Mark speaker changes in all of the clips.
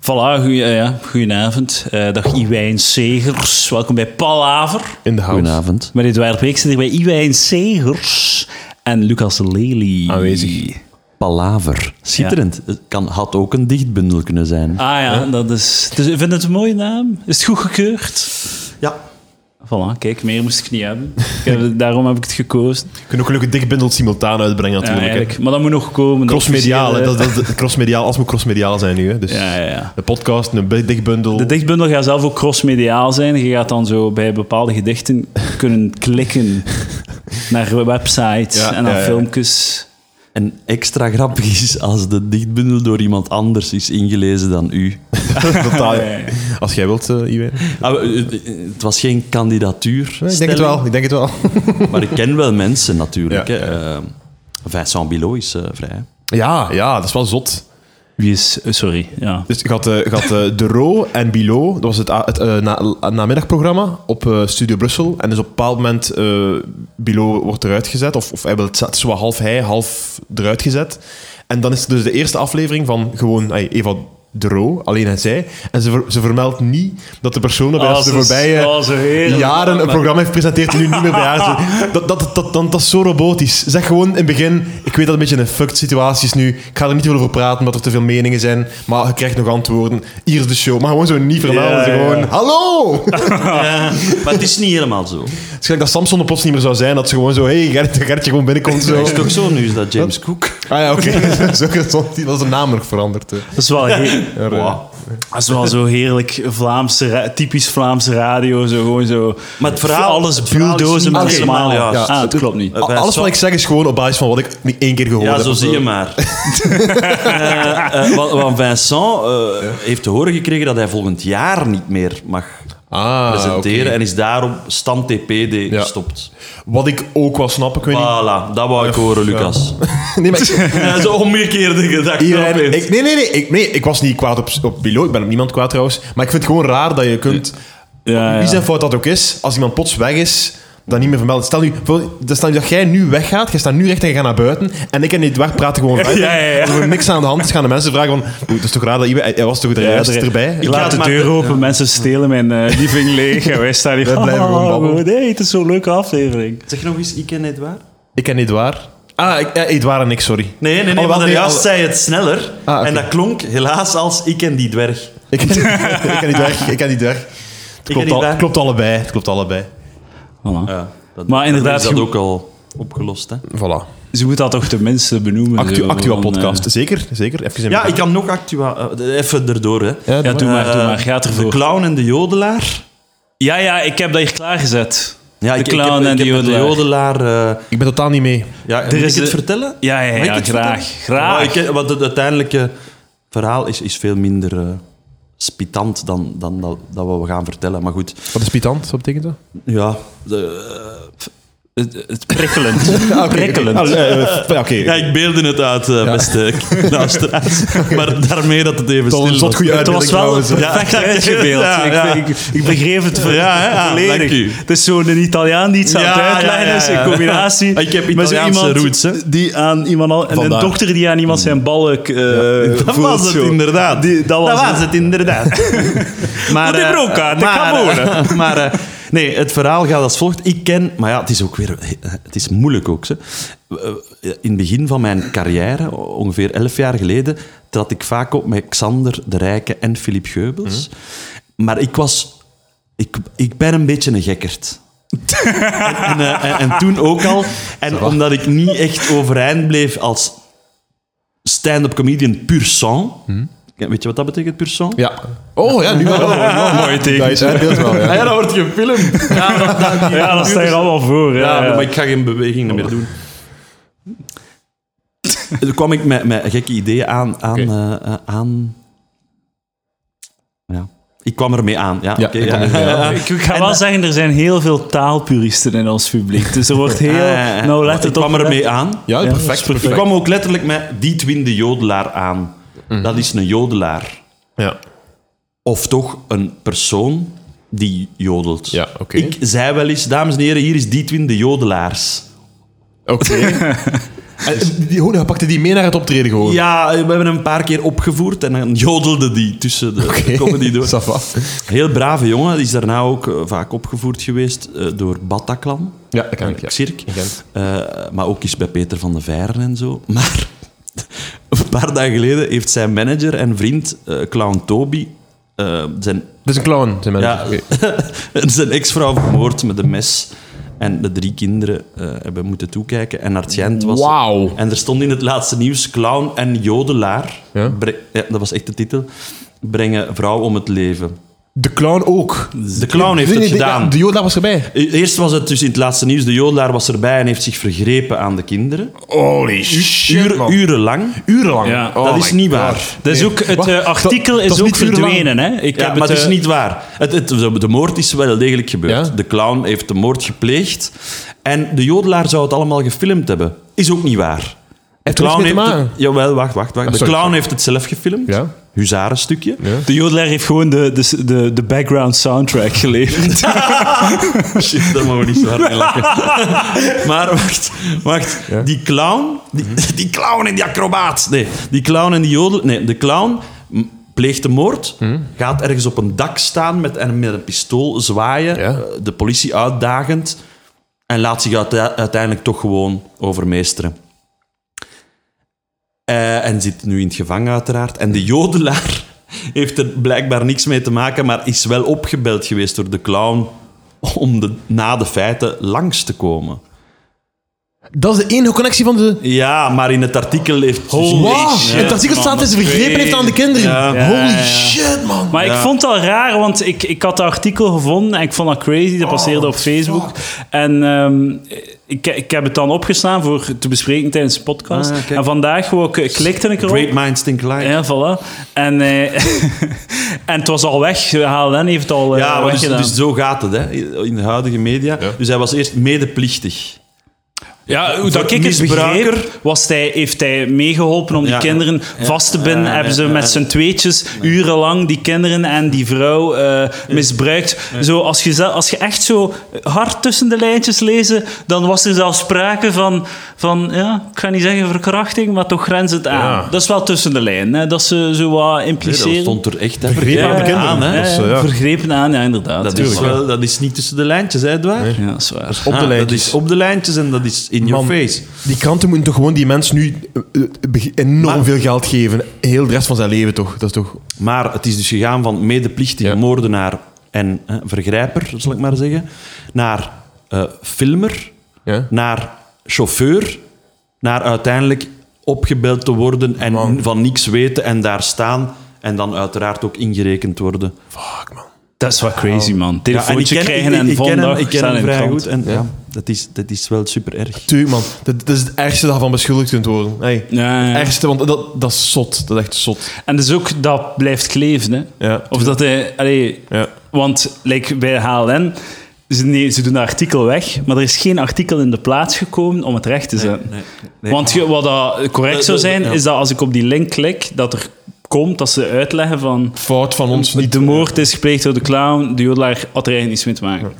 Speaker 1: Voilà, goeie, eh, ja, goedenavond. Eh, dag Iwijn Segers. Welkom bij Palaver.
Speaker 2: In de house.
Speaker 3: Goedenavond.
Speaker 1: Met Edouard Beek zit hier bij Iwijn Segers en Lucas Lely. Ah
Speaker 2: Aanwezig.
Speaker 3: Palaver. Schitterend. Het kan, had ook een dichtbundel kunnen zijn.
Speaker 1: Ah ja, dat is... Dus, ik vind het een mooie naam. Is het goed gekeurd?
Speaker 3: Ja.
Speaker 1: Voilà, kijk, meer moest ik niet hebben. Ik heb- daarom heb ik het gekozen.
Speaker 2: Je kunt ook leuke dichtbundels simultaan uitbrengen
Speaker 1: Ja,
Speaker 2: natuurlijk. hè.
Speaker 1: eigenlijk. Maar dat moet nog komen. dat eh,
Speaker 2: crossmediaal, hè.
Speaker 1: officiële-
Speaker 2: dat, dat, crossmediaal, als we crossmediaal zijn nu. Hè. Dus
Speaker 1: Ja, ja, ja.
Speaker 2: De podcast, een bi- dichtbundel.
Speaker 1: De dichtbundel gaat zelf ook crossmediaal zijn. Je gaat dan zo bij bepaalde gedichten kunnen klikken naar websites
Speaker 2: Ja,
Speaker 1: en naar
Speaker 2: ja, ja.
Speaker 1: filmpjes.
Speaker 3: En extra grappig is als de dichtbundel door iemand anders is ingelezen dan u.
Speaker 2: Totaal.
Speaker 1: Ja, ja, ja.
Speaker 2: Als jij wilt, eh Iwijn.
Speaker 3: Ah, we- eh, eh, het was geen kandidatuur.
Speaker 2: Ik denk het wel. Ik denk het wel.
Speaker 3: Maar ik ken wel mensen natuurlijk.
Speaker 2: Ja,
Speaker 3: hè. Eh, Vincent Bilot is eh, vrij. hè.
Speaker 2: ja, ja, dat is wel zot.
Speaker 1: Wie is... eh, Sorry, ja.
Speaker 2: Dus je had, eh, je had eh, De Roo en Bilo, dat was het, a- het eh, na- namiddagprogramma op eh, Studio Brussel. En dus op een bepaald moment, eh Bilo wordt eruit gezet, of, of hij wil het, het is wel half hij, half eruit gezet. En dan is het dus de eerste aflevering van gewoon ay, Eva De Roo, alleen hij zij. En ze, ver- ze vermeldt niet dat de persoon dat bij
Speaker 1: Ah,
Speaker 2: ons de
Speaker 1: ze is-
Speaker 2: voorbije
Speaker 1: ah, ze heerlijk.
Speaker 2: jaren een programma heeft gepresenteerd en nu niet meer bij haar zit. Dat, dat, dat, dat, dat, dat is zo robotisch. Zeg gewoon in het begin, ik weet dat het een beetje een fucked situatie is nu. Ik ga er niet te veel over praten, omdat er te veel meningen zijn. Maar je krijgt nog antwoorden. Hier is de show. Maar gewoon zo niet vermelden.
Speaker 1: Ja,
Speaker 2: Zo gewoon,
Speaker 1: ja.
Speaker 2: hallo! Het
Speaker 3: Maar het is niet helemaal zo.
Speaker 2: is gelijk dat Samson er plots niet meer zou zijn. Dat ze gewoon zo, hey, Gerrit, Gerritje gewoon binnenkomt. Zo.
Speaker 3: Het is toch zo nu is dat James Cook.
Speaker 2: Ah ja, oké. zo gezond. Die was de naam nog veranderd. hè.
Speaker 1: Dat is wel, he-
Speaker 2: Maar, eh,
Speaker 3: Wow.
Speaker 1: dat is wel zo heerlijk Vlaamse, ra- typisch Vlaamse radio. Zo gewoon zo...
Speaker 3: Maar het verhaal-
Speaker 1: Alles
Speaker 3: het verhaal is
Speaker 1: bulldozen
Speaker 3: niet
Speaker 1: met
Speaker 3: helemaal
Speaker 1: smalen.
Speaker 3: juist.
Speaker 1: Ah, dat klopt niet.
Speaker 3: Eh,
Speaker 2: Alles wat ik zeg is gewoon op basis van wat ik niet één keer gehoord
Speaker 3: Ja,
Speaker 2: heb.
Speaker 3: zo
Speaker 2: of
Speaker 3: zie je maar. Eh, eh, want- Want Vincent eh, heeft te horen gekregen dat hij volgend jaar niet meer mag
Speaker 2: Ah,
Speaker 3: presenteren
Speaker 2: oké.
Speaker 3: en is daarom stand TPD gestopt.
Speaker 2: Wat ik ook wel snap, ik weet niet.
Speaker 3: Voilà, dat wou ik horen, Lucas.
Speaker 2: Nee, maar ik-
Speaker 3: Ja. Zo'n omgekeerde gedachte.
Speaker 2: Iedereen-
Speaker 3: opeens.
Speaker 2: ik, nee, nee, nee, ik, nee. Ik was niet kwaad op, op Bilo. Ik ben op niemand kwaad trouwens. Maar ik vind het gewoon raar dat je kunt...
Speaker 1: Ja, Ah, ja.
Speaker 2: Wie zijn fout dat ook is, als iemand plots weg is, dan niet meer vermelden. Stel nu, voor- stel nu dat jij nu weggaat, jij staat nu recht en je gaat naar buiten, en ik en Edouard praten gewoon verder.
Speaker 1: Ja, ja, ja.
Speaker 2: Er is niks aan de hand, dus gaan de mensen vragen van... "Oeh, Het is toch raar dat iemand... Hij hij was toch de
Speaker 1: Ja,
Speaker 2: juiste
Speaker 1: er-
Speaker 2: erbij?
Speaker 1: Ik
Speaker 2: Ja.
Speaker 1: laat de deur open, mensen stelen mijn eh, living leeg en wij staan hier...
Speaker 2: Wij blijven gewoon
Speaker 1: Oh,
Speaker 2: babbelen.
Speaker 1: Nee, het is zo'n leuke aflevering.
Speaker 3: Zeg nog eens, ik en Edouard?
Speaker 2: Ik en Edouard... Ah, ik, eh, Edouard en ik, sorry.
Speaker 3: Nee,
Speaker 1: Oh,
Speaker 3: nee, nee,
Speaker 2: Alhoewel,
Speaker 3: want
Speaker 2: nee,
Speaker 3: juist
Speaker 2: al-
Speaker 3: zei het sneller.
Speaker 2: Ah, oké.
Speaker 3: En dat klonk helaas als ik en die dwerg.
Speaker 2: Ik, ik en Edouard, ik en Edouard. Het
Speaker 3: en
Speaker 2: klopt, al-
Speaker 3: Edouard.
Speaker 2: het klopt allebei, het klopt allebei.
Speaker 1: Voilà.
Speaker 3: Ja, dat,
Speaker 1: Maar inderdaad,
Speaker 3: dan is
Speaker 1: je-
Speaker 3: dat ook al opgelost. Hè?
Speaker 2: Voilà.
Speaker 1: Ze moet dat toch tenminste benoemen.
Speaker 2: Actu-
Speaker 1: zo,
Speaker 2: Actua
Speaker 1: van, eh,
Speaker 2: podcast, zeker, zeker. Even in
Speaker 3: Ja, ik kan nog actua... eh, Even erdoor, hè. Eh,
Speaker 2: Ja,
Speaker 1: Ja,
Speaker 2: doe
Speaker 1: doe
Speaker 2: maar.
Speaker 1: maar, doe maar. Gaat
Speaker 3: De
Speaker 1: ervoor.
Speaker 3: clown en de jodelaar.
Speaker 1: ja, ja, ik heb dat hier klaargezet.
Speaker 3: Ja,
Speaker 1: de
Speaker 3: ik,
Speaker 1: clown
Speaker 3: ik heb,
Speaker 1: en
Speaker 3: ik
Speaker 1: de
Speaker 3: heb met
Speaker 1: jodelaar.
Speaker 3: de jodelaar, eh,
Speaker 2: Ik ben totaal niet mee.
Speaker 3: ja,
Speaker 1: Er
Speaker 3: moet
Speaker 1: is
Speaker 3: ik het
Speaker 1: de-
Speaker 3: vertellen?
Speaker 1: Ja, ja,
Speaker 3: Mag ik
Speaker 1: ja,
Speaker 3: het
Speaker 1: graag.
Speaker 3: vertellen?
Speaker 1: Graag.
Speaker 3: Maar ik ken- want het uiteindelijke verhaal is, is veel minder eh, spitant dan, dan dat, dat wat we gaan vertellen. Maar goed,
Speaker 2: Wat is pitant? Wat betekent dat?
Speaker 3: ja. de, eh,
Speaker 1: Het, het prikkelend. prikkelend.
Speaker 2: Ah, eh, Oké.
Speaker 3: ja, ik beelde het uit, eh, beste luisteraars. Maar daarmee dat het even
Speaker 2: Tot een
Speaker 3: stil
Speaker 2: zot
Speaker 3: was.
Speaker 2: goede
Speaker 1: Het was
Speaker 2: uitbeelding
Speaker 1: wel perfect
Speaker 2: trouwens.
Speaker 3: Ja.
Speaker 1: uitgebeeld.
Speaker 3: Ja, ja.
Speaker 1: Ik, ik, ik begreep het vo-
Speaker 3: Ja, hè? Ja, dank u.
Speaker 1: volledig. Het is zo'n Italiaan die iets aan het
Speaker 3: Ja,
Speaker 1: uitleggen
Speaker 3: ja, ja,
Speaker 1: is in
Speaker 3: ja.
Speaker 1: combinatie
Speaker 3: Ik heb
Speaker 1: met zo
Speaker 3: Italiaanse
Speaker 1: iemand
Speaker 3: roots, hè.
Speaker 1: die aan iemand al, en een
Speaker 2: Vandaar.
Speaker 1: dokter die aan iemand zijn balk eh voelt.
Speaker 3: Dat was het
Speaker 1: zo.
Speaker 3: inderdaad.
Speaker 1: Die- dat was het.
Speaker 3: inderdaad. maar,
Speaker 1: Doe die
Speaker 3: eh,
Speaker 1: broek aan, ik
Speaker 3: maar,
Speaker 1: ga
Speaker 3: eh, maar eh, nee, het verhaal gaat als volgt. Ik ken, maar ja, het is ook weer, eh, het is moeilijk ook. Ze. Eh, In het begin van mijn carrière, ongeveer elf jaar geleden, trad ik vaak op met Xander de Rijke en Philippe Geubels.
Speaker 1: Mhm.
Speaker 3: Maar ik was, ik, ik ben een beetje een gekkerd. en, eh, en, en toen ook al. En omdat ik niet echt overeind bleef als stand-up comedian pur sang. Hm? Weet je wat dat betekent, pur sang?
Speaker 2: Ja. Oh ja, nu wel.
Speaker 1: Mooi
Speaker 2: Dat
Speaker 1: teken.
Speaker 2: is het beeld wel, ja.
Speaker 3: Ah ja, dat wordt gefilmd. Ja, dat, dat-
Speaker 1: Ja, dat staat hier allemaal voor. Ja,
Speaker 3: Ja,
Speaker 1: ja.
Speaker 3: maar ik ga geen bewegingen meer doen. Toen kwam ik met, met gekke ideeën aan... aan, eh, eh, aan... Ja. Ik kwam ermee aan. Ja,
Speaker 2: Ja,
Speaker 3: oké,
Speaker 2: ik
Speaker 3: ja.
Speaker 2: kan het wel.
Speaker 1: Ik, ik ga wel zeggen, er zijn heel veel taalpuristen in ons publiek. Dus er wordt heel...
Speaker 3: Eh, eh,
Speaker 1: nou, let
Speaker 3: ik
Speaker 1: het op.
Speaker 3: kwam ermee aan.
Speaker 2: Ja,
Speaker 1: Ja,
Speaker 2: perfect.
Speaker 1: dat is
Speaker 3: Ik
Speaker 2: perfect.
Speaker 3: kwam ook letterlijk met Dietwin de Jodelaar aan. Dat is een jodelaar.
Speaker 2: Ja.
Speaker 3: Of toch een persoon die jodelt.
Speaker 2: Ja, oké.
Speaker 3: Ik zei wel eens, dames en heren, hier is Dietwin de Jodelaars.
Speaker 2: Oké. En die, oh, pakte die mee naar het optreden gewoon.
Speaker 3: Ja, we hebben hem een paar keer opgevoerd en dan jodelde die tussen de de comedy door.
Speaker 2: Ça va.
Speaker 3: Heel brave jongen, die is daarna ook eh, vaak opgevoerd geweest eh, door Bataclan,
Speaker 2: Ja, dat kan ik. Ja.
Speaker 3: Cirque.
Speaker 2: In Gent.
Speaker 3: Eh, maar ook eens bij Peter van de Vijren en zo. Maar een paar dagen geleden heeft zijn manager en vriend, eh, clown Toby, eh,
Speaker 2: Dat
Speaker 3: zijn,
Speaker 2: is Dus een clown, zijn mensen.
Speaker 3: ja, zijn ex-vrouw vermoord met een mes. En de drie kinderen eh, hebben moeten toekijken. En Artjent was...
Speaker 2: Wauw.
Speaker 3: En er stond in het laatste nieuws clown en jodelaar.
Speaker 2: Ja.
Speaker 3: Bre- ja, dat was echt de titel. Brengen vrouw om het leven.
Speaker 2: De clown ook.
Speaker 3: De clown heeft
Speaker 2: Nee,
Speaker 3: het
Speaker 2: nee, de-
Speaker 3: gedaan.
Speaker 2: De Joda was erbij.
Speaker 3: E- Eerst was het dus in het laatste nieuws, de jodelaar was erbij en heeft zich vergrepen aan de kinderen.
Speaker 2: Holy
Speaker 3: Uren, urenlang.
Speaker 2: Urenlang.
Speaker 1: Ja.
Speaker 2: Oh
Speaker 3: dat
Speaker 2: my
Speaker 3: is niet
Speaker 2: God.
Speaker 3: waar.
Speaker 1: Dat is
Speaker 2: Nee.
Speaker 1: ook, het
Speaker 2: Wacht,
Speaker 1: eh,
Speaker 2: dat-
Speaker 1: artikel
Speaker 2: dat
Speaker 1: is
Speaker 2: is
Speaker 1: ook
Speaker 2: niet uren lang.
Speaker 1: verdwenen. Hè? Ik
Speaker 3: Ja,
Speaker 1: heb
Speaker 3: maar het
Speaker 1: het,
Speaker 3: is
Speaker 1: eh,
Speaker 3: niet waar. Het, het, de moord is wel degelijk gebeurd.
Speaker 2: Ja?
Speaker 3: De clown heeft de moord gepleegd. En de jodelaar zou het allemaal gefilmd hebben. Is ook niet waar. De
Speaker 2: Heeft er niks mee te maken? Ah,
Speaker 3: het, Jawel, wacht, wacht. wacht. de
Speaker 2: sorry,
Speaker 3: clown
Speaker 2: sorry.
Speaker 3: heeft het zelf gefilmd.
Speaker 2: Ja.
Speaker 3: Huzarenstukje.
Speaker 1: De jodelaar heeft gewoon de, de, de, de background soundtrack geleverd.
Speaker 3: Shit, daar mogen we niet zo hard mee lachen. maar wacht, wacht. Die clown, die, die clown en die acrobaat. Nee, die clown en die jodel. Nee, de clown m- pleegt de moord, gaat ergens op een dak staan met, en met een pistool zwaaien,
Speaker 2: Ja.
Speaker 3: eh, de politie uitdagend en laat zich uite- uiteindelijk toch gewoon overmeesteren. Eh, en zit nu in het gevangen, uiteraard. En de jodelaar heeft er blijkbaar niks mee te maken, maar is wel opgebeld geweest door de clown om de, na de feiten langs te komen.
Speaker 2: Dat is de enige connectie van de...
Speaker 3: Ja, maar in het artikel heeft...
Speaker 2: Wow,
Speaker 1: shit,
Speaker 2: het artikel
Speaker 1: man,
Speaker 2: staat dat ze
Speaker 1: dat is
Speaker 2: vergrepen heeft aan de kinderen.
Speaker 3: Ja.
Speaker 1: Ja,
Speaker 2: Holy
Speaker 1: ja, ja.
Speaker 2: shit, man.
Speaker 1: Maar ik
Speaker 3: Ja.
Speaker 1: vond het al raar, want ik, ik had dat artikel gevonden en ik vond dat crazy.
Speaker 3: Oh,
Speaker 1: Dat passeerde op Facebook. En ehm, ik, ik heb het dan opgeslaan voor te bespreken tijdens de podcast.
Speaker 3: Ah, kijk.
Speaker 1: en vandaag wou ik, klikte ik erop.
Speaker 3: Great minds think alike.
Speaker 1: Ja, voilà. En, eh, en het was al weg. HLN heeft het al eh,
Speaker 3: Ja, maar dus,
Speaker 1: weggedaan.
Speaker 3: dus zo gaat het hè, in de huidige media. Dus hij was eerst medeplichtig.
Speaker 1: ja, hoe dat
Speaker 3: voor
Speaker 1: ik het
Speaker 3: misbruiker-
Speaker 1: begreep, was hij, heeft hij meegeholpen om die
Speaker 3: Ja.
Speaker 1: kinderen vast te binden.
Speaker 3: Ja, ja,
Speaker 1: hebben ze
Speaker 3: ja,
Speaker 1: met
Speaker 3: ja.
Speaker 1: z'n tweetjes urenlang die kinderen en die vrouw eh, misbruikt. Zo, als, je, zel- als je echt zo hard tussen de lijntjes lezen, dan was er zelfs sprake van, van ja, ik ga niet zeggen verkrachting, maar toch grens het aan.
Speaker 2: Ja.
Speaker 1: Dat is wel tussen de lijnen, hè, dat ze zo wat
Speaker 3: Nee, dat
Speaker 1: impliceren.
Speaker 3: stond er echt hè,
Speaker 2: Vergrepen
Speaker 3: verkeerd
Speaker 2: aan de kinderen.
Speaker 3: aan. Hè.
Speaker 2: Dat is, eh,
Speaker 1: Ja,
Speaker 2: ja.
Speaker 1: Vergrepen aan, ja, inderdaad.
Speaker 3: Dat,
Speaker 1: Ja,
Speaker 3: is wel, dat is niet tussen de lijntjes, hè, Edouard?
Speaker 1: Ja, dat is waar.
Speaker 2: Op de
Speaker 3: Ah,
Speaker 2: lijntjes.
Speaker 3: Dat is op de lijntjes en dat is in your
Speaker 2: Man,
Speaker 3: face.
Speaker 2: Die kranten moeten toch gewoon die mens nu eh, eh, beg- enorm
Speaker 3: Maar-
Speaker 2: veel geld geven. Heel de rest van zijn leven toch? Dat is toch...
Speaker 3: Maar het is dus gegaan van medeplichtige
Speaker 2: Ja.
Speaker 3: moordenaar en hè, vergrijper, zal ik maar zeggen, naar eh, filmer,
Speaker 2: Ja.
Speaker 3: naar chauffeur, naar uiteindelijk opgebeld te worden en van niks weten en daar staan en dan uiteraard ook ingerekend worden.
Speaker 2: Fuck, man.
Speaker 1: Dat is wel crazy, man. Telefoontje
Speaker 3: ik ken-
Speaker 1: krijgen
Speaker 3: ik-
Speaker 1: en
Speaker 3: ik ken hem-
Speaker 1: vandaag
Speaker 3: ik ken
Speaker 1: staan
Speaker 3: hem
Speaker 1: in de
Speaker 3: vrij
Speaker 1: krant.
Speaker 3: goed en ja. dat, is, dat is wel super erg.
Speaker 2: Tuurlijk, man. Dat, dat is het ergste dat je van beschuldigd kunt worden. Hey.
Speaker 1: Ja, ja, ja.
Speaker 2: Het ergste, want dat, dat is zot. Dat is echt zot.
Speaker 1: En dus ook dat blijft kleven, hè.
Speaker 2: Ja.
Speaker 1: Of dat hij... Allee,
Speaker 2: Ja.
Speaker 1: Want like, bij HLN, ze, nee, ze doen dat artikel weg, maar er is geen artikel in de plaats gekomen om het recht te zetten. Want je- wat dat correct zou zijn,
Speaker 3: Ja.
Speaker 1: is dat als ik op die link klik, dat er komt dat ze uitleggen van...
Speaker 2: Fout van ons niet.
Speaker 1: De moord is gepleegd door de clown, de jodelaar had er eigenlijk niets mee te maken.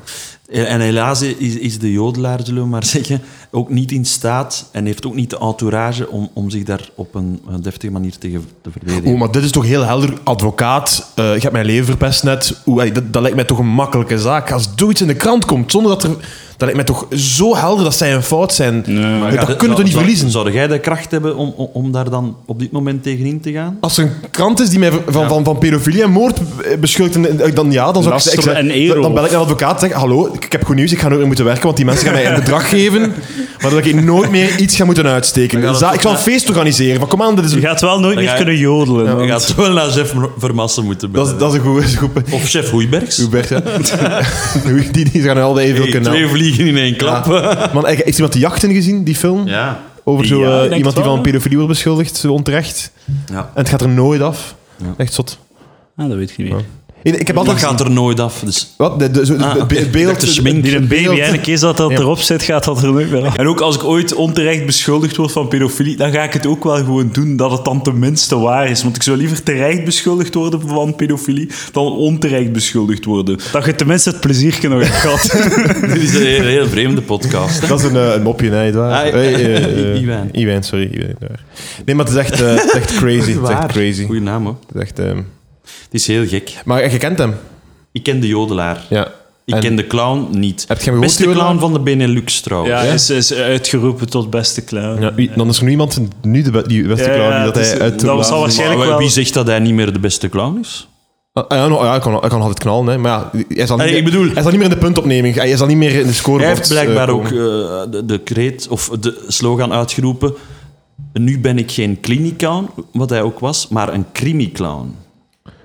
Speaker 3: En helaas is, is de jodelaar, zullen we maar zeggen, ook niet in staat en heeft ook niet de entourage om, om zich daar op een eh, deftige manier tegen te verdedigen.
Speaker 2: Oh, maar dit is toch heel helder. Advocaat, eh ik heb mijn leven verpest net. Oeh, ey, dat, dat lijkt mij toch een makkelijke zaak. Als zoiets in de krant komt, zonder dat er... Dat lijkt mij toch zo helder dat zij een fout zijn.
Speaker 1: Maar
Speaker 2: dat kunnen we toch niet
Speaker 3: Zou-
Speaker 2: verliezen?
Speaker 3: Zou jij de kracht hebben om, om, om daar dan op dit moment tegenin te gaan?
Speaker 2: Als er een krant is die mij van, van, van, van pedofilie en moord eh, beschuldigt, en, eh, dan ja, dan zou ik
Speaker 1: Laster
Speaker 2: zeggen...
Speaker 1: en ero.
Speaker 2: Dan dan bel ik naar de advocaat en zeg, hallo, ik ik heb goed nieuws, ik ga nooit meer moeten werken, want die mensen gaan mij een bedrag geven, waardoor ik nooit meer iets ga moeten uitsteken.
Speaker 3: Dan gaat
Speaker 2: Za-
Speaker 3: het
Speaker 2: ik zal een
Speaker 3: toch
Speaker 2: feest organiseren, van kom aan, dit is
Speaker 1: Je
Speaker 2: een-
Speaker 1: gaat wel nooit
Speaker 3: ga
Speaker 1: meer
Speaker 3: je-
Speaker 1: kunnen jodelen.
Speaker 3: Je
Speaker 1: want-
Speaker 3: gaat wel naar chef Vermassen moeten
Speaker 2: dat, is,
Speaker 3: bellen.
Speaker 2: dat is een goede goed, goed,
Speaker 3: Of chef Hoeibergs.
Speaker 2: Hubert, hè. die, die gaan al even
Speaker 3: Hey,
Speaker 2: kunnen
Speaker 3: twee
Speaker 2: helpen.
Speaker 3: vliegen in één klap. Ja.
Speaker 2: Man, heeft iemand die jachten gezien, die film? Over zo,
Speaker 1: Ja,
Speaker 2: eh,
Speaker 1: ik denk het
Speaker 2: iemand die
Speaker 1: wel,
Speaker 2: van
Speaker 1: hè.
Speaker 2: pedofilie wordt beschuldigd, zo onterecht.
Speaker 3: Ja.
Speaker 2: En het gaat er nooit af.
Speaker 3: Ja.
Speaker 2: Echt zot.
Speaker 1: Ah, dat weet ik niet meer.
Speaker 2: Ja. Nee, ik heb
Speaker 3: Dat
Speaker 2: altijd...
Speaker 3: gaat er nooit af. Dus
Speaker 2: Wat? De, de, zo-
Speaker 3: Ah,
Speaker 2: het
Speaker 3: oké.
Speaker 2: be-
Speaker 3: Dat
Speaker 2: beeld...
Speaker 3: de schmink-
Speaker 2: het
Speaker 1: Die een baby,
Speaker 2: beeld-
Speaker 1: en een keer dat dat
Speaker 2: Ja.
Speaker 1: erop zit, gaat dat er nooit meer af. En ook als ik ooit onterecht beschuldigd word van pedofilie, dan ga ik het ook wel gewoon doen dat het dan tenminste waar is. Want ik zou liever terecht beschuldigd worden van pedofilie dan onterecht beschuldigd worden. Dat je tenminste het plezier nog hebt gehad.
Speaker 3: dit is een heel, heel vreemde podcast.
Speaker 2: Dat is een, eh, een mopje, nee, het waar.
Speaker 3: Ah,
Speaker 2: Hey, eh, eh,
Speaker 3: Iwijn.
Speaker 2: Iwijn, sorry. Iwijn, daar. Nee, maar het is echt, eh, het is echt crazy. Het is echt crazy.
Speaker 3: Goeie naam, hoor.
Speaker 2: Het is echt, ehm,
Speaker 3: Het is heel gek.
Speaker 2: Maar je kent hem.
Speaker 3: Ik ken de jodelaar.
Speaker 2: Ja.
Speaker 3: Ik
Speaker 2: En-
Speaker 3: ken de clown niet.
Speaker 2: Heb je hem gehoord,
Speaker 3: Beste
Speaker 2: die
Speaker 3: clown
Speaker 2: jodelaar?
Speaker 3: van de Benelux, trouwens.
Speaker 1: Ja,
Speaker 2: Ja.
Speaker 1: is, is uitgeroepen tot beste clown.
Speaker 2: Ja, wie- dan is er nu iemand nu de be- die beste
Speaker 1: Ja,
Speaker 2: clown
Speaker 1: ja,
Speaker 2: die dat
Speaker 1: het
Speaker 2: hij
Speaker 1: is-
Speaker 2: uit
Speaker 1: dat
Speaker 2: de
Speaker 1: was
Speaker 2: laatste-
Speaker 1: al waarschijnlijk
Speaker 3: Maar
Speaker 1: wel...
Speaker 3: Wie zegt dat hij niet meer de beste clown is?
Speaker 2: Ah, ja, nou, ja, hij, kan, hij kan altijd knallen, hè. maar ja, hij zal, niet,
Speaker 3: Allee,
Speaker 2: meer-
Speaker 3: ik bedoel-
Speaker 2: hij zal niet meer in de puntopneming. Hij zal niet meer in de scorebord
Speaker 3: Hij heeft
Speaker 2: eh,
Speaker 3: blijkbaar ook
Speaker 2: komen.
Speaker 3: eh, de, de kreet of de slogan uitgeroepen. Nu ben ik geen kliniclown, wat hij ook was, maar een crimiclown.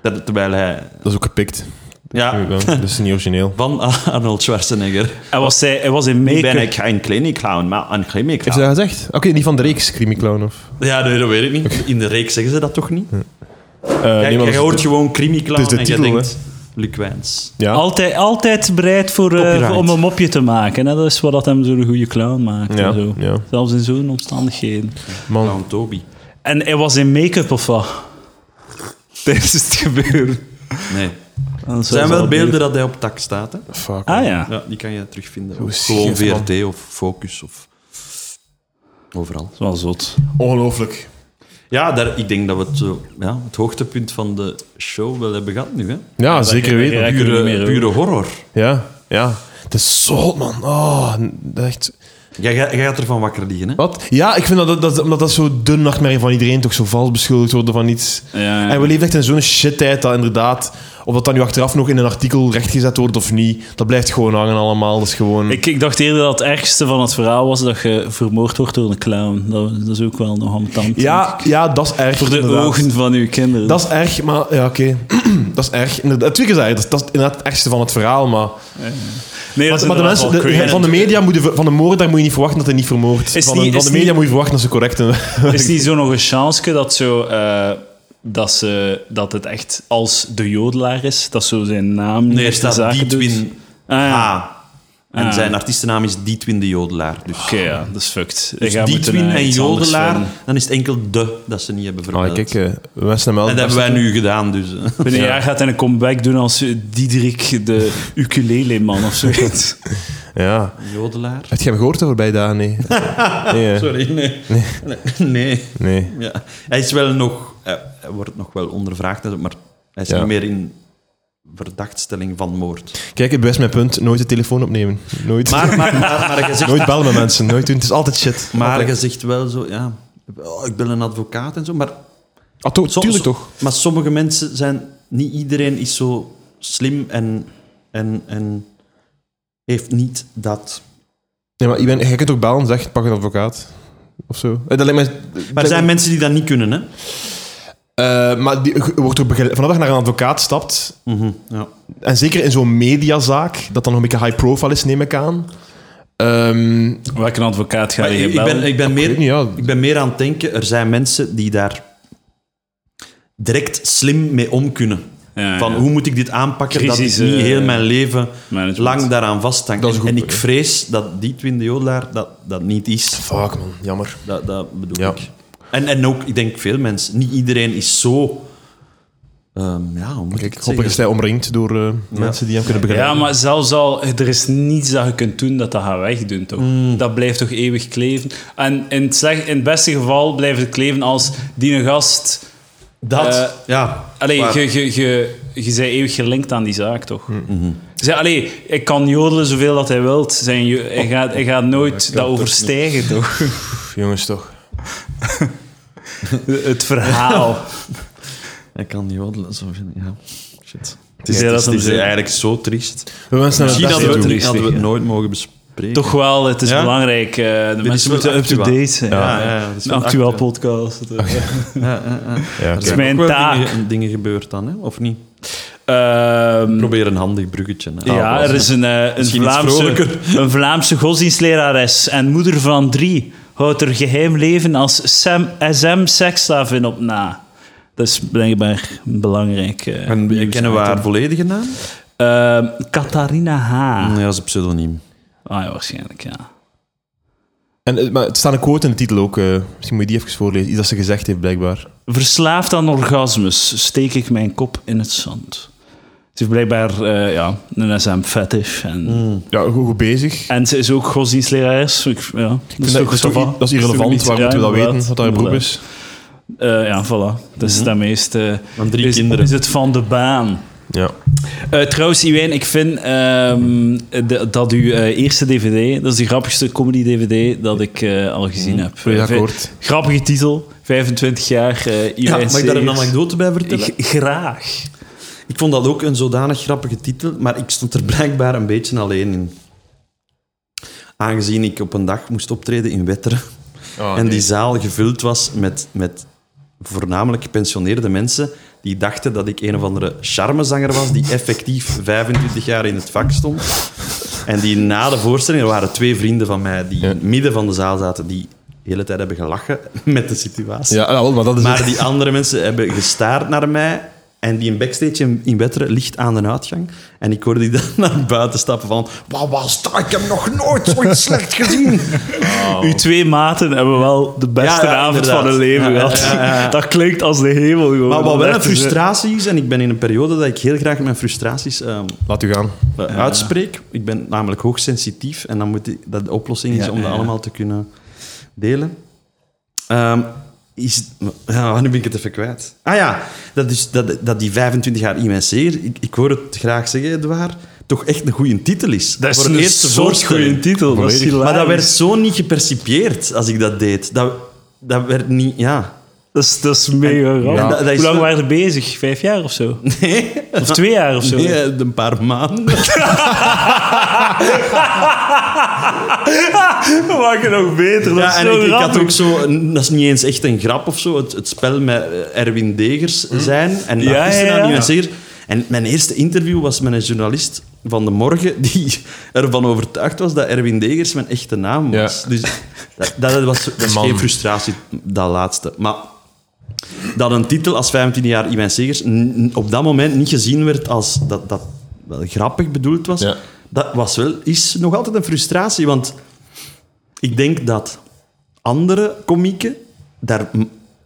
Speaker 3: Ter- Terwijl hij
Speaker 2: Dat is ook gepikt.
Speaker 3: ja,
Speaker 2: Dat is niet origineel.
Speaker 3: van Arnold Schwarzenegger.
Speaker 1: Hij was, hij, hij was in
Speaker 3: Nu ben
Speaker 1: make-up.
Speaker 3: ik geen kliniclown, maar een
Speaker 2: Heeft hij
Speaker 3: crimiclown.
Speaker 2: dat gezegd? Oké, niet van de reeks, Creamy Clown of...
Speaker 3: Ja, nee, dat weet ik niet. In de reeks zeggen ze dat toch niet?
Speaker 2: Eh,
Speaker 3: Kijk,
Speaker 2: nee, maar
Speaker 3: je
Speaker 2: dat is-
Speaker 3: hoort gewoon crimiclown
Speaker 2: het is
Speaker 3: en
Speaker 2: de
Speaker 3: je
Speaker 2: titel,
Speaker 3: denkt... Luc Wijns.
Speaker 2: Ja.
Speaker 1: Altijd, altijd bereid voor, eh,
Speaker 3: Copyright.
Speaker 1: voor- om een mopje te maken. Hè? Dat is wat dat hem zo'n goede clown maakt.
Speaker 2: Ja,
Speaker 1: en zo.
Speaker 2: ja.
Speaker 1: Zelfs in zo'n omstandigheden.
Speaker 2: Man.
Speaker 3: Clown Toby.
Speaker 1: En hij was in make-up of wat? Tijdens het gebeuren.
Speaker 3: Nee.
Speaker 1: Er
Speaker 3: Er zijn wel beelden dat hij op tak staat. Hè?
Speaker 2: Fuck.
Speaker 1: Ah ja.
Speaker 3: Ja, die kan je terugvinden. Of
Speaker 2: scheef,
Speaker 3: gewoon
Speaker 2: man.
Speaker 3: VRT of Focus of overal.
Speaker 1: Dat is wel zot.
Speaker 2: Ongelooflijk.
Speaker 3: Ja, daar, ik denk dat we het, eh, ja, het hoogtepunt van de show wel hebben gehad nu. Hè?
Speaker 2: Ja, zeker
Speaker 1: je-
Speaker 2: weten.
Speaker 1: Ja, ik weet het niet
Speaker 3: Pure,
Speaker 1: meer,
Speaker 3: pure horror.
Speaker 2: Ja, ja. Het is zo hot, man. Oh, dat is echt...
Speaker 3: Jij, jij jij gaat ervan wakker liggen. Hè?
Speaker 2: Wat? Ja, ik vind dat, dat, dat omdat dat zo de nachtmerrie van iedereen toch zo vals beschuldigd worden van iets.
Speaker 1: Ja, ja.
Speaker 2: En we leven echt in zo'n shit-tijd dat inderdaad, of dat dan nu achteraf nog in een artikel rechtgezet wordt of niet, dat blijft gewoon hangen allemaal. Dat is gewoon...
Speaker 3: Hm.
Speaker 1: Ik, ik dacht eerder dat het ergste van het verhaal was dat je vermoord wordt door een clown. Dat, dat is ook wel nog ambetant.
Speaker 2: ja, ja, dat is erg.
Speaker 1: Voor de
Speaker 2: inderdaad.
Speaker 1: ogen van uw kinderen.
Speaker 2: Dat is erg, maar ja, oké. dat is erg. Inderdaad, twee keer zei je, dat, is- dat is inderdaad het ergste van het verhaal, maar...
Speaker 1: nee, dat
Speaker 2: Maar,
Speaker 1: is
Speaker 2: maar de
Speaker 1: inderdaad
Speaker 2: mensen, de-
Speaker 1: wel crazy.
Speaker 2: van de media moeten, van de moordenaar moet je niet verwachten dat hij niet vermoordt.
Speaker 1: Is
Speaker 2: van, de-
Speaker 1: niet-
Speaker 2: van
Speaker 1: is
Speaker 2: de media
Speaker 1: niet-
Speaker 2: moet je verwachten dat ze correct zijn.
Speaker 1: Is niet zo nog een chance dat, zo, eh, dat, ze, dat het echt als de jodelaar is? Dat zo zijn naam
Speaker 3: Nee, er
Speaker 1: echt de
Speaker 3: staat
Speaker 1: zaken doet?
Speaker 3: Dietwin
Speaker 1: Ah, ja.
Speaker 3: H. En
Speaker 1: Ah.
Speaker 3: zijn artiestennaam is Dietwin de Jodelaar. Dus,
Speaker 1: Oké, ja, dat is fucked.
Speaker 3: dus Dietwin en Jodelaar, dan is het enkel de dat ze niet hebben vermeld.
Speaker 2: Ah, kijk, eh, Westen
Speaker 3: en dat hebben wij nu gedaan. Dus, eh.
Speaker 1: Binnen een jaar gaat hij een comeback doen als eh, Diederik de ukulele-man of zoiets.
Speaker 2: Ja.
Speaker 3: Jodelaar?
Speaker 2: Heb je hem gehoord de voorbije dagen? Nee. nee. eh,
Speaker 3: Sorry, nee. Nee. nee.
Speaker 2: nee.
Speaker 3: Ja. Hij is wel nog... eh, Hij wordt nog wel ondervraagd, maar hij is
Speaker 2: Ja.
Speaker 3: niet meer in verdachtstelling van moord.
Speaker 2: Kijk, het best mijn punt. Nooit de telefoon opnemen. Nooit.
Speaker 3: Maar, maar, maar, maar, je, zegt,
Speaker 2: Nooit bellen met mensen. Nooit doen. Het is altijd shit.
Speaker 3: maar je
Speaker 2: Altijd.
Speaker 3: zegt wel zo, ja... oh, ik ben een advocaat en zo, maar...
Speaker 2: Ah, to-
Speaker 3: so-
Speaker 2: tuurlijk
Speaker 3: so-
Speaker 2: toch.
Speaker 3: Maar sommige mensen zijn... Niet iedereen is zo slim en... en, en heeft niet dat...
Speaker 2: Nee, maar je, bent, je kunt ook bellen. Zeg, pak een advocaat. Of zo. Eh, Dat lijkt mij...
Speaker 3: Maar er
Speaker 2: dat-
Speaker 3: zijn mensen die dat niet kunnen, hè?
Speaker 2: Eh, maar die, je wordt ook begeleid. Vanaf dat je naar een advocaat stapt,
Speaker 3: Mhm, Ja.
Speaker 2: en zeker in zo'n mediazaak, dat dan nog een beetje high profile is, neem ik aan. Ehm,
Speaker 1: Welke advocaat ga
Speaker 3: Maar
Speaker 1: je
Speaker 3: ik, ik,
Speaker 1: bellen?
Speaker 3: ben, ik, ben meer,
Speaker 2: weet niet, ja.
Speaker 3: ik ben meer aan het denken, er zijn mensen die daar direct slim mee om kunnen.
Speaker 1: Ja,
Speaker 3: Van
Speaker 1: ja.
Speaker 3: hoe moet ik dit aanpakken
Speaker 1: Crisis,
Speaker 3: dat ik niet
Speaker 1: eh,
Speaker 3: heel mijn leven
Speaker 1: management.
Speaker 3: lang daaraan vasthang.
Speaker 2: Dat is
Speaker 3: En,
Speaker 2: goed,
Speaker 3: en
Speaker 2: hè.
Speaker 3: ik vrees dat die twinde jodelaar dat, dat niet is.
Speaker 2: fuck man, jammer.
Speaker 3: Dat, dat bedoel
Speaker 2: Ja.
Speaker 3: ik. En, en ook, ik denk veel mensen, niet iedereen is zo... ehm, ja, hoe moet ik
Speaker 2: Kijk,
Speaker 3: het
Speaker 2: hopelijk is
Speaker 3: zeggen?
Speaker 2: hij omringd door eh, mensen die hem kunnen begeleiden.
Speaker 1: Ja, maar zelfs al, er is niets dat je kunt doen dat dat gaat wegdoen, toch?
Speaker 3: Mm.
Speaker 1: Dat blijft toch eeuwig kleven? En in het, slecht, in het beste geval blijft het kleven als die een gast...
Speaker 3: Dat,
Speaker 1: eh,
Speaker 3: ja.
Speaker 1: Allee,
Speaker 3: Waar-
Speaker 1: je, je, je, je bent eeuwig gelinkt aan die zaak, toch?
Speaker 3: Mm,
Speaker 1: Zij, allee, ik kan jodelen zoveel dat hij wilt. Zijn, jo- hij, gaat, hij gaat nooit dat overstijgen, toch?
Speaker 2: Pff, jongens toch.
Speaker 1: Het verhaal.
Speaker 3: Ik kan niet jodelen, zo vind ik, ja. Shit. Het
Speaker 1: is-
Speaker 3: is,
Speaker 1: Ja, dat is
Speaker 3: het is
Speaker 1: een-
Speaker 3: eigenlijk zo triest.
Speaker 2: We wensen hem het
Speaker 3: Misschien
Speaker 1: dat
Speaker 2: beste
Speaker 3: hadden we,
Speaker 1: is
Speaker 2: toe.
Speaker 3: het,
Speaker 1: triest,
Speaker 3: hadden we het
Speaker 1: ja.
Speaker 3: nooit mogen bespreken.
Speaker 1: toch wel, het is
Speaker 3: Ja?
Speaker 1: belangrijk. eh, de mensen
Speaker 3: wel
Speaker 1: moeten up-to-date
Speaker 3: actueel.
Speaker 1: zijn.
Speaker 3: Ja, ja, ja, dat is
Speaker 1: Een
Speaker 3: wel
Speaker 1: actueel
Speaker 3: actueel.
Speaker 1: podcast.
Speaker 3: Ja, ja, ja.
Speaker 2: Ja,
Speaker 3: Er
Speaker 2: oké.
Speaker 3: zijn
Speaker 1: mijn
Speaker 3: ook wel
Speaker 1: taak.
Speaker 3: Dingen, dingen gebeurd dan, hè? of niet?
Speaker 1: Ehm,
Speaker 3: Probeer een handig bruggetje. hè.
Speaker 1: Ja, er is een, eh, een,
Speaker 3: Misschien iets
Speaker 1: Vlaamse,
Speaker 3: vrolijker.
Speaker 1: een Vlaamse godsdienstlerares en moeder van drie houdt er geheim leven als Sam, SM-seksslaaf in op na. Dat is blijkbaar belangrijk. eh,
Speaker 3: En
Speaker 1: nieuws
Speaker 3: kennen we haar
Speaker 1: item.
Speaker 3: volledige naam?
Speaker 1: Ehm, Catharina H.
Speaker 3: Ja, dat is een pseudoniem.
Speaker 1: Ah ja, waarschijnlijk, ja.
Speaker 2: En, eh, maar het staat een quote in de titel ook. eh, misschien moet je die even voorlezen. Iets dat ze gezegd heeft, blijkbaar.
Speaker 1: Verslaafd aan orgasmes steek ik mijn kop in het zand. Het is blijkbaar eh, ja, een SM-fetish. En,
Speaker 2: Ja, goed, goed bezig.
Speaker 1: en ze is ook godsdienstlerares. Ik, ja, dat,
Speaker 2: Hmm. Ik
Speaker 1: is
Speaker 2: vind
Speaker 1: toch
Speaker 2: dat,
Speaker 1: ça
Speaker 2: dat,
Speaker 1: va.
Speaker 2: dat is
Speaker 1: toch
Speaker 2: irrelevant.
Speaker 1: niet-
Speaker 2: Waar
Speaker 1: ja,
Speaker 2: moeten we dat
Speaker 1: inderdaad,
Speaker 2: weten? Wat haar beroep
Speaker 1: inderdaad.
Speaker 2: is? Mhm.
Speaker 1: Eh, ja, voilà. Dat is dat meeste.
Speaker 3: Aan drie
Speaker 1: is,
Speaker 3: kinderen.
Speaker 1: Is het van de baan?
Speaker 2: Ja.
Speaker 1: Eh, trouwens, Iwijn, ik vind ehm, de- dat uw eh, eerste DVD, dat is de grappigste comedy-DVD dat ik eh, al gezien heb.
Speaker 2: Mhm. Ben je
Speaker 1: Eh, vij-
Speaker 2: akkoord?
Speaker 1: Grappige titel, 25 jaar eh Iwijn
Speaker 3: Ja, mag ik daar een
Speaker 1: Segers.
Speaker 3: anekdote bij vertellen?
Speaker 1: G- Graag.
Speaker 3: Ik vond dat ook een zodanig grappige titel, maar ik stond er blijkbaar een beetje alleen in. Aangezien ik op een dag moest optreden in Wetteren
Speaker 2: Ah,
Speaker 3: en die zaal gevuld was met, met voornamelijk gepensioneerde mensen die dachten dat ik een of andere charmezanger was die effectief 25 jaar in het vak stond. En die na de voorstelling, er waren twee vrienden van mij die in het midden van de zaal zaten, die de hele tijd hebben gelachen met de situatie.
Speaker 2: Ja, ja, wel, maar dat is
Speaker 3: Maar die andere mensen hebben gestaard naar mij. En die in backstage in, in Wetteren ligt aan de uitgang. En ik hoorde die dan naar buiten stappen van... Wat was dat? Ik heb nog nooit zoiets slecht gezien.
Speaker 1: Uw twee maten hebben wel de beste
Speaker 3: Ja, ja,
Speaker 1: avond
Speaker 3: inderdaad.
Speaker 1: van hun leven
Speaker 3: Ja,
Speaker 1: gehad.
Speaker 3: ja, ja, ja.
Speaker 1: Dat klinkt als de hemel gewoon.
Speaker 3: Maar wat
Speaker 1: Dat
Speaker 3: wel een
Speaker 1: echt is, eh,
Speaker 3: frustratie is... En ik ben in een periode dat ik heel graag mijn frustraties ehm,
Speaker 2: Laat u gaan.
Speaker 3: eh, uitspreek. Ik ben namelijk hoogsensitief. En dan moet ik, dat de oplossing is
Speaker 1: Ja,
Speaker 3: om dat
Speaker 1: ja.
Speaker 3: allemaal te kunnen delen. Ehm, is, ja, nu ben ik het even kwijt. Ah ja, dat, is, dat, dat die 25 jaar IMC, ik, ik hoor het graag zeggen, Edouard, toch echt een goede titel is.
Speaker 1: Dat is
Speaker 3: Voor het
Speaker 1: een
Speaker 3: eerste
Speaker 1: soort
Speaker 3: voorstelling.
Speaker 1: goede titel. Dat is
Speaker 2: Volledig.
Speaker 1: hilarisch.
Speaker 3: Maar dat werd zo niet gepercipieerd als ik dat deed. Dat, dat werd niet, ja.
Speaker 1: Dat is, dat is mega grappig.
Speaker 3: en dat- dat is
Speaker 1: Hoe lang
Speaker 3: wel-
Speaker 1: waren we bezig? Vijf jaar of zo?
Speaker 3: Nee,
Speaker 1: Of twee jaar of zo?
Speaker 3: nee, een paar maanden.
Speaker 1: We maken nog beter. Dat
Speaker 3: Ja,
Speaker 1: is
Speaker 3: en
Speaker 1: zo
Speaker 3: ik, ik had
Speaker 1: grappig.
Speaker 3: ook zo, een- dat is niet eens echt een grap of zo, het, het spel met eh, Erwin Degers zijn en
Speaker 1: Hm? Ja,
Speaker 3: ja, artiesten
Speaker 1: ja, ja.
Speaker 3: aan en zeker. En mijn eerste interview was met een journalist van de morgen die ervan overtuigd was dat Erwin Degers mijn echte naam was.
Speaker 2: Ja.
Speaker 3: Dus dat, dat was, dat is
Speaker 2: man.
Speaker 3: geen frustratie, dat laatste. Maar dat een titel als 15 jaar Iwijn Segers n- n- op dat moment niet gezien werd als dat, dat wel grappig bedoeld was,
Speaker 2: Ja.
Speaker 3: dat was wel, is nog altijd een frustratie. Want ik denk dat andere komieken daar m-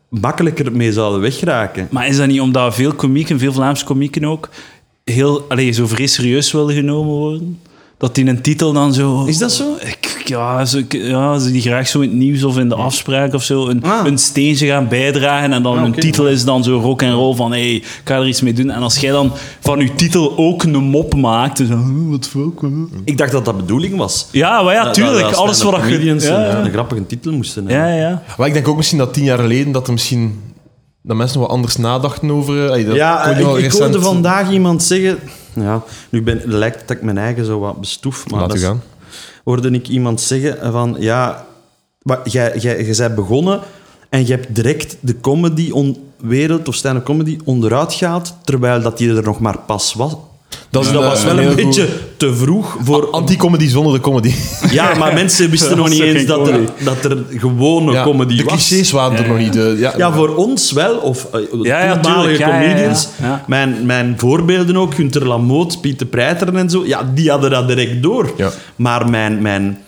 Speaker 3: makkelijker mee zouden wegraken.
Speaker 1: Maar is dat niet omdat veel komieken, veel Vlaamse komieken ook, heel, allee, zo vrees serieus willen genomen worden? Dat die een titel dan zo...
Speaker 3: Is dat zo?
Speaker 1: Ik- ja, ze, ik- ja, ze die graag zo in het nieuws of in de afspraak of zo een,
Speaker 3: Ah.
Speaker 1: een steentje gaan bijdragen. En dan hun
Speaker 3: oké.
Speaker 1: titel is dan zo rock en roll van hé, hey, ik ga er iets mee doen. En als jij dan van je titel ook een mop maakt, dan zo, "Huh, wat fuck. huh?"
Speaker 3: Ik dacht dat dat bedoeling was.
Speaker 1: Ja, maar ja, tuurlijk. alles wat je...
Speaker 3: comedians
Speaker 1: Ja,
Speaker 3: een,
Speaker 1: ja.
Speaker 3: een grappige titel moesten
Speaker 1: ja,
Speaker 3: hebben.
Speaker 1: ja.
Speaker 2: Maar ik denk ook misschien dat tien jaar geleden dat er misschien dat mensen nog wat anders nadachten over. eh, dat
Speaker 3: Ja, Oh,
Speaker 2: kon je
Speaker 3: ik,
Speaker 2: wel
Speaker 3: ik
Speaker 2: recent-
Speaker 3: hoorde vandaag iemand zeggen... Ja, nu ben, lijkt het dat ik mijn eigen zo wat bestoef, maar
Speaker 2: Laat
Speaker 3: dat
Speaker 2: u
Speaker 3: is-
Speaker 2: gaan.
Speaker 3: hoorde ik iemand zeggen van... Ja, maar jij, jij, jij bent begonnen en je hebt direct de comedy on, wereld of stand-up comedy onderuit gehaald, terwijl dat die er nog maar pas was.
Speaker 2: Dat, is
Speaker 3: Dus dat was wel een
Speaker 2: heel goed- Ah,
Speaker 3: beetje te vroeg voor...
Speaker 2: Anti-comedy zonder de comedy.
Speaker 3: Ja, maar mensen wisten
Speaker 1: Dat
Speaker 3: nog
Speaker 1: was
Speaker 3: niet
Speaker 1: toch
Speaker 3: eens
Speaker 1: geen
Speaker 3: dat er,
Speaker 1: comedy?
Speaker 3: dat er gewone
Speaker 2: Ja,
Speaker 3: comedy
Speaker 2: de
Speaker 3: was.
Speaker 2: clichés waren er nog niet. eh, ja,
Speaker 3: Ja, voor ons wel, of eh,
Speaker 1: Ja, ja,
Speaker 3: toenmalige
Speaker 1: tuurlijk, ja, ja, ja.
Speaker 3: comedians.
Speaker 1: Ja.
Speaker 3: Mijn, mijn voorbeelden ook, Gunter Lamoot, Pieter Preiteren en zo, ja, die hadden dat direct door.
Speaker 2: Ja.
Speaker 3: Maar mijn, mijn,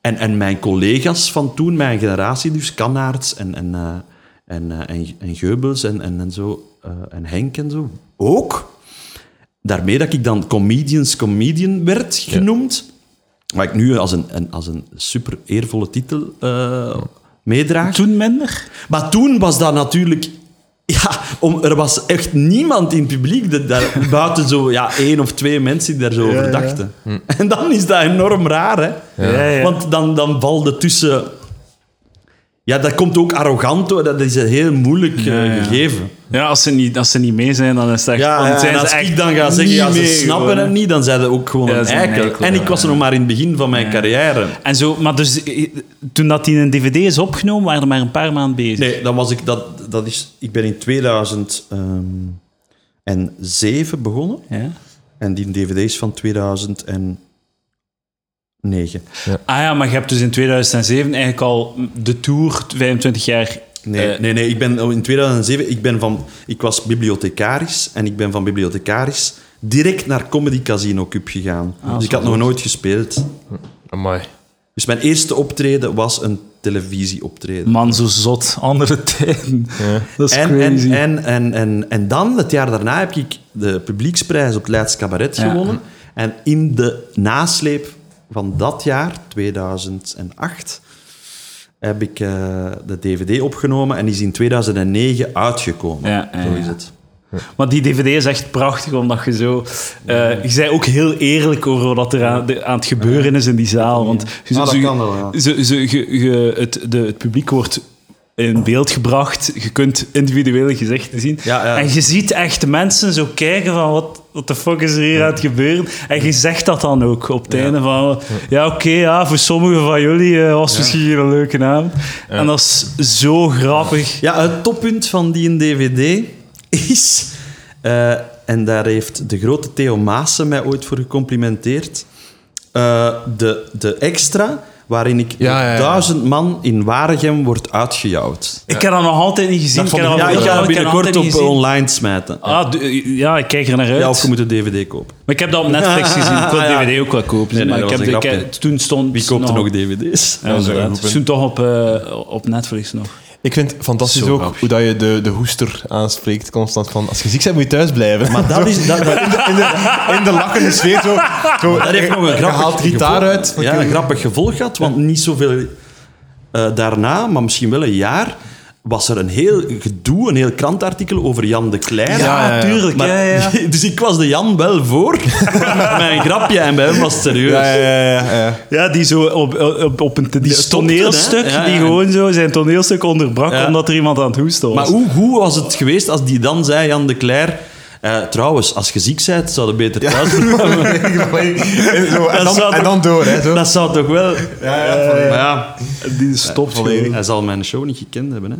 Speaker 3: en, en mijn collega's van toen, mijn generatie dus, Kannaerts en, en, eh, en, eh, en, en Geubels en, en, en zo, eh, en Henk en zo, ook. Daarmee dat ik dan comedians comedian werd genoemd. Wat ik nu als een, een- als een super eervolle titel eh, meedraag.
Speaker 1: Toen minder?
Speaker 3: Maar toen was dat natuurlijk... Ja, om, er was echt niemand in het publiek dat, daar, buiten zo ja, één of twee mensen die daar zo over dachten. En dan is dat enorm raar, hè?
Speaker 1: Hm. Ja, ja.
Speaker 3: Want dan, dan valde tussen... Ja, dat komt ook arrogant door. Dat is een heel moeilijk eh,
Speaker 1: ja.
Speaker 3: gegeven.
Speaker 1: Ja, als ze niet, als ze niet mee zijn, dan is het echt...
Speaker 3: Ja,
Speaker 1: dan
Speaker 3: ja,
Speaker 1: zijn
Speaker 3: en
Speaker 1: ze
Speaker 3: als
Speaker 1: echt
Speaker 3: ik dan ga zeggen,
Speaker 1: niet
Speaker 3: ja, ze
Speaker 1: mee
Speaker 3: snappen
Speaker 1: gewoon, hè.
Speaker 3: het niet, dan zijn ze ook gewoon
Speaker 1: Ja,
Speaker 3: een
Speaker 1: ze zijn
Speaker 3: eikel.
Speaker 1: eikel,
Speaker 3: En
Speaker 1: ja.
Speaker 3: ik was er nog maar in het begin van mijn carrière.
Speaker 1: En zo, maar dus, eh, toen dat die een dvd is opgenomen, waren er maar een paar maanden bezig.
Speaker 3: Nee, dan was ik dat, dat is, ik ben in 2007 begonnen
Speaker 1: Ja?
Speaker 3: en die dvd is van 2009.
Speaker 1: Ah ja, maar je hebt dus in 2007 eigenlijk al de tour 25 jaar
Speaker 3: Nee,
Speaker 1: Eh,
Speaker 3: nee, nee, ik ben oh, in 2007, ik, ben van, ik was bibliothecaris en ik ben van bibliothecaris direct naar Comedy Casino Cup gegaan. dus ik had nog nooit gespeeld.
Speaker 2: Amai.
Speaker 3: Dus mijn eerste optreden was een televisieoptreden.
Speaker 1: Man, zo zot. Andere tijden. Dat is
Speaker 3: En,
Speaker 1: crazy.
Speaker 3: en, en, en, en, en dan, het jaar daarna, heb ik de publieksprijs op het Leids Cabaret
Speaker 1: Ja.
Speaker 3: gewonnen. En in de nasleep van dat jaar, 2008, heb ik eh, de DVD opgenomen en die is in 2009 uitgekomen.
Speaker 1: Ja, ja,
Speaker 3: Zo is
Speaker 1: ja.
Speaker 3: het.
Speaker 1: Maar die dvd is echt prachtig, omdat je zo... eh, je zei ook heel eerlijk over wat er aan, de- aan het gebeuren is in die zaal. Want je,
Speaker 3: Ah, dat
Speaker 1: zo-
Speaker 3: kan wel, ja.
Speaker 1: zo- zo- je- je- het, de, het publiek wordt in beeld gebracht. Je kunt individuele gezichten zien.
Speaker 3: Ja, ja.
Speaker 1: En je ziet echt mensen zo kijken van... Wat, wat de fuck is er hier aan het gebeuren? En je zegt dat dan ook op het einde van... Ja, oké, ja, voor sommigen van jullie eh, was het misschien een leuke avond. En dat is zo grappig.
Speaker 3: Ja, het toppunt van die DVD is... eh, en daar heeft de grote Theo Maassen mij ooit voor gecomplimenteerd. eh, de, de extra waarin ik
Speaker 2: Ja, ja, ja.
Speaker 3: duizend man in Waregem wordt uitgejouwd.
Speaker 1: Ik heb dat nog altijd niet gezien.
Speaker 2: Dat vond
Speaker 1: heb
Speaker 2: ik-
Speaker 1: dat
Speaker 3: Ja, ik
Speaker 1: nog
Speaker 3: ga dat
Speaker 1: altijd
Speaker 3: binnenkort op eh,
Speaker 1: niet gezien.
Speaker 3: online smijten.
Speaker 1: Ah, du- ja, ik kijk er naar uit.
Speaker 3: Ja, of je moet de DVD kopen.
Speaker 1: Maar ik heb dat op Netflix gezien. Ik wil
Speaker 3: Ah, ja.
Speaker 1: DVD ook wel kopen.
Speaker 3: Nee, nee,
Speaker 1: maar
Speaker 3: dat
Speaker 1: ik heb
Speaker 3: was
Speaker 1: de,
Speaker 3: een
Speaker 1: ik
Speaker 3: grapje.
Speaker 1: heb- toen stond.
Speaker 3: Wie koopt er nog DVD's?
Speaker 1: Ja,
Speaker 2: is een
Speaker 1: inderdaad.
Speaker 2: goed
Speaker 1: Toen toch op, eh, op Netflix nog.
Speaker 2: Ik vind het fantastisch
Speaker 3: Zo
Speaker 2: ook
Speaker 3: grappig.
Speaker 2: hoe dat je de, de hoester aanspreekt constant. Van, als je ziek bent, moet je thuis blijven.
Speaker 3: Maar dat is... Dat, dat-
Speaker 2: in, de, in de lachende sfeer zo. zo
Speaker 3: Dat heeft nog een
Speaker 2: Je
Speaker 3: grappig
Speaker 2: haalt gitaar
Speaker 3: gevolg.
Speaker 2: uit.
Speaker 3: Ja, een grappig gevolg gehad, want niet zoveel eh, daarna, maar misschien wel een jaar, was er een heel gedoe, een heel krantartikel over Jan de Klein.
Speaker 2: Ja, ja, ja.
Speaker 1: tuurlijk.
Speaker 3: Maar-
Speaker 1: ja, ja.
Speaker 3: Dus ik was de Jan wel voor. Met een grapje en bij hem was het serieus.
Speaker 2: Ja, ja, ja, ja.
Speaker 1: Ja, die zo op, op, op een die
Speaker 3: stopte,
Speaker 1: toneelstuk,
Speaker 3: hè? Ja,
Speaker 1: die
Speaker 3: ja.
Speaker 1: gewoon zo zijn toneelstuk onderbrak
Speaker 3: Ja.
Speaker 1: omdat er iemand aan het hoesten was.
Speaker 3: Maar hoe goed was het geweest als die dan zei, Jan de Kleer... eh, trouwens, als je ziek bent, zou je beter thuis blijven.
Speaker 2: En, zo, en,
Speaker 3: Dat
Speaker 2: dan,
Speaker 3: zou
Speaker 2: en dan door, hè. Zo.
Speaker 3: Dat zou toch wel... maar ja,
Speaker 1: Die stopt gewoon.
Speaker 3: hij zal mijn show niet gekend hebben. Hè?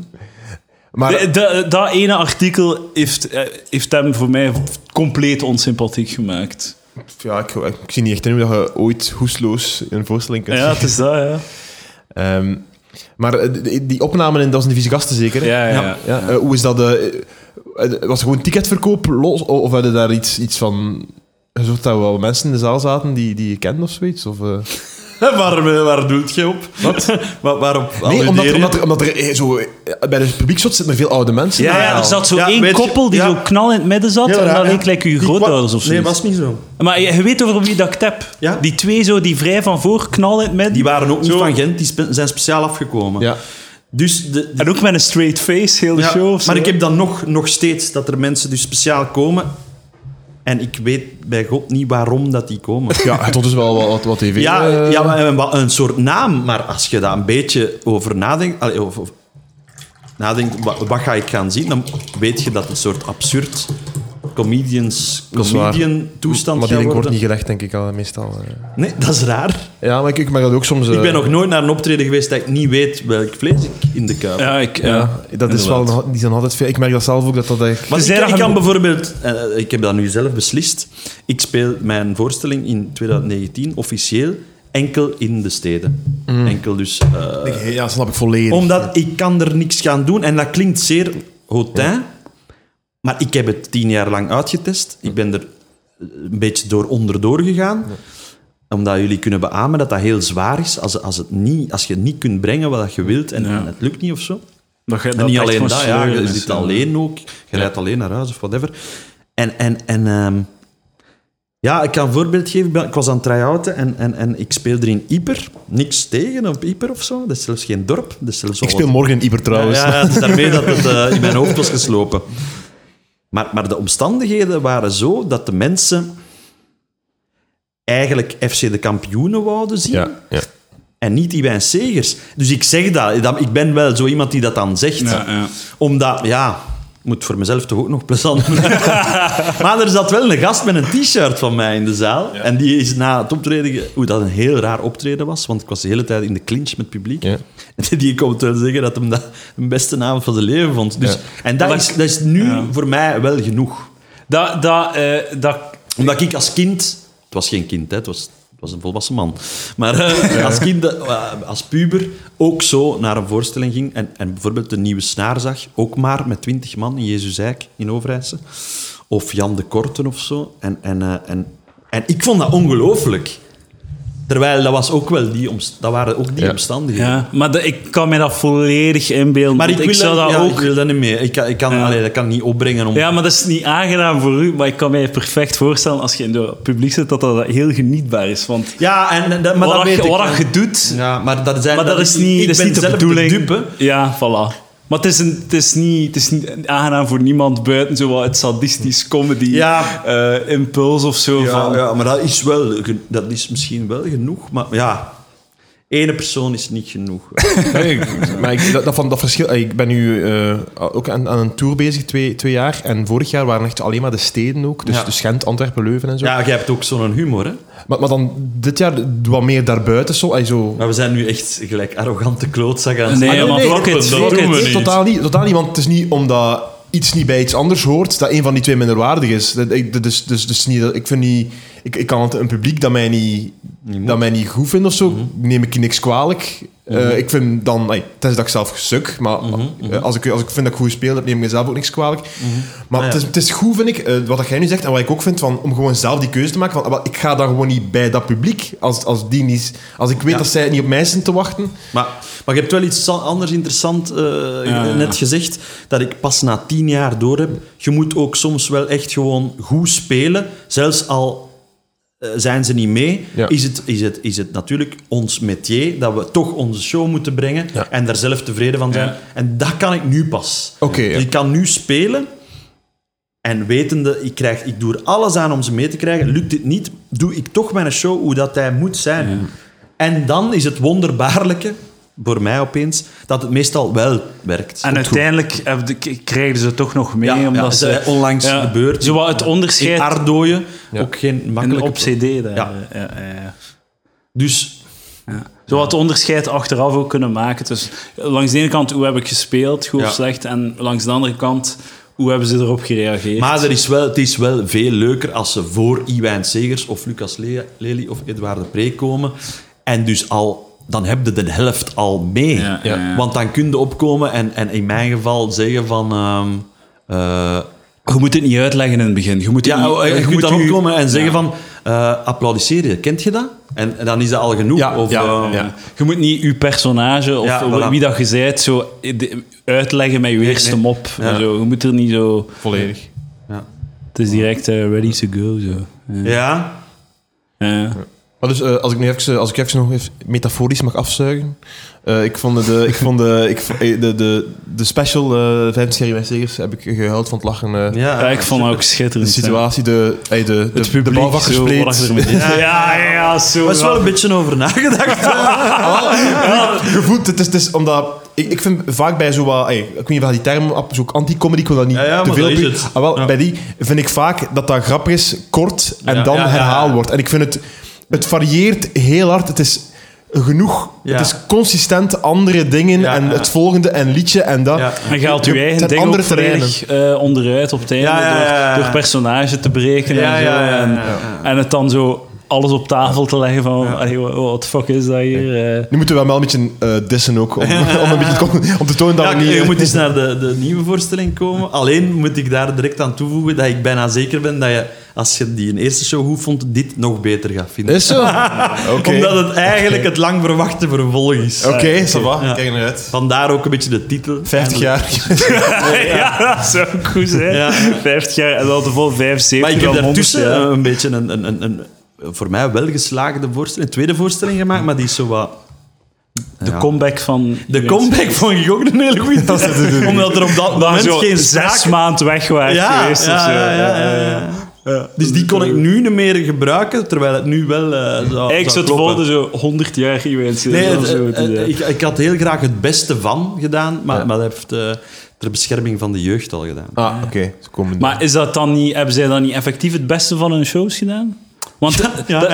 Speaker 2: Maar
Speaker 1: De- de- dat ene artikel heeft, eh, heeft hem voor mij compleet onsympathiek gemaakt.
Speaker 2: ja, ik, ik zie niet echt in hoe dat je ooit hoesloos een voorstelling kunt
Speaker 1: Ja, het is dat, ja.
Speaker 2: Ehm, maar eh, die- die opnamen in Dat is een vieze gasten zeker? hè?
Speaker 1: Ja, ja, ja.
Speaker 2: eh, hoe is dat? eh, eh, eh, was het gewoon ticketverkoop los? O- Of hadden daar iets, iets van... Je zult dat wel mensen in de zaal zaten die, die je kent of zoiets? Of, eh?
Speaker 3: Waar, waar doelt je op? Wat? waarop
Speaker 2: Nee, omdat,
Speaker 3: alludeer je?
Speaker 2: omdat er, omdat er eh, zo, eh, bij de publiekshot zitten er veel oude mensen.
Speaker 1: Ja, ja, er zat zo
Speaker 3: Ja,
Speaker 1: één
Speaker 3: weet je-
Speaker 1: koppel die
Speaker 3: ja.
Speaker 1: zo knal in het midden zat. en dat leek gelijk uw grootouders of zo.
Speaker 3: Nee, was niet zo.
Speaker 1: Maar je, je weet over wie dat ik het heb.
Speaker 3: Ja?
Speaker 1: Die twee zo, die vrij van voor knal in het midden.
Speaker 3: Die waren ook niet
Speaker 1: Zo.
Speaker 3: van Gent, die spe- zijn speciaal afgekomen.
Speaker 2: Ja.
Speaker 3: Dus de, de-
Speaker 1: En ook met een straight face, heel de
Speaker 3: ja,
Speaker 1: show. of zo.
Speaker 3: maar ik heb dan nog, nog steeds dat er mensen dus speciaal komen. En ik weet bij God niet waarom dat die komen.
Speaker 2: Ja, het was dus wel wat, wat, wat tv.
Speaker 3: Ja,
Speaker 2: eh,
Speaker 3: ja maar een, wa- een soort naam, maar als je daar een beetje over nadenkt, allee, of, of nadenkt wa- wat, ga ik gaan zien, dan weet je dat het een soort absurd comedians,
Speaker 2: Dat is waar.
Speaker 3: comedian toestand
Speaker 2: Maar die
Speaker 3: gaat
Speaker 2: link wordt
Speaker 3: worden.
Speaker 2: niet gelegd, denk ik al, meestal. eh.
Speaker 3: Nee, dat is raar.
Speaker 2: Ja, maar ik, ik merk dat ook soms... eh,
Speaker 3: Ik ben nog nooit naar een optreden geweest dat ik niet weet welk vlees ik in de kuip.
Speaker 1: Ja, ik... Ja.
Speaker 2: Ja, dat is wel, nog- die zijn altijd veel... Ik merk dat zelf ook, dat dat echt...
Speaker 3: Maar
Speaker 1: Je
Speaker 3: ik,
Speaker 1: zei dat
Speaker 3: ik
Speaker 1: je
Speaker 3: kan
Speaker 1: moet-
Speaker 3: bijvoorbeeld, eh, ik heb dat nu zelf beslist. Ik speel mijn voorstelling in 2019 officieel enkel in de steden.
Speaker 2: Mm.
Speaker 3: Enkel dus. eh,
Speaker 2: Ja, snap ik volledig.
Speaker 3: omdat ik kan er niks gaan doen. En dat klinkt zeer hautain. Maar ik heb het tien jaar lang uitgetest. Ik ben er een beetje door onderdoor gegaan. Omdat jullie kunnen beamen dat dat heel zwaar is. Als, als, het niet, als je het niet kunt brengen wat je wilt en,
Speaker 1: Ja.
Speaker 3: en het lukt niet of zo.
Speaker 1: Dat, je-
Speaker 3: En
Speaker 1: dat
Speaker 3: niet
Speaker 1: echt
Speaker 3: alleen
Speaker 1: gewoon
Speaker 3: dat, ja, je
Speaker 1: sleuren is,
Speaker 3: zit
Speaker 1: ja.
Speaker 3: alleen ook. Je rijdt alleen naar huis of whatever. En, en, en ehm, ja, ik kan een voorbeeld geven. Ik ben- Ik was aan het try-outen en, en, en ik speelde in Ieper. Niks tegen op Ieper of zo. Dat is zelfs geen dorp. Dat is zelfs
Speaker 2: Ik
Speaker 3: al
Speaker 2: speel
Speaker 3: wat-
Speaker 2: morgen in Iber
Speaker 3: ja,
Speaker 2: trouwens.
Speaker 3: ja, het is daarmee dat het eh, in mijn hoofd was geslopen. Maar, maar de omstandigheden waren zo dat de mensen eigenlijk FC de kampioenen wouden zien.
Speaker 2: ja.
Speaker 3: En niet die Wijn Segers. Dus ik zeg dat, dat- Ik ben wel zo iemand die dat dan zegt.
Speaker 1: Ja, ja.
Speaker 3: Omdat, ja... ik Moet voor mezelf toch ook nog plezant blijven. maar er zat wel een gast met een t-shirt van mij in de zaal. En die is na het optreden... ge- Oeh, dat een heel raar optreden was. Want ik was de hele tijd in de clinch met het publiek.
Speaker 2: Ja.
Speaker 3: En die komt wel zeggen dat hem dat de beste avond van zijn leven vond. Dus,
Speaker 2: Ja.
Speaker 3: En dat,
Speaker 1: Maar
Speaker 3: is,
Speaker 1: dat-
Speaker 3: dat is nu
Speaker 1: Ja.
Speaker 3: voor mij wel genoeg.
Speaker 1: Dat, dat, eh, dat,
Speaker 3: Omdat ik als kind... Het was geen kind, hè. Het was was een volwassen man. Maar eh, als kind, eh, als puber, ook zo naar een voorstelling ging en, en bijvoorbeeld de nieuwe snaar zag, ook maar met twintig man in Jezus Eik in Overijse. Of Jan de Korten of zo. En, en, eh, en, en ik vond dat ongelooflijk. Terwijl dat, was ook wel die omst- dat waren ook die
Speaker 2: Ja.
Speaker 3: omstandigheden.
Speaker 1: Ja, maar de- ik kan me dat volledig inbeelden.
Speaker 3: Maar ik, wil
Speaker 1: zou dat
Speaker 3: ja,
Speaker 1: ook...
Speaker 3: ik wil dat niet meer. Ik kan, ik kan,
Speaker 1: Ja.
Speaker 3: allee, dat kan ik niet opbrengen om...
Speaker 1: Ja, maar dat is niet aangenaam voor u. Maar ik kan mij perfect voorstellen, als je in het publiek zit, dat dat heel genietbaar is. Want
Speaker 3: Ja, en, en dat- maar dat
Speaker 1: wat,
Speaker 3: weet
Speaker 1: je,
Speaker 3: ik
Speaker 1: wat
Speaker 3: wel.
Speaker 1: je doet,
Speaker 3: Ja, maar dat, zijn,
Speaker 1: maar dat, is niet,
Speaker 3: ik
Speaker 1: dat is
Speaker 3: ben
Speaker 1: niet de
Speaker 3: zelf
Speaker 1: bedoeling.
Speaker 3: dupe.
Speaker 1: Ja, voilà. Maar het is, een, het, is niet, het is niet aangenaam voor niemand buiten zo wat het sadistisch
Speaker 3: Ja.
Speaker 1: comedy-impuls of zo.
Speaker 3: Ja,
Speaker 1: Eh, van,
Speaker 3: ja, maar dat is, wel, ge- dat is misschien wel genoeg, maar ja... Ene persoon is niet genoeg.
Speaker 2: Nee, ik- maar ik, dat, dat, van, dat verschil... Ik ben nu eh, ook aan, aan een tour bezig, twee, twee jaar. En vorig jaar waren echt alleen maar de steden ook. Dus,
Speaker 3: Ja.
Speaker 2: dus Gent, Antwerpen, Leuven en zo.
Speaker 3: Ja, jij hebt ook zo'n humor, hè?
Speaker 2: Maar, maar dan dit jaar wat meer daarbuiten. Zo, ay, zo.
Speaker 3: Maar we zijn nu echt gelijk arrogante klootzakken aan
Speaker 1: Nee,
Speaker 3: Ah,
Speaker 1: maar
Speaker 3: nee,
Speaker 1: fuck it,
Speaker 3: dat
Speaker 1: fuck
Speaker 3: doen
Speaker 1: it.
Speaker 3: we niet.
Speaker 2: totaal, niet, totaal niet, want het is niet omdat iets niet bij iets anders hoort, dat een van die twee minderwaardig is. Dat- ik- dat is- Dus, dus niet, dat- ik vind niet... Ik, ik kan het een publiek dat mij niet, dat mij niet goed vindt of zo, neem ik niks kwalijk. Eh, ik vind dan... ay, tenzij dat ik zelf suk, maar eh, als, ik, als ik vind dat ik goed speel, dan neem ik mezelf ook niks kwalijk. Maar
Speaker 3: Ah,
Speaker 2: het,
Speaker 3: ja.
Speaker 2: is, het is goed, vind ik, eh, wat jij nu zegt en wat ik ook vind, van, om gewoon zelf die keuze te maken. Van, ah, wel, ik ga daar gewoon niet bij dat publiek. Als, als, die niet, als ik weet
Speaker 3: Ja.
Speaker 2: dat zij niet op mij zitten te wachten...
Speaker 3: Maar, maar je hebt wel iets an- anders interessant eh,
Speaker 1: ja,
Speaker 3: net gezegd, dat ik pas na tien jaar door heb. Je moet ook soms wel echt gewoon goed spelen, zelfs al eh, zijn ze niet mee.
Speaker 2: Ja.
Speaker 3: Is, het, is, het, is het natuurlijk ons métier dat we toch onze show moeten brengen
Speaker 2: Ja.
Speaker 3: en daar zelf tevreden van zijn.
Speaker 1: Ja.
Speaker 3: En dat kan ik nu pas.
Speaker 2: Oké,
Speaker 3: Dus
Speaker 2: ja.
Speaker 3: ik kan nu spelen en wetende, ik, krijg, ik doe er alles aan om ze mee te krijgen. Lukt dit niet, doe ik toch mijn show hoe dat hij moet zijn. En dan is het wonderbaarlijke, voor mij opeens, dat het meestal wel werkt.
Speaker 1: En uiteindelijk heb de- k- krijgen ze toch nog mee.
Speaker 3: Ja, ja,
Speaker 1: omdat
Speaker 3: dat is,
Speaker 1: ze,
Speaker 3: eh, onlangs gebeurd.
Speaker 1: Zo wat het onderscheid
Speaker 3: in
Speaker 1: in,
Speaker 3: Ardooien,
Speaker 2: Ja.
Speaker 3: ook geen makkelijke...
Speaker 1: op CD. daar,
Speaker 3: Ja.
Speaker 1: eh, ja, ja, ja.
Speaker 3: Dus
Speaker 1: Zo wat onderscheid achteraf ook kunnen maken. Dus langs de ene kant, hoe heb ik gespeeld, goed
Speaker 3: Ja.
Speaker 1: of slecht? En langs de andere kant, hoe hebben ze erop gereageerd?
Speaker 3: Maar er is wel, het is wel veel leuker als ze voor Iwijn Segers of Lucas Le- Lely of Edouard de Pre komen. En dus al, dan heb je de helft al mee.
Speaker 1: Ja, ja, ja.
Speaker 3: Want dan kun je opkomen en, en in mijn geval zeggen van... ehm, eh,
Speaker 1: je moet het niet uitleggen in het begin. Je moet het
Speaker 3: ja, oh,
Speaker 1: niet-
Speaker 3: eh,
Speaker 1: eh,
Speaker 3: je, kunt
Speaker 1: moet
Speaker 3: dan
Speaker 1: je-
Speaker 3: opkomen en zeggen
Speaker 1: Ja.
Speaker 3: van... eh applaudisseer je, kent je dat? En, en dan is dat al genoeg.
Speaker 2: Ja,
Speaker 3: of,
Speaker 2: ja,
Speaker 3: eh,
Speaker 1: Ja. Je moet niet je personage of
Speaker 3: Ja,
Speaker 1: wie-
Speaker 3: voilà.
Speaker 1: wie dat je bent zo eh, de- uitleggen met je eerste
Speaker 3: nee.
Speaker 1: mop.
Speaker 3: Ja.
Speaker 1: Zo. Je moet er niet zo...
Speaker 2: Volledig.
Speaker 3: ja.
Speaker 1: Het is direct eh, ready to go. Zo. Ja.
Speaker 3: Ja.
Speaker 1: Ja.
Speaker 2: Maar dus, eh, als ik nu even, als ik even nog even metaforisch mag afzuigen. eh, ik vond de, ik vond de, ik, vo- eh, de, de, de special eh 25 jaar Zegers heb ik gehuild van het lachen. eh,
Speaker 3: Ja.
Speaker 1: Ja, ik vond het ook
Speaker 2: De
Speaker 1: schitterend.
Speaker 2: situatie, de, eh, de, de,
Speaker 1: Het publiek,
Speaker 2: de bouwvakkers
Speaker 1: zo,
Speaker 2: spleet.
Speaker 1: wat achter me zit.
Speaker 3: Ja,
Speaker 1: Ja, ja, ja, zo.
Speaker 3: Er is wel een beetje over nagedacht. eh.
Speaker 2: Gevoeld, het is, het is omdat... Ik, ik vind vaak bij zo wat... eh, ik weet niet of die term... op- Zo'n anti-comedy, ik wil dat niet
Speaker 3: Ja, ja,
Speaker 2: te
Speaker 3: maar
Speaker 2: veel
Speaker 3: dat
Speaker 2: op-
Speaker 3: is het.
Speaker 2: Ah, wel,
Speaker 3: Ja.
Speaker 2: Bij die vind ik vaak dat dat grappig is, kort, en
Speaker 3: Ja,
Speaker 2: dan
Speaker 3: ja, ja, ja.
Speaker 2: herhaald wordt. En ik vind het... Het varieert heel hard. Het is genoeg.
Speaker 3: Ja.
Speaker 2: Het is consistent andere dingen
Speaker 3: Ja,
Speaker 2: en
Speaker 3: ja.
Speaker 2: het volgende en liedje en dat.
Speaker 3: Ja.
Speaker 1: En je haalt
Speaker 2: Je-
Speaker 1: je
Speaker 2: het zijn
Speaker 1: eigen ding
Speaker 2: andere
Speaker 1: ook volledig eh, onderuit op het einde
Speaker 3: Ja, ja, ja, ja.
Speaker 1: Door, door personage te breken
Speaker 3: Ja,
Speaker 1: en zo.
Speaker 3: ja, ja, ja,
Speaker 1: en,
Speaker 3: ja.
Speaker 1: en het dan zo alles op tafel te leggen van... allee, wa- wat de fuck is dat hier? eh?
Speaker 2: Nu moeten we wel een beetje eh, dissen ook, om, om, een beetje, om te tonen dat
Speaker 3: Ja,
Speaker 2: we niet...
Speaker 3: je moet eens naar de, de nieuwe voorstelling komen. Alleen moet ik daar direct aan toevoegen dat ik bijna zeker ben dat je, als je die een eerste show goed vond, dit nog beter gaat vinden.
Speaker 2: Is zo? Oké. Oh.
Speaker 3: Omdat het eigenlijk het lang verwachte vervolg is.
Speaker 2: Oké, ça va.
Speaker 3: Ja.
Speaker 2: Kijk naar uit.
Speaker 3: Vandaar ook een beetje de titel.
Speaker 2: 50 jaar.
Speaker 1: ja, dat zou ook goed zijn.
Speaker 3: Ja.
Speaker 1: 50 jaar en dan de vol 75.
Speaker 3: Maar ik heb
Speaker 1: dan 100,
Speaker 3: daartussen
Speaker 1: ja.
Speaker 3: een, een beetje een, een, een, een voor mij wel geslaagde voorstelling, een tweede voorstelling gemaakt, maar die is zo wat...
Speaker 1: De
Speaker 3: Ja.
Speaker 1: comeback van...
Speaker 3: eh, De comeback vond ik ook een hele goede. Omdat er op dat
Speaker 1: Waar
Speaker 3: moment
Speaker 1: zo
Speaker 3: geen zaak
Speaker 1: zes maanden weg waren geweest. of zo.
Speaker 3: eh,
Speaker 1: Eh,
Speaker 3: Dus die kon ik nu niet meer gebruiken, terwijl het nu wel eh zou,
Speaker 1: Ik
Speaker 3: zou
Speaker 1: zat
Speaker 3: kloppen.
Speaker 1: volgende zo 100 jaar iemand.
Speaker 3: Nee,
Speaker 1: of
Speaker 3: het-
Speaker 1: zo eh.
Speaker 3: het-
Speaker 1: te
Speaker 3: het-
Speaker 1: zeggen.
Speaker 3: ik, ik had heel graag het beste van gedaan, maar,
Speaker 2: Ja.
Speaker 3: maar dat heeft eh, ter bescherming van de jeugd al gedaan.
Speaker 2: Ah, oké. Ze komen
Speaker 1: Maar is dat dan niet, hebben zij dan niet effectief het beste van hun shows gedaan? Want dat- dat is- Ja, maar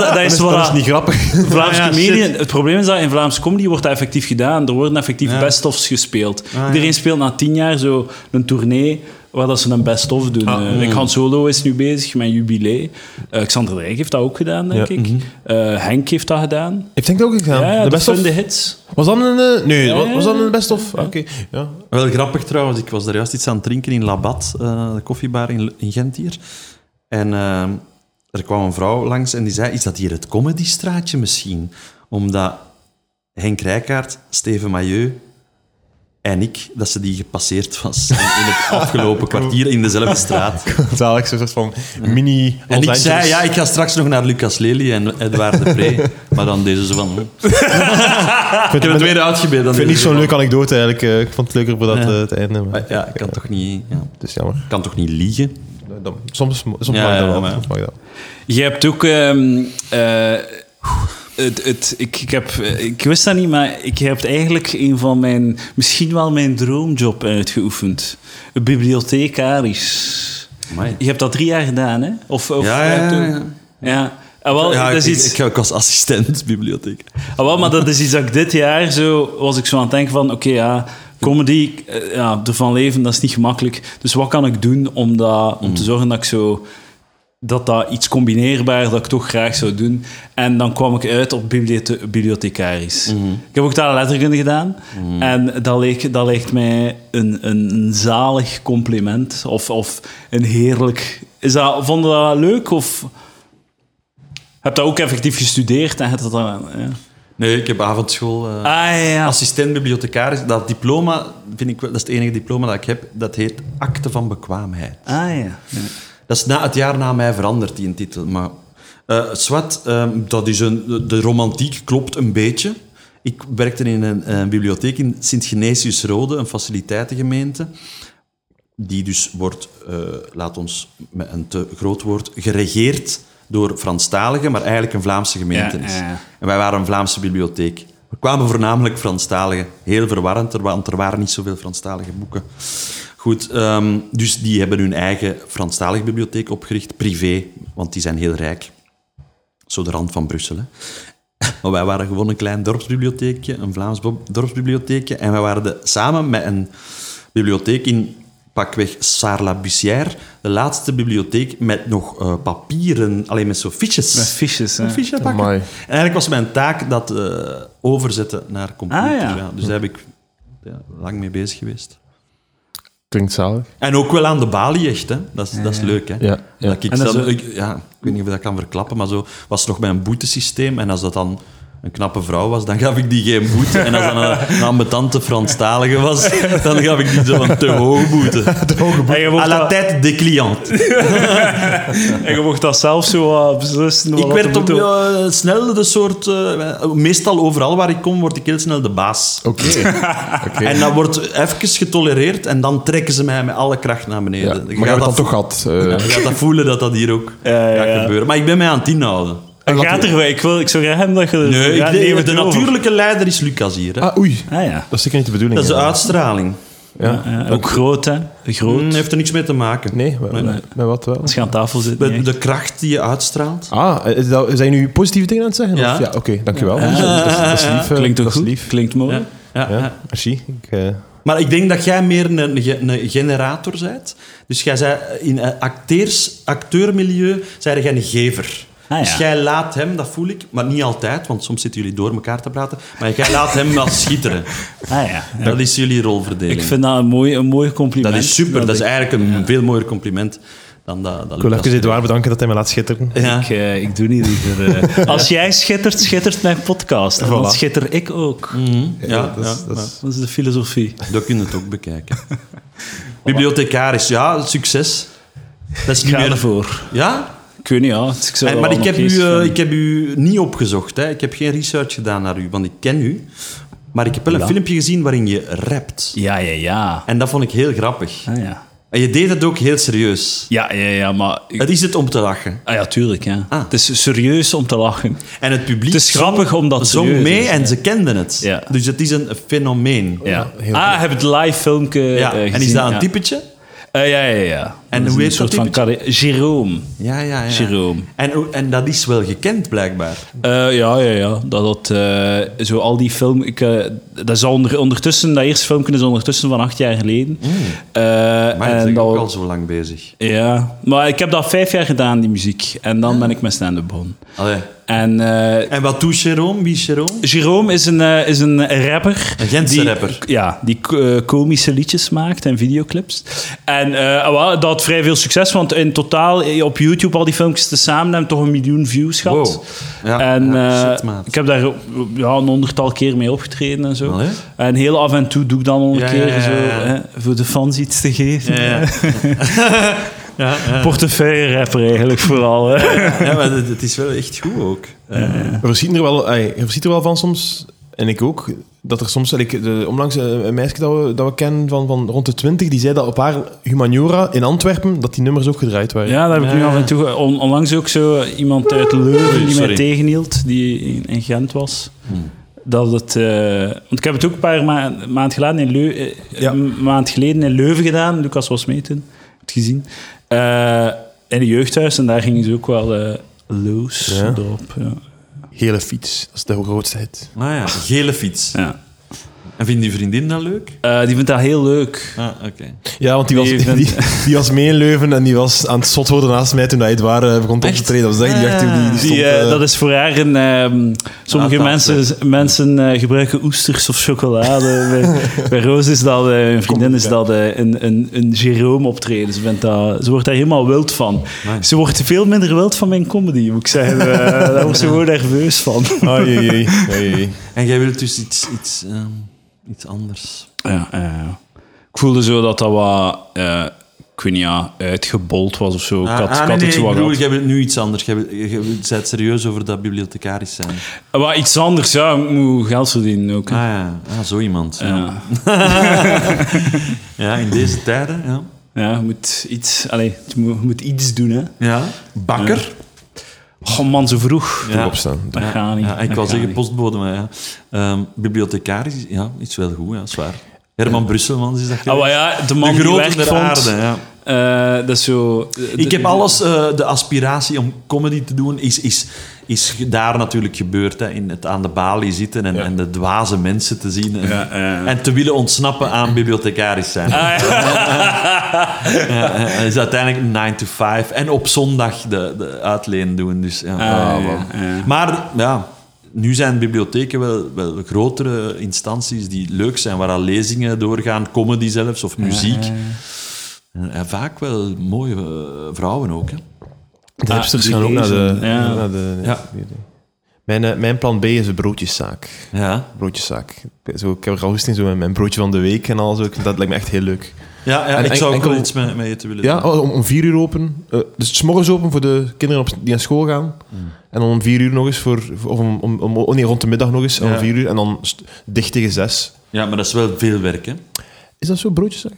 Speaker 1: dat, dat is
Speaker 2: dat,
Speaker 1: wat
Speaker 2: is niet grappig.
Speaker 1: dat- Vlaamse
Speaker 3: Ah, ja,
Speaker 1: comedian-
Speaker 3: shit.
Speaker 1: Het probleem is dat in Vlaamse comedy wordt dat
Speaker 2: Ah,
Speaker 1: effectief gedaan. Er worden effectief best-ofs gespeeld. Iedereen speelt na tien jaar zo een tournee waar dat ze een best-of doen.
Speaker 2: Ah,
Speaker 1: Eh, Rick Han Solo is nu bezig met Jubilee. Eh, Xander Rijk heeft dat ook gedaan, denk
Speaker 2: Ja.
Speaker 1: ik. Eh, Henk heeft dat gedaan.
Speaker 2: Ik denk dat ook gedaan.
Speaker 1: Ja, ja,
Speaker 2: de
Speaker 1: de
Speaker 2: best
Speaker 1: fun,
Speaker 2: of?
Speaker 1: de hits.
Speaker 2: Was dat een... eh, Nee,
Speaker 1: Ja,
Speaker 2: wa-
Speaker 1: ja,
Speaker 2: was dat
Speaker 1: ja.
Speaker 2: een best of? Ah, Oké, ja.
Speaker 3: Wel grappig trouwens, ik was daar juist iets aan het drinken in Labat, eh, de koffiebar in, in Gent hier. En eh, er kwam een vrouw langs en die zei, is dat hier het comedystraatje misschien? Omdat Henk Rijkaard, Steven Mailleu en ik, dat ze die gepasseerd was in, in het afgelopen kwartier in dezelfde straat.
Speaker 2: Zalig, zo'n soort van mini Los
Speaker 3: En ik
Speaker 2: Angeles.
Speaker 3: zei, ja, ik ga straks nog naar Lucas Lely en Edouard de Pre. Maar dan deze zo van... hm.
Speaker 2: Ik vind
Speaker 3: Ik heb
Speaker 2: het,
Speaker 3: het weer uitgebeeld. dan
Speaker 2: ik vind het niet
Speaker 3: deze
Speaker 2: zo'n
Speaker 3: van,
Speaker 2: leuke anekdote eigenlijk. eh, Ik vond het leuker voor dat
Speaker 3: Ja.
Speaker 2: eh, het einde. Maar,
Speaker 3: "Ah, Ja, ik kan toch niet, ja,
Speaker 2: Het is jammer.
Speaker 3: ik kan toch niet liegen?
Speaker 2: Dan- soms soms
Speaker 3: Ja,
Speaker 2: mag
Speaker 3: ja,
Speaker 2: dat wel.
Speaker 3: maar ja.
Speaker 2: soms mag dat.
Speaker 1: Je hebt ook... ehm, eh, het, het, ik, ik, heb, eh, ik wist dat niet, maar ik heb eigenlijk een van mijn... Misschien wel mijn droomjob uitgeoefend. Bibliothecaris.
Speaker 3: Amai.
Speaker 1: Je hebt dat drie jaar gedaan, hè? Of, of
Speaker 3: Ja, ja,
Speaker 1: je hebt
Speaker 3: ja,
Speaker 1: ook-
Speaker 3: ja.
Speaker 1: Ja. Ah, wel,
Speaker 3: ja,
Speaker 1: dat is
Speaker 3: ik,
Speaker 1: iets...
Speaker 3: ik ga ook als assistent bibliotheek.
Speaker 1: Ah, wel, maar dat is iets dat ik dit jaar zo was ik zo aan het denken van oké ja comedy eh, ja ervan leven dat is niet gemakkelijk dus wat kan ik doen om dat om te zorgen dat ik zo dat dat iets combineerbaar dat ik toch graag zou doen en dan kwam ik uit op bibliothe- bibliothecaris ik heb ook daar letterkunde gedaan en dat leek dat leek mij een, een, een zalig compliment of, of een heerlijk is dat vond je dat leuk of heb dat ook effectief gestudeerd en heb dat dan, ja.
Speaker 3: Nee, ik heb avondschool. eh,
Speaker 1: Ah ja.
Speaker 3: Assistent bibliothecaris. Dat diploma, vind ik, wel- dat is het enige diploma dat ik heb. Dat heet Akte van Bekwaamheid.
Speaker 1: Ah ja.
Speaker 3: Dat is na, het jaar na mij veranderd, die titel. Maar eh Swat, eh, dat is een, de- de romantiek klopt een beetje. Ik werkte in een, eh, bibliotheek in Sint-Genesius-Rode, een faciliteitengemeente. Die dus wordt, eh, laat ons met een te groot woord, geregeerd door Franstaligen, maar eigenlijk een Vlaamse gemeente
Speaker 1: Ja,
Speaker 3: is.
Speaker 1: ja, ja.
Speaker 3: En wij waren een Vlaamse bibliotheek. Er kwamen voornamelijk Franstaligen. Heel verwarrend, er wa- want er waren niet zoveel Franstalige boeken. Goed, ehm, dus die hebben hun eigen Franstalige bibliotheek opgericht, privé, want die zijn heel rijk. Zo de rand van Brussel. Hè. Maar wij waren gewoon een klein dorpsbibliotheekje, een Vlaams bo- dorpsbibliotheekje. En wij waren de, samen met een bibliotheek in pakweg Sarlabussière, de laatste bibliotheek met nog eh, papieren, alleen met zo fiches.
Speaker 1: Met fiches, hè.
Speaker 3: Een fiche pakken.
Speaker 2: Amai.
Speaker 3: En eigenlijk was mijn taak dat eh, overzetten naar computer.
Speaker 1: Ah, ja.
Speaker 3: ja. Dus daar heb ik ja, lang mee bezig geweest.
Speaker 2: Klinkt zalig.
Speaker 3: En ook wel aan de balie, echt. Hè? Dat, is, dat is leuk, hè?
Speaker 2: Ja, ja.
Speaker 3: Dat ik,
Speaker 1: En dat
Speaker 3: dan-
Speaker 1: is-
Speaker 3: ik- ja, ik weet niet of ik dat kan verklappen, maar zo was het nog bij een boetesysteem. En als dat dan een knappe vrouw was, dan gaf ik die geen boete. En als dat een, een ambetante Franstalige was, dan gaf ik die zo'n te hoge boete.
Speaker 1: En je
Speaker 3: À
Speaker 1: mocht,
Speaker 3: la
Speaker 1: dat,
Speaker 3: tête des clients.
Speaker 1: en je mocht dat zelf zo wat beslissen. wat
Speaker 3: Ik
Speaker 1: dat
Speaker 3: werd
Speaker 1: moet
Speaker 3: op,
Speaker 1: doen.
Speaker 3: eh, snel de soort... eh, meestal overal waar ik kom, word ik heel snel de baas.
Speaker 2: Oké. Oké.
Speaker 3: En dat wordt even getolereerd en dan trekken ze mij met alle kracht naar
Speaker 2: Ja,
Speaker 3: beneden.
Speaker 2: maar
Speaker 3: Ik
Speaker 2: je
Speaker 3: ga
Speaker 2: hebt het
Speaker 3: dat
Speaker 2: dan toch gehad. eh,
Speaker 3: Ja, je gaat dat voelen dat dat hier ook
Speaker 1: Ja,
Speaker 3: gaat
Speaker 1: ja.
Speaker 3: gebeuren. Maar ik ben mij aan het inhouden.
Speaker 1: En
Speaker 2: wat-
Speaker 1: gaat er wel. Ik, wil, ik zou graag hebben dat je... er-
Speaker 3: Nee,
Speaker 1: ja,
Speaker 3: ik denk- eh,
Speaker 1: neem
Speaker 3: de,
Speaker 1: het over.
Speaker 3: natuurlijke leider is Lucas hier. Hè?
Speaker 2: Ah, oei.
Speaker 1: Ah ja.
Speaker 2: Dat is zeker niet de bedoeling.
Speaker 3: dat is de
Speaker 2: ja.
Speaker 3: uitstraling.
Speaker 2: Ja.
Speaker 1: Ja, eh, ook groot, hè. Groot.
Speaker 3: Hmm, heeft er niks mee te maken.
Speaker 2: Nee, maar- met wat wel?
Speaker 1: Als je aan tafel zit.
Speaker 3: De,
Speaker 1: nee.
Speaker 3: de kracht die je uitstraalt.
Speaker 2: Ah, is dat, zijn jullie positieve dingen aan het zeggen?
Speaker 3: Ja.
Speaker 2: Of? ja Oké, dankjewel. Dat, is, dat is lief. eh,
Speaker 1: Klinkt ook
Speaker 2: dat is
Speaker 1: goed.
Speaker 2: lief.
Speaker 1: Klinkt mooi.
Speaker 3: Ja, ja, ja.
Speaker 2: Ja, merci. Ik, eh,
Speaker 3: Maar ik denk dat jij meer een, ge- een generator bent. Dus jij zei in eh, acteurs, acteurmilieu zei jij een gever.
Speaker 1: Ah, ja.
Speaker 3: Dus jij laat hem, dat voel ik, maar niet altijd, want soms zitten jullie door elkaar te praten, maar jij laat hem wel schitteren.
Speaker 1: Ah ja.
Speaker 3: Dat is jullie rolverdeling.
Speaker 1: Ik vind dat een mooi, een mooi compliment.
Speaker 3: Dat is super. Dat, is
Speaker 1: ik-
Speaker 3: eigenlijk een veel mooier compliment dan dat. dat
Speaker 2: ik wil
Speaker 3: Lucas-
Speaker 2: even Edouard bedanken dat hij me laat schitteren.
Speaker 3: Ja.
Speaker 1: Ik, eh, ik doe niet liever... eh, Als jij schittert, schittert mijn podcast. En dan
Speaker 2: Voilà.
Speaker 1: schitter ik ook.
Speaker 3: Mhm. Ja,
Speaker 2: dat is-
Speaker 3: ja,
Speaker 2: dat is-
Speaker 1: Dat is de filosofie.
Speaker 3: ja. Dat kun je het ook bekijken. Bibliothecaris, ja, succes. Dat is
Speaker 1: Ik
Speaker 3: niet
Speaker 1: ga
Speaker 3: meer...
Speaker 1: ervoor.
Speaker 3: Ja?
Speaker 1: Ik weet niet, ja. Ik zou
Speaker 3: Eh,
Speaker 1: wel
Speaker 3: maar ik
Speaker 1: nog
Speaker 3: heb, u,
Speaker 1: eens
Speaker 3: eh,
Speaker 1: van-
Speaker 3: ik heb u niet opgezocht. Hè. Ik heb geen research gedaan naar u, want ik ken u. Maar ik heb wel een
Speaker 1: Ja.
Speaker 3: filmpje gezien waarin je rapt.
Speaker 1: Ja, ja, ja.
Speaker 3: En dat vond ik heel grappig.
Speaker 1: Ah, ja.
Speaker 3: En je deed het ook heel serieus.
Speaker 1: Ja, ja, ja, maar... ik-
Speaker 3: Het is het om te lachen.
Speaker 1: Ah ja, tuurlijk. Ja.
Speaker 3: Ah. Oh,
Speaker 1: Het is serieus om te lachen.
Speaker 3: En het publiek
Speaker 1: Het is
Speaker 3: zong-
Speaker 1: grappig omdat het
Speaker 3: zong
Speaker 1: serieus
Speaker 3: mee
Speaker 1: is.
Speaker 3: en ze kenden het.
Speaker 1: Ja.
Speaker 3: Dus het is een fenomeen.
Speaker 1: Ja.
Speaker 2: heel
Speaker 1: ah, heb het live filmpje
Speaker 3: Ja,
Speaker 1: eh, gezien.
Speaker 3: en is dat een
Speaker 1: ja.
Speaker 3: typetje?
Speaker 1: Eh, ja, ja, ja.
Speaker 3: En
Speaker 1: dat
Speaker 3: hoe
Speaker 1: is een
Speaker 3: heet dat
Speaker 1: soort van
Speaker 3: typetje?
Speaker 1: carrière. Jerome.
Speaker 3: Ja, ja, ja.
Speaker 1: Jerome.
Speaker 3: En, hoe- en dat is wel gekend, blijkbaar.
Speaker 1: Eh, ja, ja, ja. Dat, dat, eh, zo al die film... Ik, eh, dat, is al onder, ondertussen, dat eerste filmpje is ondertussen van acht jaar geleden. Eh,
Speaker 3: Mm. Maar
Speaker 1: en
Speaker 3: dat is
Speaker 1: dat-
Speaker 3: ook al zo lang bezig.
Speaker 1: Ja, maar ik heb dat vijf jaar gedaan, die muziek. En
Speaker 3: Ah.
Speaker 1: dan ben ik met stand-up begonnen.
Speaker 3: Allee.
Speaker 1: En eh,
Speaker 3: En wat doet Jerome? Wie is Jerome?
Speaker 1: Jerome is een, eh, is een rapper.
Speaker 3: Een Gentse
Speaker 1: die,
Speaker 3: rapper.
Speaker 1: Ja, die k- eh, komische liedjes maakt en videoclips. En eh, wel, dat had vrij veel succes, want in totaal eh, op YouTube al die filmpjes tezamen hebben toch een miljoen views gehad.
Speaker 3: Wow. Ja,
Speaker 1: en
Speaker 3: ja,
Speaker 1: eh,
Speaker 3: shit, maat.
Speaker 1: ik heb daar eh, ja, een honderdtal keer mee opgetreden en zo.
Speaker 3: Allee.
Speaker 1: En heel af en toe doe ik dan nog een
Speaker 3: Ja,
Speaker 1: keer
Speaker 3: ja, ja,
Speaker 1: zo,
Speaker 3: ja.
Speaker 1: hè, voor de fans iets te geven.
Speaker 3: Ja, ja.
Speaker 1: Portefeuille rapper eigenlijk vooral. hè.
Speaker 3: Ja, maar het, het is wel echt goed ook.
Speaker 2: We zien er wel, ey, je ziet er wel van soms, en ik ook, dat er soms... like, de, onlangs eh, een een meisje dat we, dat we kennen van, van rond de 20, die zei dat op haar humaniora in Antwerpen, dat die nummers ook gedraaid waren.
Speaker 1: Ja, daar heb ik nu
Speaker 3: Ja.
Speaker 1: af en toe... on- onlangs ook zo iemand uit Leuven die
Speaker 3: Sorry.
Speaker 1: mij tegenhield, die in, in Gent was. Dat het... eh, want ik heb het ook een paar ma maand, geleden in Leu eh,
Speaker 2: Ja.
Speaker 1: een maand geleden in Leuven gedaan. Lucas was mee toen. Heb je het gezien. Eh, in een jeugdhuis. En daar gingen ze ook wel eh los
Speaker 2: Ja.
Speaker 1: erop. Ja.
Speaker 2: Hele fiets, dat is de grootste hit.
Speaker 3: Ah ja, gele fiets.
Speaker 1: Ja.
Speaker 3: En vindt die vriendin dat leuk?
Speaker 1: Eh, die vindt dat heel leuk.
Speaker 3: Ah, oké.
Speaker 2: Ja, want die was,
Speaker 1: Die
Speaker 2: die,
Speaker 1: vindt-
Speaker 2: die, was mee in Leuven en die was aan het zot worden naast mij toen hij het waar eh, begon op te
Speaker 3: Echt?
Speaker 2: treden. Dat was echt, die, echt, die, die
Speaker 1: Die,
Speaker 2: stond...
Speaker 1: eh,
Speaker 2: eh,
Speaker 1: dat is voor haar een... ehm, sommige
Speaker 3: Ah, dat,
Speaker 1: mensen, mensen eh, gebruiken oesters of chocolade. bij, bij Roos is dat, eh, een vriendin is dat eh, een, een, een Jerome optreden. Ze, vindt dat, ze wordt daar helemaal wild van.
Speaker 3: Nice.
Speaker 1: Ze wordt veel minder wild van mijn comedy, moet ik zeggen. Eh, daar wordt ze gewoon nerveus van.
Speaker 2: Ai, ai, ai. Ai, ai.
Speaker 1: Ah,
Speaker 3: En jij wilt dus iets, iets, ehm, iets anders.
Speaker 1: Ja, ja, ja. ik voelde zo dat dat wat... eh, ik weet niet, ja, uitgebold was of zo. Ik had,
Speaker 3: Ah, ah,
Speaker 1: ik
Speaker 3: nee,
Speaker 1: had
Speaker 3: nee,
Speaker 1: iets wat
Speaker 3: ik bedoel,
Speaker 1: gehad.
Speaker 3: jij wilt nu iets anders. Jij, wilt- jij wilt- bent serieus over dat bibliothecaris zijn.
Speaker 1: Eh,
Speaker 3: Ah
Speaker 1: wat iets anders, ja. Ik moet geld verdienen ook. hè.
Speaker 3: ja, ah, zo iemand. Ja.
Speaker 1: Ja.
Speaker 3: ja, in deze tijden, ja.
Speaker 1: Ja, je moet iets, allez, je moet, je moet iets doen, hè.
Speaker 3: Ja, bakker.
Speaker 1: Oh man, zo vroeg.
Speaker 3: Ja.
Speaker 2: opstaan.
Speaker 1: Dat gaat niet.
Speaker 3: Ja, ik
Speaker 1: dat
Speaker 3: wou
Speaker 1: gaat
Speaker 3: zeggen
Speaker 1: niet.
Speaker 3: postbode, maar ja. Ehm, bibliothecaris, ja, is wel goed, ja, zwaar. Herman Brusselmans is dat
Speaker 1: Ah,
Speaker 3: geweest.
Speaker 1: maar ja, de man
Speaker 3: de
Speaker 1: die
Speaker 3: grote
Speaker 1: werk
Speaker 3: der
Speaker 1: vond,
Speaker 3: aarde, ja.
Speaker 1: eh, dat is zo... eh,
Speaker 3: Ik
Speaker 1: de-
Speaker 3: heb alles, eh, de aspiratie om comedy te doen, is, is, is daar natuurlijk gebeurd. Hè, in het aan de balie zitten en, en de dwaze mensen te zien. En,
Speaker 1: Ja, ja.
Speaker 3: en te willen ontsnappen aan bibliothecaris zijn.
Speaker 1: Ah,
Speaker 3: Ja, ja, Eh, is uiteindelijk 9 to 5. En op zondag de, de uitleen doen. Dus, ja.
Speaker 1: ja,
Speaker 3: Ah, wel.
Speaker 1: ja.
Speaker 3: Maar ja, nu zijn bibliotheken wel, wel grotere instanties die leuk zijn, waar al lezingen doorgaan, comedy zelfs of muziek. En, en vaak wel mooie eh, vrouwen ook. Hè.
Speaker 2: De hipsters
Speaker 1: die
Speaker 2: gaan ook naar de...
Speaker 1: lezen, ja.
Speaker 2: Naar de
Speaker 3: Ja.
Speaker 2: Mijn, eh, mijn plan B is een broodjeszaak.
Speaker 3: Ja.
Speaker 2: Broodjeszaak. Zo, ik heb er al goed in, zo met mijn broodje van de week en al zo. Ik- Dat lijkt me echt heel leuk.
Speaker 3: Ja, ja
Speaker 2: En
Speaker 3: ik
Speaker 2: en-
Speaker 3: zou ook
Speaker 2: enkel-
Speaker 3: wel iets met, met je te willen
Speaker 2: Ja,
Speaker 3: doen.
Speaker 2: oh, om, om vier uur open. Eh, dus 's morgens open voor de kinderen op, die naar school gaan. En dan om vier uur nog eens voor... voor- Of om, om, om- oh nee, rond de middag nog eens. en
Speaker 3: Ja.
Speaker 2: Om vier uur. En dan st- dicht tegen zes.
Speaker 3: Ja, maar dat is wel veel werk, hè?
Speaker 2: Is dat zo, broodjeszaak?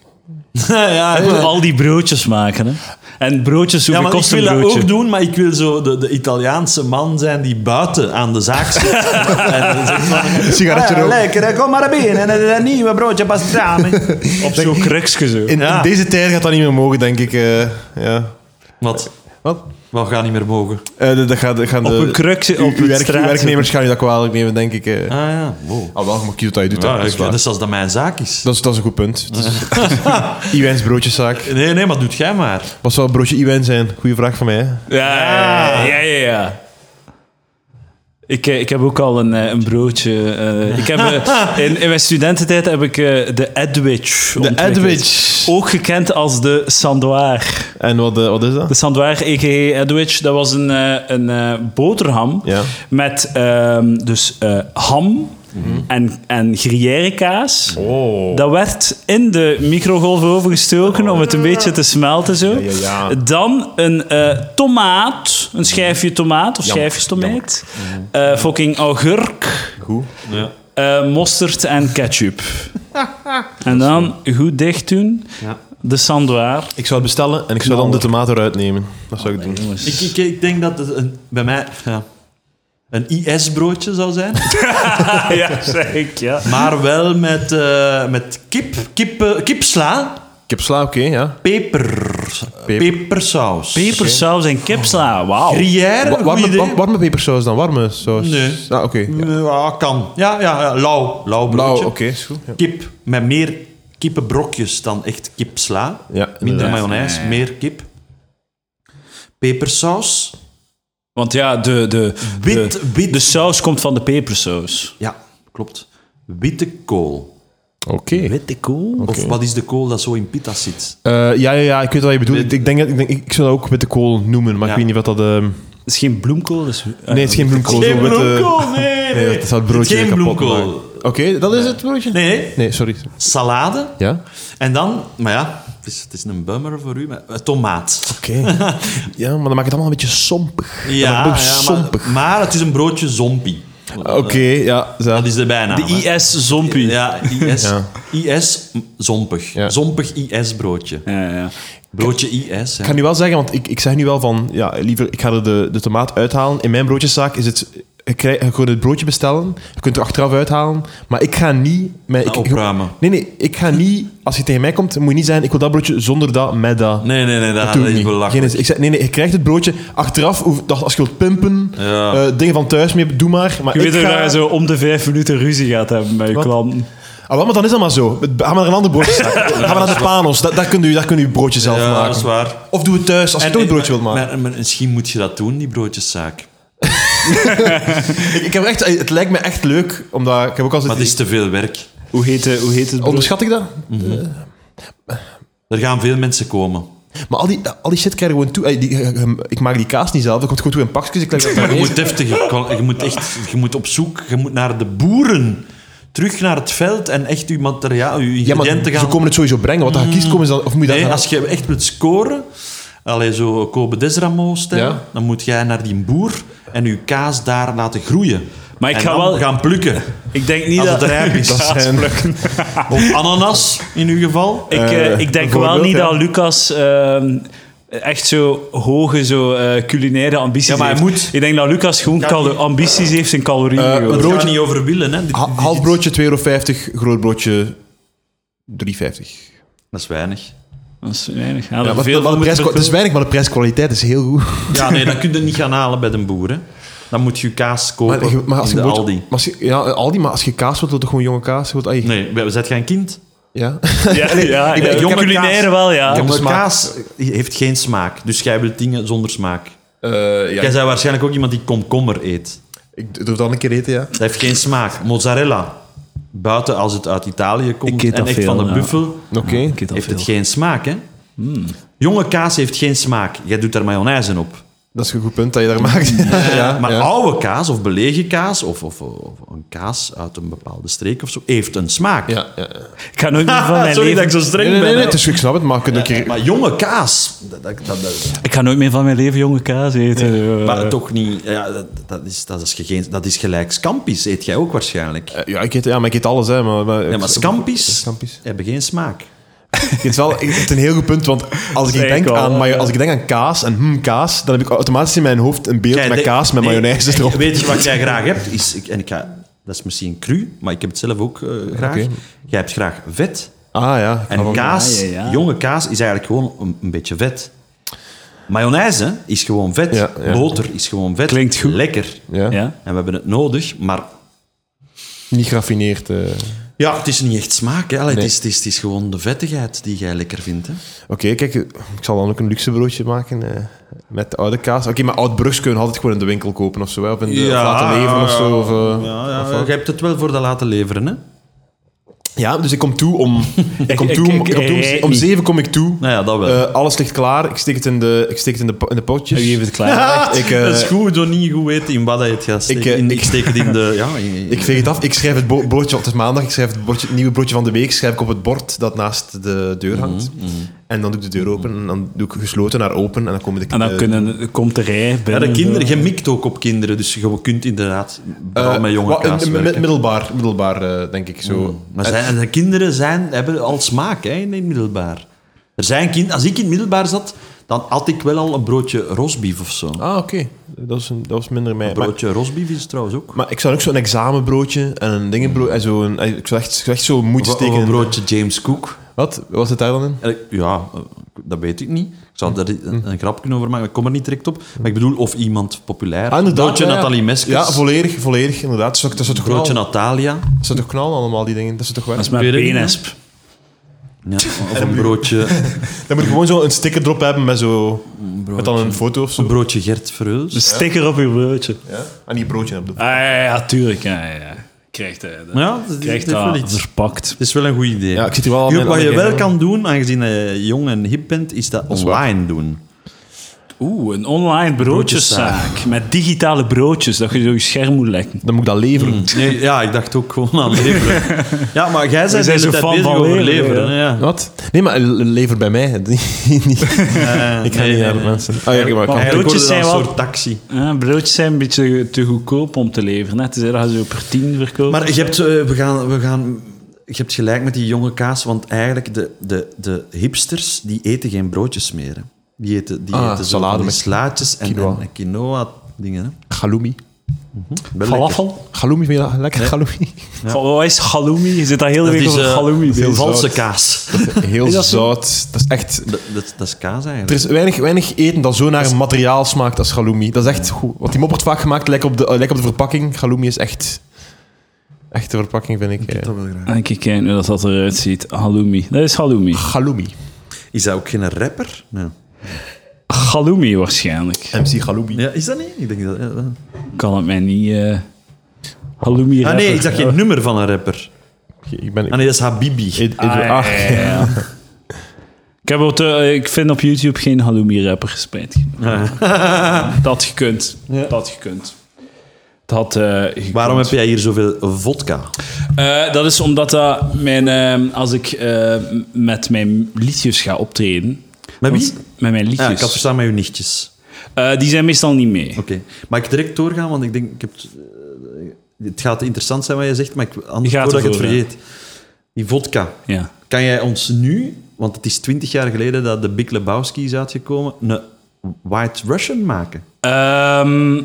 Speaker 3: ja,
Speaker 1: Je moet al die broodjes maken, hè. En broodjes,
Speaker 3: Ja,
Speaker 1: hoeveel
Speaker 3: maar ik
Speaker 1: kost
Speaker 3: wil
Speaker 1: een
Speaker 3: dat
Speaker 1: broodje?
Speaker 3: ook doen, maar ik wil zo de, de Italiaanse man zijn die buiten aan de zaak zit. en dan zegt van,
Speaker 2: Sigaretje
Speaker 3: "Ah,
Speaker 2: roken.
Speaker 3: Lekker, hè, kom maar binnen. En eh, een nieuwe broodje pastrami.
Speaker 1: Op zo'n kruksje, zo.
Speaker 2: In,
Speaker 3: Ja.
Speaker 2: in deze tijd gaat dat niet meer mogen, denk ik. eh, ja.
Speaker 3: Wat?
Speaker 2: Wat?
Speaker 3: Wat gaat niet meer mogen?
Speaker 2: Eh, dat- dat gaat, dat gaan
Speaker 1: Op
Speaker 2: de-
Speaker 1: een kruk,
Speaker 2: uw-
Speaker 1: op
Speaker 2: uw
Speaker 1: het
Speaker 2: werk- uw
Speaker 1: straat
Speaker 2: werknemers gaan je dat kwalijk nemen, denk ik. eh.
Speaker 3: Ah ja, wow.
Speaker 2: Al wel, je moet kiezen wat je doet. hè.
Speaker 3: Ja,
Speaker 2: dat, is
Speaker 3: ik-
Speaker 2: waar.
Speaker 3: dat is als dat mijn zaak is.
Speaker 2: Dat, is, dat is een goed punt. Dat is- Iwijns broodjeszaak.
Speaker 3: Nee, nee, maar doet jij maar.
Speaker 2: Wat zou een broodje Iwijn zijn? Goeie vraag van mij. Hè?
Speaker 1: Ja, ja, ja, ja. ja. Ik, eh, ik heb ook al een, eh, een broodje. eh, ik heb, eh, in, in mijn studententijd heb ik eh, de Edwidge ontwikkeld.
Speaker 2: Edwidge.
Speaker 1: Ook gekend als de Sandoir.
Speaker 2: En wat, eh, wat is dat?
Speaker 1: De Sandoir, a.k.a. Edwidge, dat was een, eh, een eh, boterham
Speaker 2: Ja.
Speaker 1: met ehm, dus eh, ham
Speaker 2: Mhm.
Speaker 1: en, en gruyère kaas.
Speaker 2: Oh.
Speaker 1: Dat werd in de microgolf overgestoken om het een beetje te smelten zo.
Speaker 2: ja, ja.
Speaker 1: Dan een eh, tomaat, een schijfje tomaat of schijfjes tomaat.
Speaker 2: Mhm.
Speaker 1: Eh, fucking augurk,
Speaker 2: Goed.
Speaker 3: Ja.
Speaker 1: eh, mosterd en ketchup. en dan goed dicht doen,
Speaker 3: Ja.
Speaker 1: de Sandoir.
Speaker 2: Ik zou het bestellen en ik zou dan de tomaat eruit nemen. Dat zou ik doen.
Speaker 1: Jongens.
Speaker 3: Ik, ik, ik denk dat het een, bij mij ja, een IS-broodje zou zijn.
Speaker 1: ja, zeg ik, ja.
Speaker 3: Maar wel met, eh, met kip, kip, eh, kipsla
Speaker 2: Ik heb sla, oké, ja.
Speaker 3: Peper. Pepersaus.
Speaker 1: Pepersaus en kipsla, wauw.
Speaker 3: Gruyère,
Speaker 2: Wa-
Speaker 3: goed
Speaker 2: warme,
Speaker 3: idee.
Speaker 2: wa- warme pepersaus dan, warme saus?
Speaker 3: Nee.
Speaker 2: Ah, oké. Ja.
Speaker 3: Ja, kan. Ja, ja, ja. lauw.
Speaker 2: Blauw,
Speaker 3: Lauw broodje.
Speaker 2: oké, is goed. Ja.
Speaker 3: Kip met meer kippenbrokjes dan echt kipsla.
Speaker 2: Ja,
Speaker 3: Minder
Speaker 2: inderdaad.
Speaker 3: mayonaise,
Speaker 1: Ja, ja.
Speaker 3: meer kip. Pepersaus.
Speaker 1: Want ja, de, de,
Speaker 3: Wit-
Speaker 1: de,
Speaker 3: wit-
Speaker 1: de saus komt van de pepersaus.
Speaker 3: Ja, klopt. Witte kool.
Speaker 2: Oké.
Speaker 1: Witte kool?
Speaker 3: Of wat is de kool dat zo in pita zit?
Speaker 2: Eh, ja, ja, ja, ik weet wat je bedoelt. Ik, ik denk dat, ik, denk, ik zou dat ook witte kool noemen, maar
Speaker 3: Ja.
Speaker 2: ik weet niet wat dat... ehm,
Speaker 1: Het is geen bloemkool, dus...
Speaker 2: Nee, het is geen bloemkool. zo witte-
Speaker 3: nee.
Speaker 2: Nee, dat zou het broodje
Speaker 3: Geen
Speaker 2: kapot
Speaker 3: bloemkool.
Speaker 2: maken. Oké, dat is het broodje?
Speaker 3: Nee, nee.
Speaker 2: Nee, sorry.
Speaker 3: Salade.
Speaker 2: Ja?
Speaker 3: En dan, maar ja, het is, het is een bummer voor u, maar eh, tomaat.
Speaker 2: Oké. ja, maar dan maakt het allemaal een beetje sompig. Dan maakt
Speaker 3: Ja,
Speaker 2: het een beetje
Speaker 3: ja,
Speaker 2: sompig.
Speaker 3: maar, maar het is een broodje zombie.
Speaker 2: Oké, ja. zo.
Speaker 3: Dat is de bijnaam. hè.
Speaker 1: De IS-zompie.
Speaker 3: Ja, IS.
Speaker 2: Ja.
Speaker 3: IS, m, zompig.
Speaker 2: Ja.
Speaker 3: Zompig IS-broodje.
Speaker 1: Ja, ja.
Speaker 3: Broodje IS.
Speaker 2: Ik
Speaker 3: Hè.
Speaker 2: ga nu wel zeggen, want ik, ik zeg nu wel van... Ja, liever, ik ga er de, de tomaat uithalen. In mijn broodjeszaak is het... Je, krijg, je kunt het broodje bestellen. Je kunt er achteraf uithalen. Maar ik ga niet... Mijn, ik, ik-
Speaker 3: opruimen.
Speaker 2: nee, nee. Ik ga niet... Als je tegen mij komt, moet je niet zeggen... Ik wil dat broodje zonder dat, met dat.
Speaker 3: Nee, nee, nee, dat,
Speaker 2: doe
Speaker 3: dat
Speaker 2: ik
Speaker 3: is
Speaker 2: niet.
Speaker 3: belachelijk.
Speaker 2: Geen- ik zeg, nee, nee, je krijgt het broodje. Achteraf, hoef- dat- als je wilt pimpen,
Speaker 3: Ja.
Speaker 2: eh, dingen van thuis mee, doe maar. maar
Speaker 1: Je weet
Speaker 2: ik
Speaker 1: ook dat
Speaker 2: ga...
Speaker 1: je zo om de vijf minuten ruzie gaat hebben met je
Speaker 2: Wat?
Speaker 1: klanten.
Speaker 2: Ah, wel, maar dan is dat maar zo. Het- Ga maar naar een ander broodje. Ga maar naar de Panos. Da- Daar kun je daar kun je broodje zelf
Speaker 3: Ja,
Speaker 2: maken.
Speaker 3: dat is waar.
Speaker 2: Of doe het thuis, als je toch een broodje wilt maken.
Speaker 3: maar- maar misschien moet je dat doen, die broodjeszaak.
Speaker 2: Ik, ik heb echt, eh, het lijkt me echt leuk, omdat ik heb ook altijd...
Speaker 3: Maar het is te veel werk.
Speaker 1: Hoe heet, eh, hoe heet het
Speaker 2: die-
Speaker 1: brood?
Speaker 2: Onderschat ik dat?
Speaker 3: Er gaan veel mensen komen.
Speaker 2: Maar al die, al die shit krijg je gewoon toe. Ey, die- eh, ehm, Ik maak die kaas niet zelf, dat komt gewoon toe in pakjes. Ik leg dat
Speaker 3: Maar je
Speaker 2: daarin.
Speaker 3: moet deftig, je moet echt, je moet op zoek, je moet naar de boeren. Terug naar het veld en echt je materiaal, je
Speaker 2: Ja, maar
Speaker 3: ingrediënten
Speaker 2: ze
Speaker 3: gaan...
Speaker 2: komen het sowieso brengen. Wat je kiest, komen ze dan... Of moet je dat
Speaker 3: Nee,
Speaker 2: gaan-
Speaker 3: als je echt wilt scoren, allee, zo Kobe Desramo stijl,
Speaker 2: Ja.
Speaker 3: dan moet jij naar die boer en je kaas daar laten groeien.
Speaker 1: Maar ik
Speaker 3: En
Speaker 1: ga
Speaker 3: dan
Speaker 1: wel-
Speaker 3: gaan plukken.
Speaker 1: Ik denk niet
Speaker 3: Als
Speaker 1: dat...
Speaker 3: het rijp is,
Speaker 1: Ja,
Speaker 3: dat
Speaker 2: zijn-
Speaker 1: plukken.
Speaker 3: Of ananas, in uw geval.
Speaker 1: Ik, eh, ik denk wel
Speaker 2: bijvoorbeeld,
Speaker 1: niet
Speaker 2: ja.
Speaker 1: dat Lucas ehm, echt zo hoge zo, eh, culinaire ambities
Speaker 3: Ja, maar hij
Speaker 1: heeft.
Speaker 3: moet-
Speaker 1: Ik denk dat Lucas gewoon
Speaker 3: Ja,
Speaker 1: calo-
Speaker 3: die-
Speaker 1: ambities heeft en calorieën.
Speaker 2: Eh,
Speaker 1: gewoon.
Speaker 3: Het
Speaker 2: broodje-
Speaker 3: gaat niet over willen. Hè. Dit-
Speaker 2: Ha-
Speaker 3: dit-
Speaker 2: half
Speaker 3: dit-
Speaker 2: broodje 2,50 euro, groot broodje 3,50.
Speaker 3: Dat is weinig.
Speaker 1: dat is weinig. Ja,
Speaker 2: Ja,
Speaker 1: dat
Speaker 2: wat-
Speaker 1: veel
Speaker 2: wat de
Speaker 1: moet
Speaker 2: prijs- het is
Speaker 1: vervullen.
Speaker 2: weinig, maar de prijskwaliteit is heel goed.
Speaker 3: Ja, nee, dat kun je niet gaan halen bij de boer. Hè. Dan moet je kaas kopen
Speaker 2: Maar, je- maar als
Speaker 3: in
Speaker 2: je
Speaker 3: de
Speaker 2: broodje-
Speaker 3: Aldi.
Speaker 2: maar als je- ja, eh, Aldi, maar als je kaas wilt, wil je gewoon jonge kaas. Je wilt- ey,
Speaker 3: Nee, we zijn geen kind.
Speaker 2: ja.
Speaker 1: Ja, ja,
Speaker 3: ik ben
Speaker 1: ja,
Speaker 3: jonge
Speaker 1: culinaire
Speaker 3: kaas.
Speaker 1: wel, ja.
Speaker 2: Ja,
Speaker 3: Jonge
Speaker 2: smaak.
Speaker 3: kaas heeft geen smaak. Dus jij wilt dingen zonder smaak.
Speaker 2: Eh, ja,
Speaker 3: Jij bent waarschijnlijk ook iemand die komkommer eet.
Speaker 2: Ik doe het dan een keer eten, ja.
Speaker 3: Dat heeft geen smaak. Mozzarella. Buiten als het uit Italië komt
Speaker 1: Ik eet
Speaker 3: en
Speaker 1: dat
Speaker 3: echt
Speaker 1: veel,
Speaker 3: van de
Speaker 1: ja.
Speaker 3: buffel,
Speaker 2: Oké.
Speaker 1: Ik eet dat
Speaker 3: heeft
Speaker 1: veel.
Speaker 3: het geen smaak, hè?
Speaker 1: Hmm.
Speaker 3: Jonge kaas heeft geen smaak. Jij doet daar mayonaise op.
Speaker 2: Dat is een goed punt dat je daar maakt. ja,
Speaker 3: Eh, maar
Speaker 2: ja.
Speaker 3: oude kaas of belegen kaas of, of, of een kaas uit een bepaalde streek of zo, heeft een smaak.
Speaker 2: Ja, ja, ja.
Speaker 1: Ik ga nooit meer van mijn
Speaker 3: Sorry
Speaker 1: leven...
Speaker 3: dat ik zo streng
Speaker 2: Nee, nee,
Speaker 3: ben.
Speaker 2: nee, nee,
Speaker 3: hè.
Speaker 2: het is, ik snap het, maar je kunt een keer...
Speaker 3: Maar jonge kaas, dat, dat, dat- dat-
Speaker 1: Ik ga nooit meer van mijn leven jonge kaas eten. Eh,
Speaker 3: maar toch niet. Ja, dat, dat, is, dat, is geen, dat is gelijk scampi's, eet jij ook waarschijnlijk.
Speaker 2: Eh, Ja, ik eet, ja, maar ik eet alles, hè. Maar, maar,
Speaker 3: Ja, maar scampi's,
Speaker 2: Scampi's.
Speaker 3: hebben geen smaak.
Speaker 2: Het is wel het is een heel goed punt, want als ik,
Speaker 1: Zeker
Speaker 2: denk
Speaker 1: wel,
Speaker 2: aan,
Speaker 1: ja.
Speaker 2: mayo- als ik denk aan kaas en hm, kaas, dan heb ik automatisch in mijn hoofd een beeld
Speaker 3: Jij
Speaker 2: met
Speaker 3: denkt-
Speaker 2: kaas met
Speaker 3: nee,
Speaker 2: mayonaise
Speaker 3: en
Speaker 2: erop.
Speaker 3: Weet je wat jij graag hebt? Is, ik, en ik ga, dat is misschien cru, maar ik heb het zelf ook eh, graag.
Speaker 2: Oké.
Speaker 3: Jij hebt graag vet.
Speaker 2: Ah ja.
Speaker 3: En kaas,
Speaker 1: ja, ja, ja.
Speaker 3: jonge kaas, is eigenlijk gewoon een, een beetje vet. Mayonaise is gewoon vet.
Speaker 2: Ja, ja.
Speaker 3: Boter is gewoon vet.
Speaker 1: Klinkt goed.
Speaker 3: Lekker.
Speaker 2: ja.
Speaker 1: Ja?
Speaker 3: En we hebben het nodig, maar
Speaker 2: Niet geraffineerd. eh. Oké,
Speaker 3: Ja, het is niet echt smaak. Hè. Allee,
Speaker 2: Nee.
Speaker 3: het, is, het, is, het is gewoon de vettigheid die jij lekker vindt. Hè.
Speaker 2: kijk, eh, ik zal dan ook een luxe broodje maken eh, met oude kaas. Oké, maar oud Brugs kun je altijd gewoon in de winkel kopen of zo, hè, of, in de, of laten leveren of zo. Of, eh,
Speaker 3: Ja, ja, je hebt het wel voor dat laten leveren. Hè.
Speaker 2: Ja, dus ik kom toe om... Ik kom
Speaker 1: ik-
Speaker 2: toe om,
Speaker 1: ik-
Speaker 2: ik kom toe om-
Speaker 1: ik-
Speaker 2: om zeven kom ik toe.
Speaker 3: Nou ja, dat wel.
Speaker 2: Eh, alles ligt klaar. Ik steek het in de, ik steek het in de, po- in de potjes.
Speaker 1: Wie heeft het klaar?
Speaker 2: ik, eh,
Speaker 3: dat is goed, zo niet goed weten in wat je het gaat steken.
Speaker 2: Ik, eh,
Speaker 3: In-
Speaker 2: ik-
Speaker 3: ik steek het in de... Ja, in- in-
Speaker 2: Ik veeg het af. Ik schrijf het bo- broodje op. Het is maandag. Ik schrijf het, broodje, het nieuwe broodje van de week schrijf ik op het bord dat naast de
Speaker 3: Mhm,
Speaker 2: deur hangt. En dan doe ik de deur open. En dan doe ik gesloten naar open. En dan komen de
Speaker 1: En dan
Speaker 2: eh,
Speaker 1: kunnen, komt de rij
Speaker 3: ja,
Speaker 1: binnen. eh,
Speaker 3: de kinderen, je mikt ook op kinderen, dus je kunt inderdaad
Speaker 2: eh,
Speaker 3: vooral met jonge
Speaker 2: wa- eh,
Speaker 3: kaas
Speaker 2: mi-
Speaker 3: werken. Mhm.
Speaker 2: middelbaar, middelbaar eh, denk ik zo.
Speaker 3: Maar zijn, de kinderen zijn, hebben al smaak hè, in het middelbaar. Er zijn kind, als ik in het middelbaar zat, dan had ik wel al een broodje rosbief of zo.
Speaker 2: Ah, oké. Dat, is een- dat was minder mij. Maar,
Speaker 3: broodje rosbief is het trouwens ook.
Speaker 2: maar ik zou ook zo'n examenbroodje en een dingenbroodje... En zo een, ik zou echt, ik zou echt zo moeite
Speaker 3: Of
Speaker 2: steken.
Speaker 3: een
Speaker 2: in-
Speaker 3: broodje James Cook.
Speaker 2: Wat? Was het daar dan in?
Speaker 3: En ik- Ja, eh, dat weet ik niet. Ik zou daar
Speaker 2: Hm.
Speaker 3: een, een grap kunnen over maken, ik kom er niet direct op. Maar ik bedoel, of iemand populair.
Speaker 2: Ah, inderdaad,
Speaker 3: Broodje
Speaker 2: ja, ja.
Speaker 3: Nathalie Meskes.
Speaker 2: Ja, volledig, volledig, inderdaad. Dat zou- Dat zou toch
Speaker 3: Broodje
Speaker 2: knallen?
Speaker 3: Natalia.
Speaker 2: Dat zou toch knallen, allemaal die dingen? Dat zou toch
Speaker 1: Dat
Speaker 2: werken?
Speaker 1: is mijn
Speaker 3: Ik weet het
Speaker 1: penesp.
Speaker 3: Ja, of een broodje,
Speaker 2: Dan moet je gewoon zo een sticker erop hebben met zo... Met dan een foto of
Speaker 3: een
Speaker 2: zo.
Speaker 3: broodje Gert Verheuls.
Speaker 1: Een
Speaker 2: Dus
Speaker 1: sticker op je broodje.
Speaker 2: Ja. En die broodje hebben.
Speaker 1: Ah, ja, ja, tuurlijk. Ja, ja, ja. Krijgt hij eh, dat.
Speaker 3: Ja, dat is-
Speaker 1: Krijgt
Speaker 3: dat is wel
Speaker 1: dat
Speaker 3: iets.
Speaker 1: verpakt.
Speaker 3: Het is wel een goed idee.
Speaker 2: Ja, ik zit hier wel aan mijn
Speaker 3: wat je
Speaker 2: andere
Speaker 3: wel
Speaker 2: kant.
Speaker 3: kan doen, aangezien je jong en hip bent, is dat online doen.
Speaker 1: Oeh, een online broodjeszaak. Met digitale broodjes, dat je zo je scherm moet lekken.
Speaker 2: Dan moet ik dat leveren.
Speaker 3: Nee, ja, ik dacht ook gewoon aan leveren. Ja, maar jij bent de
Speaker 1: zijn
Speaker 3: hele
Speaker 1: zo
Speaker 3: tijd
Speaker 1: fan
Speaker 3: bezig
Speaker 1: van
Speaker 3: over
Speaker 1: leveren,
Speaker 3: leveren. hè, Ja.
Speaker 2: Wat? Nee, maar le- lever bij mij. Niet- niet-
Speaker 3: Eh,
Speaker 2: ik ga
Speaker 3: nee,
Speaker 2: niet
Speaker 3: nee,
Speaker 2: naar
Speaker 3: nee.
Speaker 2: mensen. Ah, ja, maar ik kan.
Speaker 1: Maar-
Speaker 3: Eigenlijk wordt het
Speaker 1: zijn
Speaker 3: een
Speaker 1: wel-
Speaker 3: soort taxi.
Speaker 1: Ja, broodjes zijn een beetje te goedkoop om te leveren. Hè. Tenzij dat je ze per tien verkoopt.
Speaker 3: Maar je hebt, eh, we gaan, we gaan, je hebt gelijk met die jonge kaas, want eigenlijk de, de, de hipsters die eten geen broodjes meer. hè. Die eten, die
Speaker 2: Ah,
Speaker 3: eten zo
Speaker 2: salade
Speaker 3: van die
Speaker 2: met
Speaker 3: slaatjes en
Speaker 2: quinoa.
Speaker 3: quinoa, en quinoa dingen. Hè.
Speaker 2: Halloumi.
Speaker 3: Wel lekker.
Speaker 1: Falafel?
Speaker 2: Halloumi vind je dat lekker? Halloumi.
Speaker 1: Van, Wat is halloumi? Je zit daar heel de
Speaker 3: Dat
Speaker 1: week
Speaker 3: is
Speaker 1: over
Speaker 3: eh,
Speaker 1: halloumi bezig.
Speaker 3: valse
Speaker 2: zout.
Speaker 3: kaas.
Speaker 2: Heel
Speaker 1: dat zo?
Speaker 2: zout. Dat is echt...
Speaker 3: Dat, dat, dat is kaas eigenlijk.
Speaker 2: Er is weinig, weinig eten dat zo naar een materiaal smaakt als halloumi. Dat is echt goed. Want die mop wordt vaak gemaakt, lijkt op de, eh, lijkt op de verpakking. Halloumi is echt... Echt de verpakking, vind ik. eh.
Speaker 1: En kijk kijken hoe dat, dat eruit ziet. Halloumi. Dat is halloumi.
Speaker 2: Halloumi.
Speaker 3: Is dat ook geen rapper? Nee.
Speaker 1: Halloumi waarschijnlijk.
Speaker 2: MC Halloumi.
Speaker 3: Ja, is dat niet? Ik denk dat... ja, ja.
Speaker 1: Kan het mij niet... eh halloumi
Speaker 3: Ah, nee, ik zag
Speaker 1: dacht
Speaker 3: geen nummer van een rapper.
Speaker 2: Ik ben...
Speaker 3: Ah nee, dat is Habibi.
Speaker 2: Ed- Edward- ah,
Speaker 1: Ik, heb op de- eh, ik vind op YouTube geen halloumi-rapper gespijt. Dat gekund. Dat gekund. Dat, eh, gekund.
Speaker 3: Waarom heb jij hier zoveel vodka?
Speaker 1: Eh, dat is omdat dat mijn, eh, als ik eh, m- met mijn liedjes ga optreden...
Speaker 3: Met wie?
Speaker 1: want- Met mijn
Speaker 3: Ja, Ah, ik had
Speaker 1: liedjes.
Speaker 3: verstaan met uw nichtjes.
Speaker 1: Eh, die zijn meestal niet mee.
Speaker 3: Oké. Mag ik direct doorgaan? Want ik denk, ik heb, het, eh, het gaat interessant zijn wat je zegt, maar ik, anders
Speaker 1: Je gaat
Speaker 3: voordat ik het
Speaker 1: ervoor,
Speaker 3: vergeet. Die vodka.
Speaker 1: Ja.
Speaker 3: Kan jij ons nu, want het is twintig jaar geleden dat de Big Lebowski is uitgekomen, een White Russian maken?
Speaker 1: Ehm,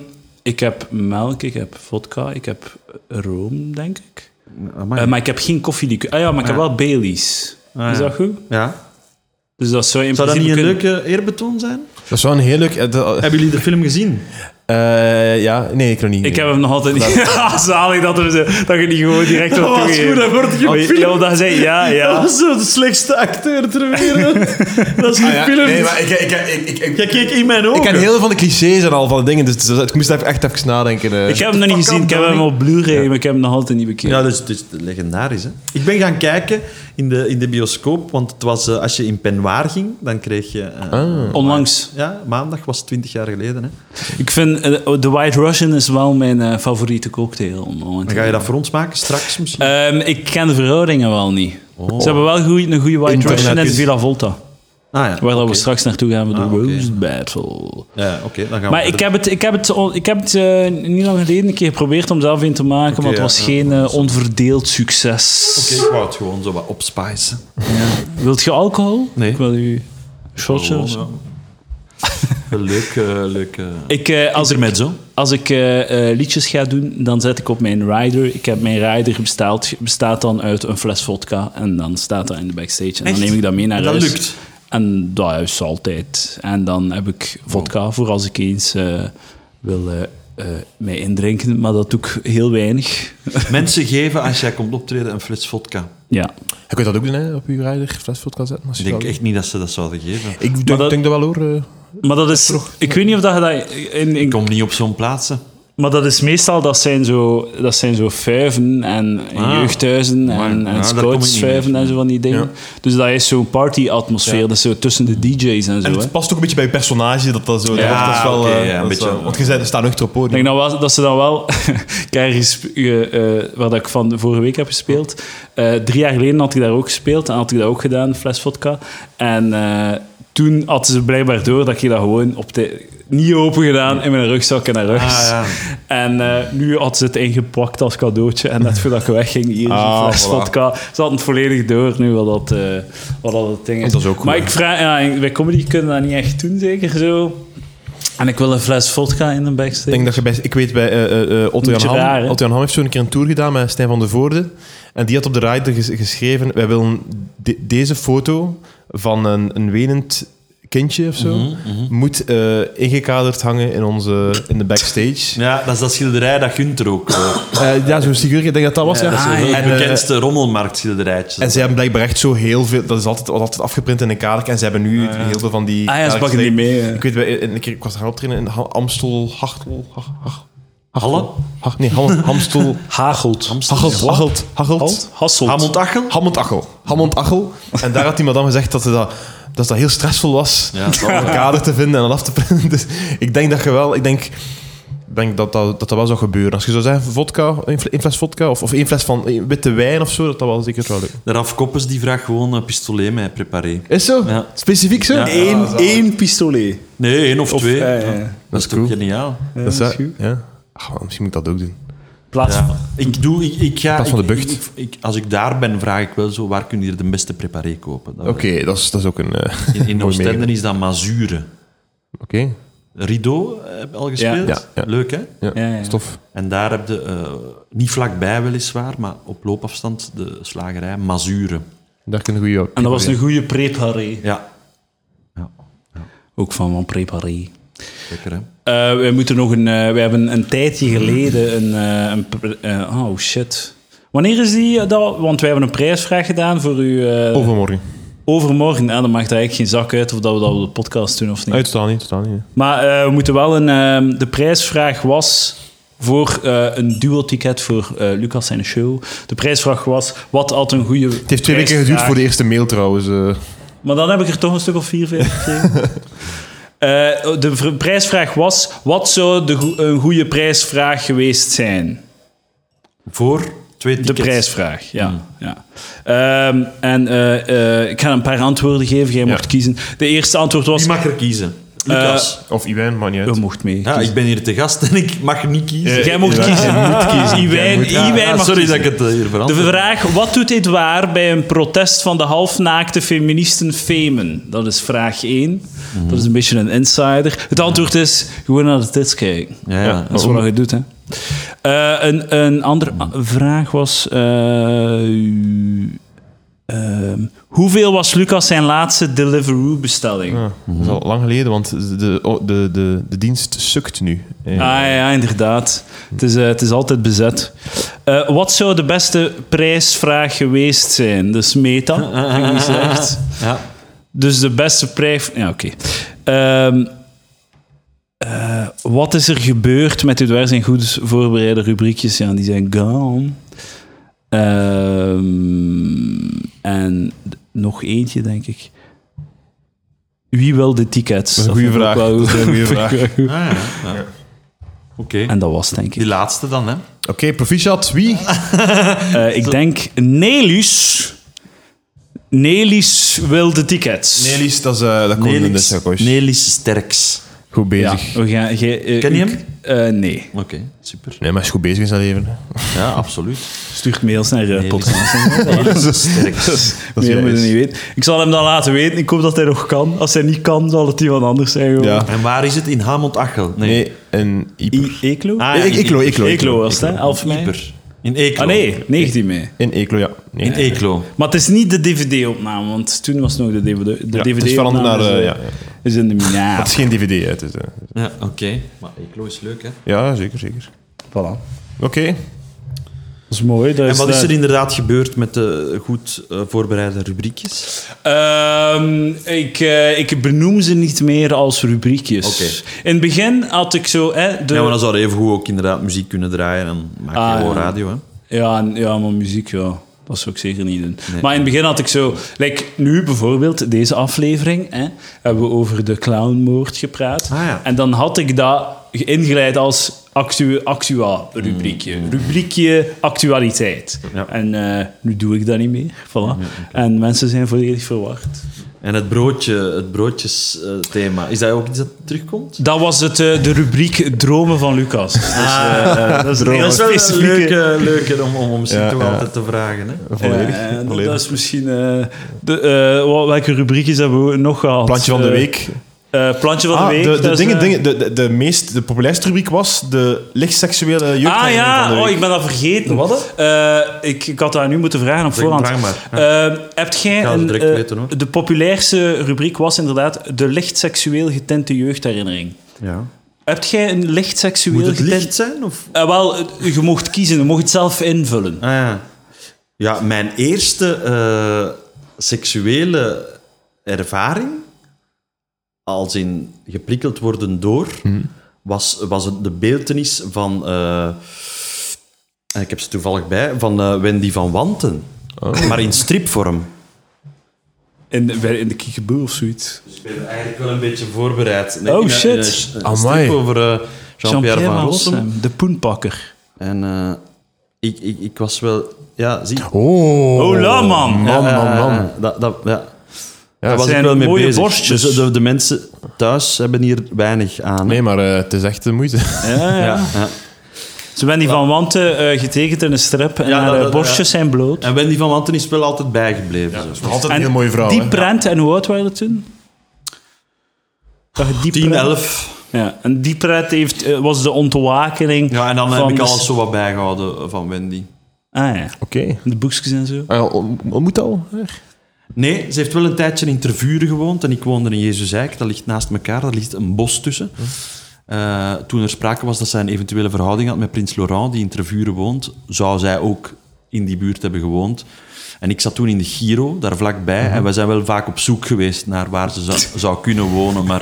Speaker 1: ik heb melk, ik heb vodka, ik heb room, denk ik.
Speaker 3: Amai.
Speaker 1: Eh, maar ik heb geen koffielikeur. Ah ja, maar ik heb
Speaker 3: Ja.
Speaker 1: wel Baileys.
Speaker 3: Ah,
Speaker 1: Is
Speaker 3: ja.
Speaker 1: dat goed?
Speaker 3: Ja.
Speaker 1: Dus dat zou in
Speaker 3: Zou dat niet
Speaker 1: principe
Speaker 3: een
Speaker 1: kunnen-
Speaker 3: leuke eerbetoon zijn?
Speaker 2: Dat is wel een heel leuk... eh, dat-
Speaker 3: Hebben jullie de film gezien?
Speaker 2: eh, ja, nee, ik nog niet.
Speaker 1: Ik heb hem nog altijd niet. Ja, zalig dat, we ze- dat je niet gewoon direct op Oh,
Speaker 3: wordt
Speaker 1: Ja, omdat hij zei, ja, ja.
Speaker 3: was zo de slechtste acteur ter wereld. dat is een
Speaker 2: Ah ja, Nee, maar ik... ik, ik, ik, ik-
Speaker 3: Jij keek in mijn
Speaker 2: ik
Speaker 3: ogen.
Speaker 2: ken heel veel van de clichés en al van de dingen, dus dus ik moest even- echt even nadenken. eh.
Speaker 1: Ik heb hem nog niet
Speaker 3: Fuck
Speaker 1: gezien.
Speaker 3: up,
Speaker 1: Ik heb
Speaker 3: Donnie.
Speaker 1: hem op Blu-ray, maar ik heb hem nog altijd niet bekeken.
Speaker 3: Ja, dus, dus legendarisch. Hè? Ik ben gaan kijken in de, in de bioscoop, want het was, eh, als je in Penwaar ging, dan kreeg je... eh,
Speaker 1: Ah. Onlangs.
Speaker 3: Ja, maandag was 20 jaar geleden. Hè?
Speaker 1: Ik vind eh, The White Russian is wel mijn eh, favoriete cocktail. om- om-
Speaker 3: Dan ga je dat voor ons maken, straks misschien.
Speaker 1: Ehm, ik ken de verhoudingen wel niet.
Speaker 3: Oh.
Speaker 1: Ze hebben wel goeie- een goede White
Speaker 2: Internet
Speaker 1: Russian en
Speaker 2: is-
Speaker 1: Villa Volta.
Speaker 3: ah ja,
Speaker 1: Eh, Waar dat
Speaker 3: oké.
Speaker 1: we straks naartoe gaan met de
Speaker 3: Ah, oké.
Speaker 1: Rose Battle.
Speaker 3: Ja, oké, dan gaan
Speaker 1: Maar
Speaker 3: we
Speaker 1: ik heb het, ik heb het, on- ik heb het eh, niet lang geleden een keer geprobeerd om zelf in te maken, maar het
Speaker 3: ja,
Speaker 1: was
Speaker 3: ja.
Speaker 1: geen eh, onverdeeld succes.
Speaker 3: Oké, ik wou het gewoon zo wat opspicen.
Speaker 1: Wilt je alcohol?
Speaker 3: Nee. Oh,
Speaker 1: Ik wil u shotje. of zo.
Speaker 3: Een leuk, eh, leuk eh,
Speaker 1: Ik, eh, als ik,
Speaker 3: intermezzo.
Speaker 1: als ik eh, eh, liedjes ga doen, dan zet ik op mijn rider. Ik heb mijn rider besteld, bestaat dan uit een fles vodka en dan staat dat in de backstage. En
Speaker 3: Echt?
Speaker 1: dan neem ik dat mee naar
Speaker 3: En dat
Speaker 1: huis.
Speaker 3: lukt?
Speaker 1: En dat is altijd. En dan heb ik
Speaker 3: Oh.
Speaker 1: vodka voor als ik eens eh, wil eh, eh, mij indrinken, maar dat doe ik heel weinig.
Speaker 3: Mensen geven, als jij komt optreden, een fles vodka.
Speaker 1: Ja.
Speaker 2: Je kunt dat ook doen, hè, op je rijder, flesveld kan zetten. als je
Speaker 3: Ik denk
Speaker 2: dat-
Speaker 3: echt niet dat ze dat zouden geven.
Speaker 2: Ik denk,
Speaker 1: dat-
Speaker 2: denk dat wel hoor. eh.
Speaker 1: Maar dat is... Ik weet niet of dat je dat... In, in,
Speaker 3: Ik kom niet op zo'n plaatsen.
Speaker 1: Maar dat is meestal, dat zijn zo, dat zijn zo fuiven en
Speaker 3: Ah.
Speaker 1: jeugdhuizen en,
Speaker 3: Amai. Ja,
Speaker 1: en
Speaker 3: daar kom ik niet
Speaker 1: scoutsfuiven
Speaker 3: meer.
Speaker 1: en zo van die dingen. Dus dat is zo'n party-atmosfeer, dat is zo tussen de DJ's en zo.
Speaker 2: En
Speaker 1: hè.
Speaker 2: het past ook een beetje bij je personage. Dat dat zo, dat,
Speaker 3: Ja,
Speaker 2: dat is wel,
Speaker 3: oké,
Speaker 2: eh,
Speaker 3: ja, een
Speaker 2: dat is
Speaker 3: beetje-
Speaker 2: wel- want je zei, er staat nuchter op
Speaker 1: Ik
Speaker 2: podium.
Speaker 1: denk dan wel, dat ze dan wel, ik heb ergens, eh, eh, waar dat ik van de vorige week heb gespeeld, eh, drie jaar geleden had ik daar ook gespeeld en had ik dat ook gedaan, een fles vodka. En eh, toen hadden ze blijkbaar door dat ik dat gewoon op de, niet open gedaan in mijn rugzak en naar rechts.
Speaker 3: Ah, ja.
Speaker 1: En eh, nu had ze het ingepakt als cadeautje. En net voordat ik wegging, hier is
Speaker 2: Ah,
Speaker 1: een fles
Speaker 2: voilà.
Speaker 1: vodka. Ze had het volledig door nu wat dat, eh, wat dat het ding is.
Speaker 2: Dat is ook goed,
Speaker 1: maar
Speaker 2: hè?
Speaker 1: ik vraag, ja, wij comedy kunnen dat niet echt doen, zeker zo. En ik wil een fles vodka in de backstage.
Speaker 2: Ik denk dat je bij, ik weet bij eh, eh, eh, Otto, Jan
Speaker 1: Beetje
Speaker 2: Ham,
Speaker 1: raar, hè?
Speaker 2: Otto Jan Ham heeft zo'n keer een tour gedaan met Stijn van der Voorde. En die had op de rider ges- geschreven, wij willen de- deze foto van een, een wenend kindje of zo,
Speaker 1: Mhm,
Speaker 2: moet eh, ingekaderd hangen in, onze, in de backstage.
Speaker 3: Ja, dat is dat schilderij dat Gunther ook... eh,
Speaker 2: Eh, ja, zo'n figuur, ik denk dat dat was, ja.
Speaker 3: dat is
Speaker 1: Ah, ja.
Speaker 3: het
Speaker 2: En, eh,
Speaker 3: bekendste rommelmarktschilderijtje.
Speaker 2: en ze hebben blijkbaar echt zo heel veel... Dat is altijd, was altijd afgeprint in een kader. En ze hebben nu heel veel van die...
Speaker 1: Ah ja, ze
Speaker 2: kaders
Speaker 1: pakken die
Speaker 2: liggen.
Speaker 1: mee, hè.
Speaker 2: Ik weet, bij- een keer, ik was gaan optreden in Ha- Amstel... Hachtel... Hach, Hach-
Speaker 3: Halle?
Speaker 2: Hach- nee, Ham- Hamstel...
Speaker 1: Hagelt.
Speaker 2: Hachelt, Hachelt, Hachelt.
Speaker 1: Hasselt.
Speaker 3: Hamond Achel?
Speaker 2: Hammond Achel. Hammond Achel. En daar had die madame gezegd dat ze dat, dat, dat heel stressvol was
Speaker 3: Ja,
Speaker 2: om een kader te vinden en dat af te printen. Dus ik denk dat je wel... Ik denk, ik denk dat, dat, dat dat wel zou gebeuren. Als je zou zeggen, vodka, één fle- één fles vodka of, of één fles van één witte wijn of zo, dat dat wel zeker wel leuk.
Speaker 3: De Raf Koppes die vraagt gewoon een pistolet mij preparé.
Speaker 2: Is zo?
Speaker 3: Ja.
Speaker 2: Specifiek zo?
Speaker 3: Ja.
Speaker 1: Eén, één pistolet.
Speaker 3: Nee, één of, twee.
Speaker 2: eh,
Speaker 1: ja, ja, ja.
Speaker 3: Ja, Dat is toch geniaal.
Speaker 1: Ja,
Speaker 2: Dat is,
Speaker 1: dat is
Speaker 2: ja.
Speaker 1: goed.
Speaker 2: ja. Ach, misschien moet ik dat ook doen.
Speaker 1: Plaats
Speaker 3: Ja.
Speaker 1: van-
Speaker 3: Ik doe, ik, ik ga...
Speaker 2: Pas van
Speaker 3: ik-
Speaker 2: de bucht.
Speaker 3: ik- ik- als ik daar ben, vraag ik wel zo, waar kun je hier de beste preparé kopen? Dat-
Speaker 2: Oké, dat, is, dat is ook een... eh,
Speaker 3: In, in
Speaker 2: mooi meegeven.
Speaker 3: Oostende is dat mazure.
Speaker 2: Oké,
Speaker 3: Rideau heb je al gespeeld.
Speaker 2: Ja, ja.
Speaker 3: Leuk, hè?
Speaker 2: ja.
Speaker 1: Ja, ja.
Speaker 2: stof.
Speaker 3: En daar heb je, eh, niet vlakbij weliswaar, maar op loopafstand, de slagerij Mazure.
Speaker 2: Daar kunnen we op.
Speaker 1: En dat was een goede preparé.
Speaker 3: Ja. Ja,
Speaker 1: Ook van van preparé.
Speaker 3: lekker, hè?
Speaker 1: Eh, wij moeten nog een. eh, wij hebben een tijdje geleden een. eh, een pr- eh, oh shit. Wanneer is die eh, dat? Want wij hebben een prijsvraag gedaan voor u. eh,
Speaker 2: Overmorgen.
Speaker 1: Overmorgen. Ah, dan maakt eigenlijk geen zak uit of dat we dat op de podcast doen of niet.
Speaker 2: Uitstaan Ah, niet, totaal niet.
Speaker 1: Maar eh, we moeten wel een. ehm, de prijsvraag was voor eh, een duo-ticket voor eh, Lucas zijn show. De prijsvraag was: wat had een goede.
Speaker 2: Het heeft twee weken geduurd voor de eerste mail trouwens. eh.
Speaker 1: Maar dan heb ik er toch een stuk of vier, vijf gekregen. Eh, de vr- prijsvraag was: wat zou de goe- een goede prijsvraag geweest zijn?
Speaker 3: Voor twee
Speaker 1: De
Speaker 3: tickets. Hmm.
Speaker 1: prijsvraag, ja. ja. Ehm, en eh, eh, ik ga een paar antwoorden geven. Jij mocht kiezen. De eerste antwoord was:
Speaker 3: Wie mag er kiezen?
Speaker 1: Eh,
Speaker 3: Lucas.
Speaker 2: Of Iwijn, maakt niet uit.
Speaker 1: je mocht mee.
Speaker 3: ja, ik ben hier te gast en Ah, ik mag niet kiezen.
Speaker 1: Jij mocht
Speaker 2: Iwijn.
Speaker 1: kiezen.
Speaker 2: Je moet kiezen. Jij
Speaker 1: Iwijn,
Speaker 2: moet-
Speaker 3: Ja,
Speaker 1: Eh, Iwijn
Speaker 3: ah,
Speaker 1: mag
Speaker 3: sorry
Speaker 1: kiezen.
Speaker 3: dat ik het eh, hier
Speaker 1: De
Speaker 3: veranderd
Speaker 1: vraag, wat doet dit waar bij een protest van de halfnaakte feministen Femen? Dat is vraag 1.
Speaker 3: Mhm.
Speaker 1: Dat is een beetje een insider. Het antwoord is, gewoon naar de tits kijken.
Speaker 3: Ja, ja.
Speaker 1: Dat is wat je doet, hè. Eh, een, een andere a- vraag was... eh, ehm, hoeveel was Lucas zijn laatste Deliveroo-bestelling?
Speaker 2: Ja, Dat is al lang geleden, want de, oh, de, de, de dienst sukt nu. Eh,
Speaker 1: Ah ja, inderdaad. Het is, eh, het is altijd bezet. Eh, wat zou de beste prijsvraag geweest zijn? Dus meta, heb ik gezegd.
Speaker 3: Ja.
Speaker 1: Dus de beste prijs... Ja, oké. Ehm, eh, wat is er gebeurd met dit? Waar zijn goed voorbereide rubriekjes? Ja, die zijn gone. Ehm, en d- nog eentje, denk ik. Wie wil de tickets?
Speaker 2: Dat is
Speaker 1: Dat
Speaker 2: een goede
Speaker 1: vond ik
Speaker 2: vraag.
Speaker 1: wel
Speaker 2: Dat is een goede vraag. Oké,
Speaker 3: Ah, ja, ja. Oké.
Speaker 1: En dat was, het, denk ik.
Speaker 3: Die laatste dan, hè?
Speaker 2: proficiat. Wie?
Speaker 1: Ah, Eh, ik denk Nelus. Nelus wil de tickets.
Speaker 2: Nelly's, dat, is, eh, dat komt in de
Speaker 3: Nelis,
Speaker 2: cirkels.
Speaker 3: Nelis Sterks.
Speaker 2: Goed
Speaker 1: Ja,
Speaker 2: bezig.
Speaker 1: we gaan, ge- eh,
Speaker 3: Ken je
Speaker 1: u-
Speaker 3: hem?
Speaker 1: eh, nee.
Speaker 3: Oké, super.
Speaker 2: Nee, maar is goed bezig in zijn leven.
Speaker 3: Ja, absoluut.
Speaker 1: Stuurt mails naar eh,
Speaker 3: Nelis.
Speaker 1: podcast.
Speaker 3: Nelis Sterks.
Speaker 2: Dat is
Speaker 1: Meer moet je
Speaker 2: juist.
Speaker 1: niet weten. Ik zal hem dan laten weten. Ik hoop dat hij nog kan. Als hij niet kan, zal het iemand anders zijn. gewoon.
Speaker 2: Ja.
Speaker 3: En waar is het? In Hamond-Achel? Nee.
Speaker 2: Nee, een Ieper.
Speaker 1: I- Eeklo?
Speaker 3: Ah,
Speaker 2: Ik- Eeklo, Eeklo,
Speaker 1: Eeklo
Speaker 2: Eeklo.
Speaker 1: was het, hè? 11 mei.
Speaker 3: Ieper. In Eeklo.
Speaker 1: Ah nee, 19 mei.
Speaker 2: In Eeklo, ja. Nee.
Speaker 3: In Eeklo.
Speaker 1: Maar het is niet de DVD-opname, want toen was het nog de DVD. De
Speaker 2: Ja, het is
Speaker 1: DVD
Speaker 2: veranderd naar, eh, ja, ja.
Speaker 1: dus, Is in de
Speaker 2: Het
Speaker 1: minaar.
Speaker 2: is geen dvd, hè. Het is, eh,
Speaker 3: Ja, oké. Maar Eeklo is leuk,
Speaker 1: Dus,
Speaker 3: hè?
Speaker 2: ja, zeker, zeker.
Speaker 1: Voilà.
Speaker 2: Oké.
Speaker 1: Eh, Dat is eh, mooi. Dat
Speaker 3: En wat is
Speaker 1: daar-
Speaker 3: er inderdaad gebeurd met de goed eh, voorbereide rubriekjes?
Speaker 1: Ehm, ik, eh, ik benoem ze niet meer als rubriekjes.
Speaker 3: Oké.
Speaker 1: In het begin had ik zo... Hè, de...
Speaker 3: Ja, maar dan zou je evengoed ook inderdaad muziek kunnen draaien. Dan maak je
Speaker 1: Ah,
Speaker 3: gewoon
Speaker 1: ja.
Speaker 3: radio, hè?
Speaker 1: Ja, en- ja, maar muziek, ja. Dat zou ik zeker niet doen. Maar in het begin had ik zo... Like, nu bijvoorbeeld, deze aflevering, hè, hebben we over de clownmoord gepraat.
Speaker 3: Ah, ja.
Speaker 1: En dan had ik dat ingeleid als actu actua-rubriekje. Rubriekje actualiteit.
Speaker 3: Mm. Ja.
Speaker 1: En eh, nu doe ik dat niet meer. Voilà. En mensen zijn volledig verward.
Speaker 3: En het broodje, het broodjesthema, is dat ook iets dat terugkomt?
Speaker 1: Dat was het, eh, de rubriek Dromen van Lucas. Dus, eh, dat is een heel specifieke...
Speaker 3: leuk, leuk om, om, om ze
Speaker 2: Ja,
Speaker 3: toch
Speaker 2: ja.
Speaker 3: altijd te vragen. Hè?
Speaker 2: Volledig.
Speaker 1: Ja, en
Speaker 2: volledig.
Speaker 1: dat is misschien... eh, de, eh, wel- welke rubriekjes hebben we nog gehad?
Speaker 2: Plantje van de
Speaker 1: Eh,
Speaker 2: week.
Speaker 1: Eh, plantje van
Speaker 2: Ah,
Speaker 1: de week.
Speaker 2: de, de,
Speaker 1: dat is,
Speaker 2: dingen,
Speaker 1: eh,
Speaker 2: dingen, de, de, de meest de populairste rubriek was de licht seksuele jeugd.
Speaker 1: Ah
Speaker 2: van de
Speaker 1: ja, oh,
Speaker 2: week.
Speaker 1: ik ben dat vergeten.
Speaker 2: Wat?
Speaker 1: Eh, ik, ik had dat nu moeten vragen op voorhand.
Speaker 3: vraag maar,
Speaker 1: Eh, hebt jij
Speaker 3: ga het
Speaker 1: een,
Speaker 3: direct
Speaker 1: eh,
Speaker 3: weten, hoor.
Speaker 1: de populairste rubriek was inderdaad de licht seksueel getinte jeugdherinnering.
Speaker 3: Ja.
Speaker 1: Hebt jij een licht seksueel
Speaker 3: Moet het
Speaker 1: getint-
Speaker 3: licht zijn? Of?
Speaker 1: Eh, wel, eh, je mocht kiezen, je mocht het zelf invullen.
Speaker 3: Ah, ja. ja, mijn eerste eh, seksuele ervaring, als in geprikkeld worden door, was, was het de beeltenis van, eh, en ik heb ze toevallig bij, van eh, Wendy van Wanten. Maar in stripvorm.
Speaker 1: In, bij- in de kiekeboe of zoiets.
Speaker 3: Dus ik ben eigenlijk wel een beetje voorbereid.
Speaker 1: Oh,
Speaker 3: in een-
Speaker 1: shit.
Speaker 3: in een- een
Speaker 2: Amai.
Speaker 3: strip over eh, Jean-Pierre van Rossum.
Speaker 1: de poenpakker.
Speaker 3: En eh, ik, ik, ik was wel... Ja, zie...
Speaker 2: Oh.
Speaker 1: Hola, man.
Speaker 2: Man, man, man.
Speaker 3: Eh, dat, dat, ja.
Speaker 2: Ja,
Speaker 3: Daar was
Speaker 1: zijn
Speaker 3: ik wel mee
Speaker 1: mooie
Speaker 3: bezig.
Speaker 1: borstjes.
Speaker 3: Dus de, de mensen thuis hebben hier weinig aan. hè.
Speaker 2: Nee, maar eh, het is echt de moeite.
Speaker 1: Ja, ja.
Speaker 3: Ja, ja.
Speaker 1: Ze werden die van Wanten eh, getekend in een strip en
Speaker 3: Ja,
Speaker 1: haar
Speaker 3: dat-
Speaker 1: eh,
Speaker 3: dat-
Speaker 1: borstjes
Speaker 3: ja.
Speaker 1: zijn bloot.
Speaker 3: En Wendy van Wanten is wel altijd bijgebleven. zo.
Speaker 2: Altijd
Speaker 1: En
Speaker 2: een heel mooie vrouw.
Speaker 1: Die
Speaker 2: hè.
Speaker 1: prent, en hoe oud waren we toen? Dat je die
Speaker 3: 10,
Speaker 1: prent-
Speaker 3: 11.
Speaker 1: Ja, en die pret heeft, eh, was de ontwakening.
Speaker 3: Ja, en dan
Speaker 1: van
Speaker 3: heb ik
Speaker 1: de-
Speaker 3: alles zo wat bijgehouden eh, van Wendy.
Speaker 1: Ah ja,
Speaker 2: Oké.
Speaker 1: de boekjes en zo.
Speaker 2: Ah, on- ontmoet al? Her?
Speaker 1: Ah,
Speaker 3: Nee, ze heeft wel een tijdje in Tervuren gewoond en ik woonde in Jezus-Eik. Dat ligt naast elkaar, daar ligt een bos tussen.
Speaker 2: Hm.
Speaker 3: Eh, toen er sprake was dat zij een eventuele verhouding had met prins Laurent, die in Tervuren woont, zou zij ook in die buurt hebben gewoond. En ik zat toen in de Giro, daar vlakbij.
Speaker 2: Hm.
Speaker 3: En we zijn wel vaak op zoek geweest naar waar ze zou, zou kunnen wonen. Maar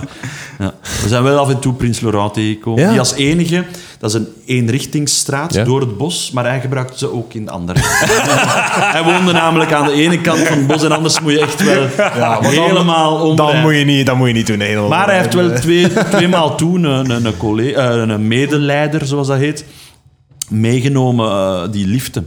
Speaker 3: ja. we zijn wel af en toe prins Laurent tegengekomen.
Speaker 2: Ja.
Speaker 3: Die als enige, dat is een eenrichtingsstraat
Speaker 2: Ja.
Speaker 3: door het bos, maar hij gebruikte ze ook in de andere. Hij woonde namelijk aan de ene kant van het bos en anders moet je echt wel
Speaker 2: maar dan-
Speaker 3: helemaal om.
Speaker 2: Dat moet, je niet, dat moet je niet doen. Helemaal.
Speaker 3: Maar hij heeft wel twee, tweemaal toen een, een, een, collega, eh, een medeleider, zoals dat heet, meegenomen eh, die liefde.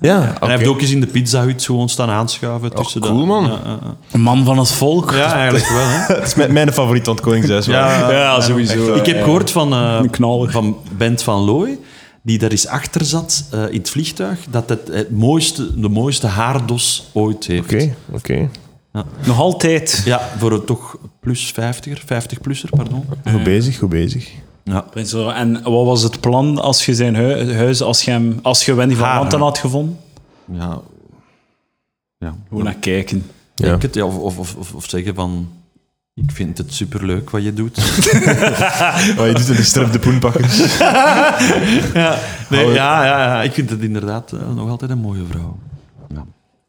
Speaker 2: Ja,
Speaker 3: En
Speaker 2: oké. Oh,
Speaker 3: hij heeft ook eens in de pizza hut gewoon staan aanschuiven tussen de-
Speaker 2: cool, man.
Speaker 3: Ja, ja, ja.
Speaker 1: Een man van het volk.
Speaker 3: Ja, eigenlijk wel. Hè.
Speaker 2: Het is mijn- mijn favoriet van het Koningshuis. wel.
Speaker 3: Ja,
Speaker 1: Ja, sowieso.
Speaker 3: Ik heb gehoord van, eh,
Speaker 1: Een knaller.
Speaker 3: van Bent van Looy, die daar eens achter zat eh, in het vliegtuig, dat het, het mooiste, de mooiste haardos ooit heeft.
Speaker 2: Oké, oké.
Speaker 1: Nog altijd.
Speaker 3: Ja, voor een toch plus 50er, 50-plusser, pardon.
Speaker 2: Goed
Speaker 1: Eh.
Speaker 2: bezig, goed bezig.
Speaker 3: Ja.
Speaker 1: Prins Laurent. En wat was het plan als je zijn hu- huis, als je, hem, als je Wendy van
Speaker 3: Haar,
Speaker 1: Wanten
Speaker 3: hè?
Speaker 1: had gevonden?
Speaker 3: ja. ja.
Speaker 1: Gewoon naar kijken.
Speaker 2: Ja.
Speaker 3: Ik het, ja, of, of, of- of, of zeggen van... Ik vind het superleuk wat je doet.
Speaker 2: Oh, je doet in de strip de poenpakkers.
Speaker 3: ja,
Speaker 2: nee,
Speaker 3: ja, ja, ja, ik vind het inderdaad eh, nog altijd een mooie vrouw.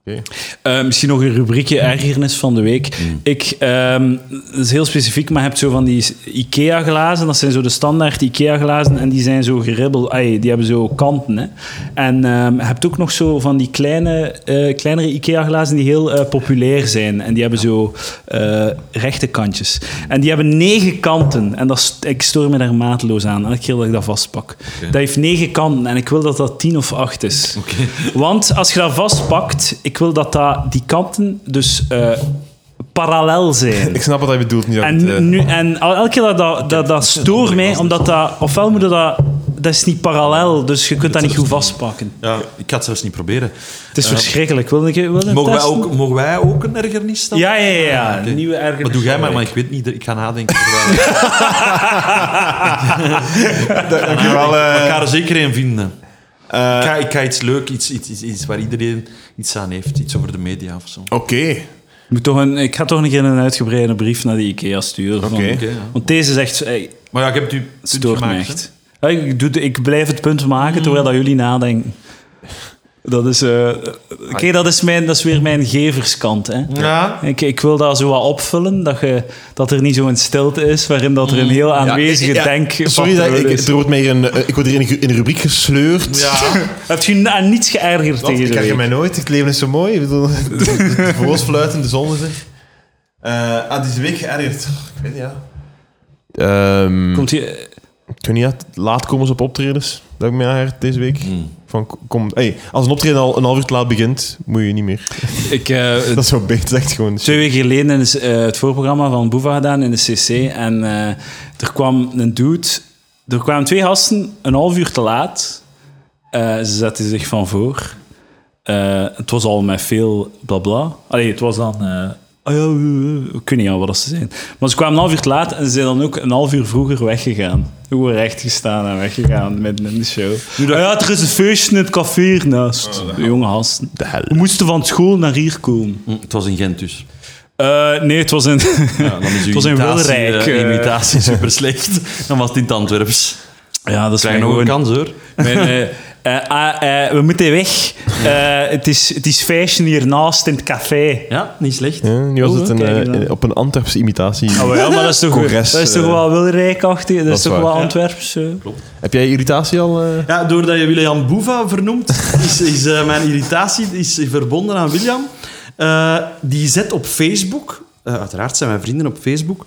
Speaker 3: Ja.
Speaker 1: Eh, misschien nog een rubriekje ergernis van de week. Ik, ehm, dat is heel specifiek, maar je hebt zo van die IKEA-glazen. Dat zijn zo de standaard IKEA-glazen. En die zijn zo geribbeld. Ai, die hebben zo kanten. Hè. En ehm, je hebt ook nog zo van die kleine, eh, kleinere IKEA-glazen die heel eh, populair zijn. En die hebben zo eh, rechte kantjes. En die hebben negen kanten. En dat is- ik stoor me daar maatloos aan. Elke keer dat ik dat vastpak. Dat heeft negen kanten. En ik wil dat dat tien of acht is. Want als je dat vastpakt, ik wil dat, dat die kanten dus eh, parallel zijn.
Speaker 2: Ik snap wat hij bedoelt. Niet dat het, eh,
Speaker 1: En, nu, en al- elke keer dat, dat, dat, dat stoor mij, omdat dat... Ofwel moet je dat... Dat is niet parallel, dus je kunt dat niet goed vastpakken.
Speaker 3: Ja, ik ga het zelfs niet proberen.
Speaker 1: Het is verschrikkelijk. Wil je, wil je
Speaker 3: Mogen wij,
Speaker 1: testen?
Speaker 3: ook, mogen wij ook een ergernis dan?
Speaker 1: Ja, ja, ja. ja.
Speaker 3: Oké.
Speaker 1: Nieuwe ergernis.
Speaker 3: Maar doe jij
Speaker 1: van
Speaker 3: maar,
Speaker 1: de
Speaker 3: maar
Speaker 1: week.
Speaker 3: ik weet niet. Ik ga nadenken. terwijl- Ik
Speaker 2: dankjewel, eh.
Speaker 3: ga er zeker een vinden.
Speaker 2: Eh,
Speaker 3: Ik ga, ik ga iets leuk, iets, iets, iets, iets waar iedereen iets aan heeft. Iets over de media of zo.
Speaker 2: Oké.
Speaker 1: Moet toch een, ik ga toch een keer een uitgebreide brief naar de IKEA sturen. van-
Speaker 2: Oké.
Speaker 3: Oké, ja.
Speaker 1: Want deze is echt... ey,
Speaker 3: Maar ja, ik heb het u punt
Speaker 1: stoort me
Speaker 3: gemaakt,
Speaker 1: echt. Ja, ik, doe, de- ik blijf het punt maken terwijl dat jullie nadenken. Dat is... eh,
Speaker 2: Ah.
Speaker 1: kijk, dat is, mijn, dat is weer mijn geverskant. Hè.
Speaker 3: hè. Ja.
Speaker 1: Ik, ik wil dat zo wat opvullen, dat, je, dat er niet zo'n stilte is waarin dat er een heel aanwezige
Speaker 2: Mm. Ja,
Speaker 1: denk...
Speaker 2: Sorry, dat, ik,
Speaker 1: patroon is.
Speaker 2: er wordt mij hier een, eh, ik word hier in, in een rubriek gesleurd.
Speaker 3: Ja.
Speaker 1: Heb je na- aan niets geërgerd
Speaker 2: Want
Speaker 1: tegen
Speaker 2: ik
Speaker 1: deze
Speaker 2: krijg mij
Speaker 1: week?
Speaker 2: nooit. Het leven is zo mooi. Ik bedoel, de, de vogels fluiten, de zon is er. Eh, ah, deze week geërgerd. Ik weet niet, ja. Ehm,
Speaker 1: Komt je...
Speaker 2: Ik weet niet, ja, laatkomers op optredens. Dat heb ik mij aangehaald deze week. Van, kom, hey, als een optreden al een half uur te laat begint, moet je niet meer.
Speaker 1: Ik, eh,
Speaker 2: Dat is zo beter, echt gewoon.
Speaker 1: Twee weken geleden is eh, het voorprogramma van Boeva gedaan in de CC. En eh, er kwam een dude. Er kwamen twee gasten een half uur te laat. Eh, ze zetten zich van voor. Eh, het was al met veel blabla. Allee, het was dan eh, "Ah ja, eh, eh." ik weet niet aan wat dat ze zijn. Maar ze kwamen een half uur te laat en ze zijn dan ook een half uur vroeger weggegaan. Gewoon recht gestaan en weggegaan midden in de show. "Ah ja, er is een feestje in het café hiernaast. De jonge gasten.
Speaker 2: Oh, De hel.
Speaker 1: We moesten van school naar hier komen.
Speaker 3: Hm, Het was in Gent dus.
Speaker 1: Eh, nee, het was in,
Speaker 3: Ja, dan is uw
Speaker 1: het was in
Speaker 3: imitatie,
Speaker 1: Wilrijk.
Speaker 3: eh,
Speaker 1: eh.
Speaker 3: imitatie super slecht. Dan was het in het Antwerps.
Speaker 1: ja, dat is
Speaker 3: Krijg
Speaker 1: mijn
Speaker 3: nog
Speaker 1: gewoon-
Speaker 3: een kans hoor.
Speaker 1: Mijn, eh, eh, ah, eh, we moeten weg. Eh, het, is, het is fashion hiernaast in het café.
Speaker 3: Ja, niet slecht.
Speaker 2: Ja, nu was
Speaker 1: Oh,
Speaker 2: het een,
Speaker 1: kijk eens
Speaker 2: eh,
Speaker 1: aan.
Speaker 2: op een Antwerpse imitatie.
Speaker 1: Oh, ja, maar dat is toch,
Speaker 2: Congres,
Speaker 1: dat is toch
Speaker 2: eh,
Speaker 1: wel wilrijkachtig, dat,
Speaker 2: dat
Speaker 1: is
Speaker 2: is
Speaker 1: toch
Speaker 2: waar.
Speaker 1: wel
Speaker 2: Ja.
Speaker 1: Antwerps. eh.
Speaker 2: Heb jij irritatie al? eh?
Speaker 3: Ja, doordat je William Boeva vernoemt, is, is eh, mijn irritatie is verbonden aan William. Eh, die zet op Facebook, eh, uiteraard zijn mijn vrienden op Facebook,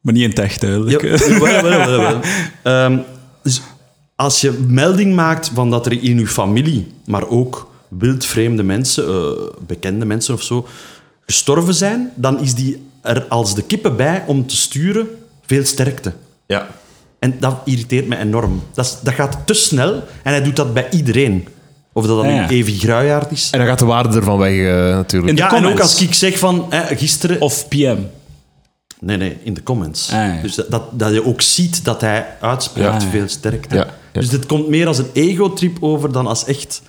Speaker 1: Maar niet in het echt, duidelijk.
Speaker 3: Ja, jawel, jawel, jawel. Ehm, dus als je melding maakt van dat er in uw familie, maar ook wildvreemde mensen, eh, bekende mensen of zo, gestorven zijn, dan is die er als de kippen bij om te sturen veel sterkte.
Speaker 2: Ja.
Speaker 3: En dat irriteert me enorm. Dat, is- dat gaat te snel en hij doet dat bij iedereen. Of dat dan
Speaker 1: Ja, ja.
Speaker 3: een Evi Gruijaard is.
Speaker 2: En dan gaat de waarde ervan weg, eh, natuurlijk.
Speaker 1: In de
Speaker 3: ja, en ook
Speaker 1: comments.
Speaker 3: als ik zeg van eh, gisteren
Speaker 1: Of PM.
Speaker 3: Nee, nee, in de comments.
Speaker 1: Ah, ja.
Speaker 3: Dus dat, dat, dat je ook ziet dat hij uitspreekt
Speaker 1: Ja.
Speaker 3: veel sterkte.
Speaker 2: Ja, ja.
Speaker 3: Dus dit komt meer als een ego-trip over dan als echt...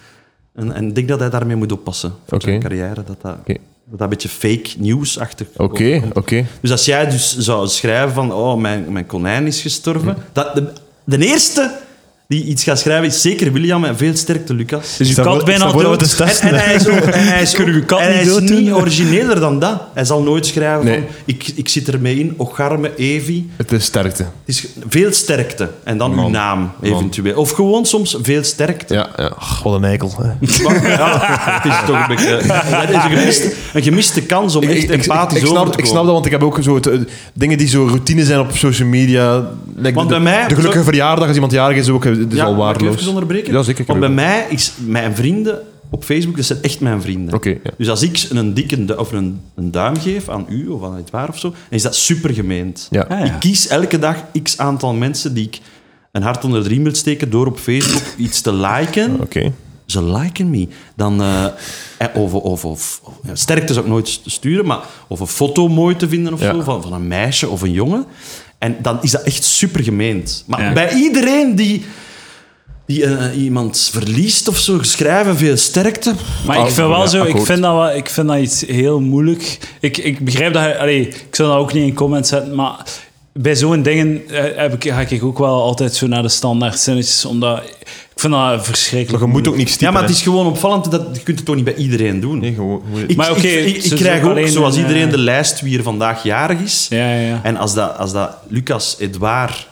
Speaker 3: En, en ik denk dat hij daarmee moet oppassen voor
Speaker 2: Oké.
Speaker 3: zijn carrière. Dat dat,
Speaker 2: Oké.
Speaker 3: dat dat een beetje fake nieuwsachtig
Speaker 2: Oké,
Speaker 3: overkomt.
Speaker 2: oké.
Speaker 3: Dus als jij dus zou schrijven van... Oh, mijn, mijn konijn is gestorven. Dat, de, de eerste die iets gaat schrijven is zeker William en veel sterkte, Lucas.
Speaker 1: Dus je
Speaker 2: dat
Speaker 1: kat
Speaker 2: voor-
Speaker 1: bijna
Speaker 2: is dat voor
Speaker 1: dood.
Speaker 2: wat het
Speaker 3: En, en hij is ook, en hij is, ook-
Speaker 1: Kunnen we kat
Speaker 3: en
Speaker 1: niet
Speaker 3: hij is
Speaker 1: dooddoen?
Speaker 3: niet origineler dan dat. Hij zal nooit schrijven
Speaker 2: Nee.
Speaker 3: van, ik, ik zit ermee in, ocharme, Evi.
Speaker 2: Het is sterkte.
Speaker 3: Het is veel sterkte. En dan uw naam, eventueel. Of gewoon soms veel sterkte.
Speaker 2: Ja, ja. Ach, wat een eikel. hè.
Speaker 3: Maar, ja, het is toch een beetje... Dat is een gemiste, een gemiste kans om echt empathisch
Speaker 2: ik, ik,
Speaker 3: over
Speaker 2: snap, ik
Speaker 3: te komen.
Speaker 2: snap dat, want ik heb ook zo het, eh, dingen die zo routine zijn op social media. Like
Speaker 3: Want
Speaker 2: de,
Speaker 3: bij mij-
Speaker 2: de gelukkige verjaardag, als iemand jarig is, ook, eh, het is
Speaker 3: Ja,
Speaker 2: al
Speaker 3: mag ik u
Speaker 2: waardeloos.
Speaker 3: even onderbreken?
Speaker 2: Ja, zeker.
Speaker 3: Want bij mij is mijn vrienden op Facebook, dat zijn echt mijn vrienden.
Speaker 2: Oké, ja.
Speaker 3: Dus als ik een dikke du- of een, een duim geef aan u of aan het waar of zo, dan is dat super gemeend.
Speaker 2: Ja.
Speaker 1: Ah, ja.
Speaker 3: Ik kies elke dag x aantal mensen die ik een hart onder de riem wil steken door op Facebook iets te liken.
Speaker 2: Oké.
Speaker 3: Ze liken me. Dan, eh, eh, of, of, of, of- ja, sterkte zou ik nooit st- sturen, maar of een foto mooi te vinden of
Speaker 2: Ja.
Speaker 3: zo, van, van een meisje of een jongen. En dan is dat echt super gemeend. Maar
Speaker 1: Ja.
Speaker 3: bij iedereen die, die eh, iemand verliest of zo, schrijven veel sterkte.
Speaker 1: Maar ik vind wel
Speaker 2: ja,
Speaker 1: zo, ik
Speaker 2: akkoord.
Speaker 1: vind, dat wel, ik vind dat iets heel moeilijk. Ik, ik begrijp dat je, allee, ik zal dat ook niet in comments zetten, maar bij zo'n dingen eh, heb ik, ga ik ook wel altijd zo naar de standaard zinnetjes, omdat ik vind dat
Speaker 2: Maar
Speaker 1: verschrikkelijk.
Speaker 2: je moet ook niks typen.
Speaker 3: Ja, maar het
Speaker 2: hè.
Speaker 3: is gewoon opvallend. Dat, je kunt het toch niet bij iedereen doen.
Speaker 2: Nee, gewoon... hoe-
Speaker 3: Ik,
Speaker 1: Maar
Speaker 3: ik-
Speaker 1: oké,
Speaker 3: ik, ik,
Speaker 1: ze zijn
Speaker 3: krijg ook,
Speaker 1: alleen
Speaker 3: zoals
Speaker 1: een,
Speaker 3: iedereen,
Speaker 1: eh,
Speaker 3: de lijst wie er vandaag jarig is.
Speaker 1: Ja, ja, ja.
Speaker 3: En als dat, als dat Lucas Edouard,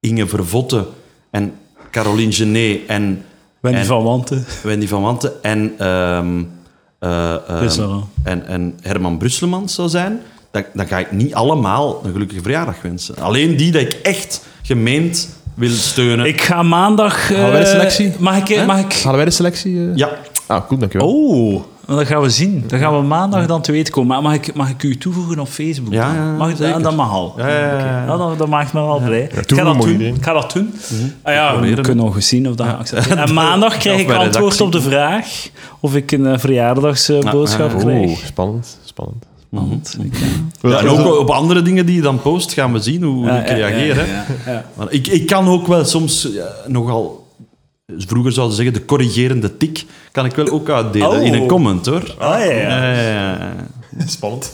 Speaker 3: Inge Vervotte en Caroline Genet en
Speaker 1: Wendy
Speaker 3: en-
Speaker 1: van Wanten.
Speaker 3: Wendy van Wanten en, ehm, eh, ehm,
Speaker 1: Brusselman.
Speaker 3: en, en Herman Brusselmans zou zijn, dan, dan ga ik niet allemaal een gelukkige verjaardag wensen. Alleen die dat ik echt gemeend wil steunen.
Speaker 1: Ik ga maandag... eh,
Speaker 2: Gaan wij de selectie?
Speaker 1: Mag ik... Mag ik
Speaker 2: Halen wij de selectie? eh?
Speaker 3: ja,
Speaker 2: Ah, cool, dankjewel.
Speaker 1: oh, dat gaan we zien. Dat gaan we maandag dan te weten komen. Maar Mag ik, mag ik u toevoegen op Facebook?
Speaker 3: Ja, ja,
Speaker 1: mag ik,
Speaker 3: zeker.
Speaker 1: dat mag al.
Speaker 3: Ja, ja, ja,
Speaker 1: Oké.
Speaker 3: ja. Mhm.
Speaker 1: Nou, dat, dat maakt me wel blij. ik, ga
Speaker 2: toevoegen
Speaker 1: dat
Speaker 2: moet
Speaker 1: doen.
Speaker 2: iedereen.
Speaker 1: ik ga dat doen. Ah, ja, we
Speaker 3: proberen
Speaker 1: kunnen nog eens zien of dat geaccepteerd En maandag krijg
Speaker 3: Of
Speaker 1: ik
Speaker 3: bij
Speaker 1: antwoord
Speaker 3: redactie.
Speaker 1: op de vraag of ik een eh, verjaardagsboodschap
Speaker 3: Ah, ah,
Speaker 1: krijg.
Speaker 2: Oeh, Oh, spannend, spannend.
Speaker 3: Oh.
Speaker 1: Want
Speaker 3: Mhm.
Speaker 1: ik, eh,
Speaker 3: Ja, en ook op andere dingen die je dan post gaan we zien hoe
Speaker 1: Ja,
Speaker 3: ik
Speaker 1: ja, ja,
Speaker 3: reageer. hè.
Speaker 1: ja, ja.
Speaker 3: Maar ik, ik kan ook wel soms eh, nogal... Vroeger zouden ze zeggen, de corrigerende tik kan ik wel ook uitdelen
Speaker 1: Oh.
Speaker 3: in een comment, hoor.
Speaker 1: Ah, ja, ja.
Speaker 3: Eh,
Speaker 2: Spannend.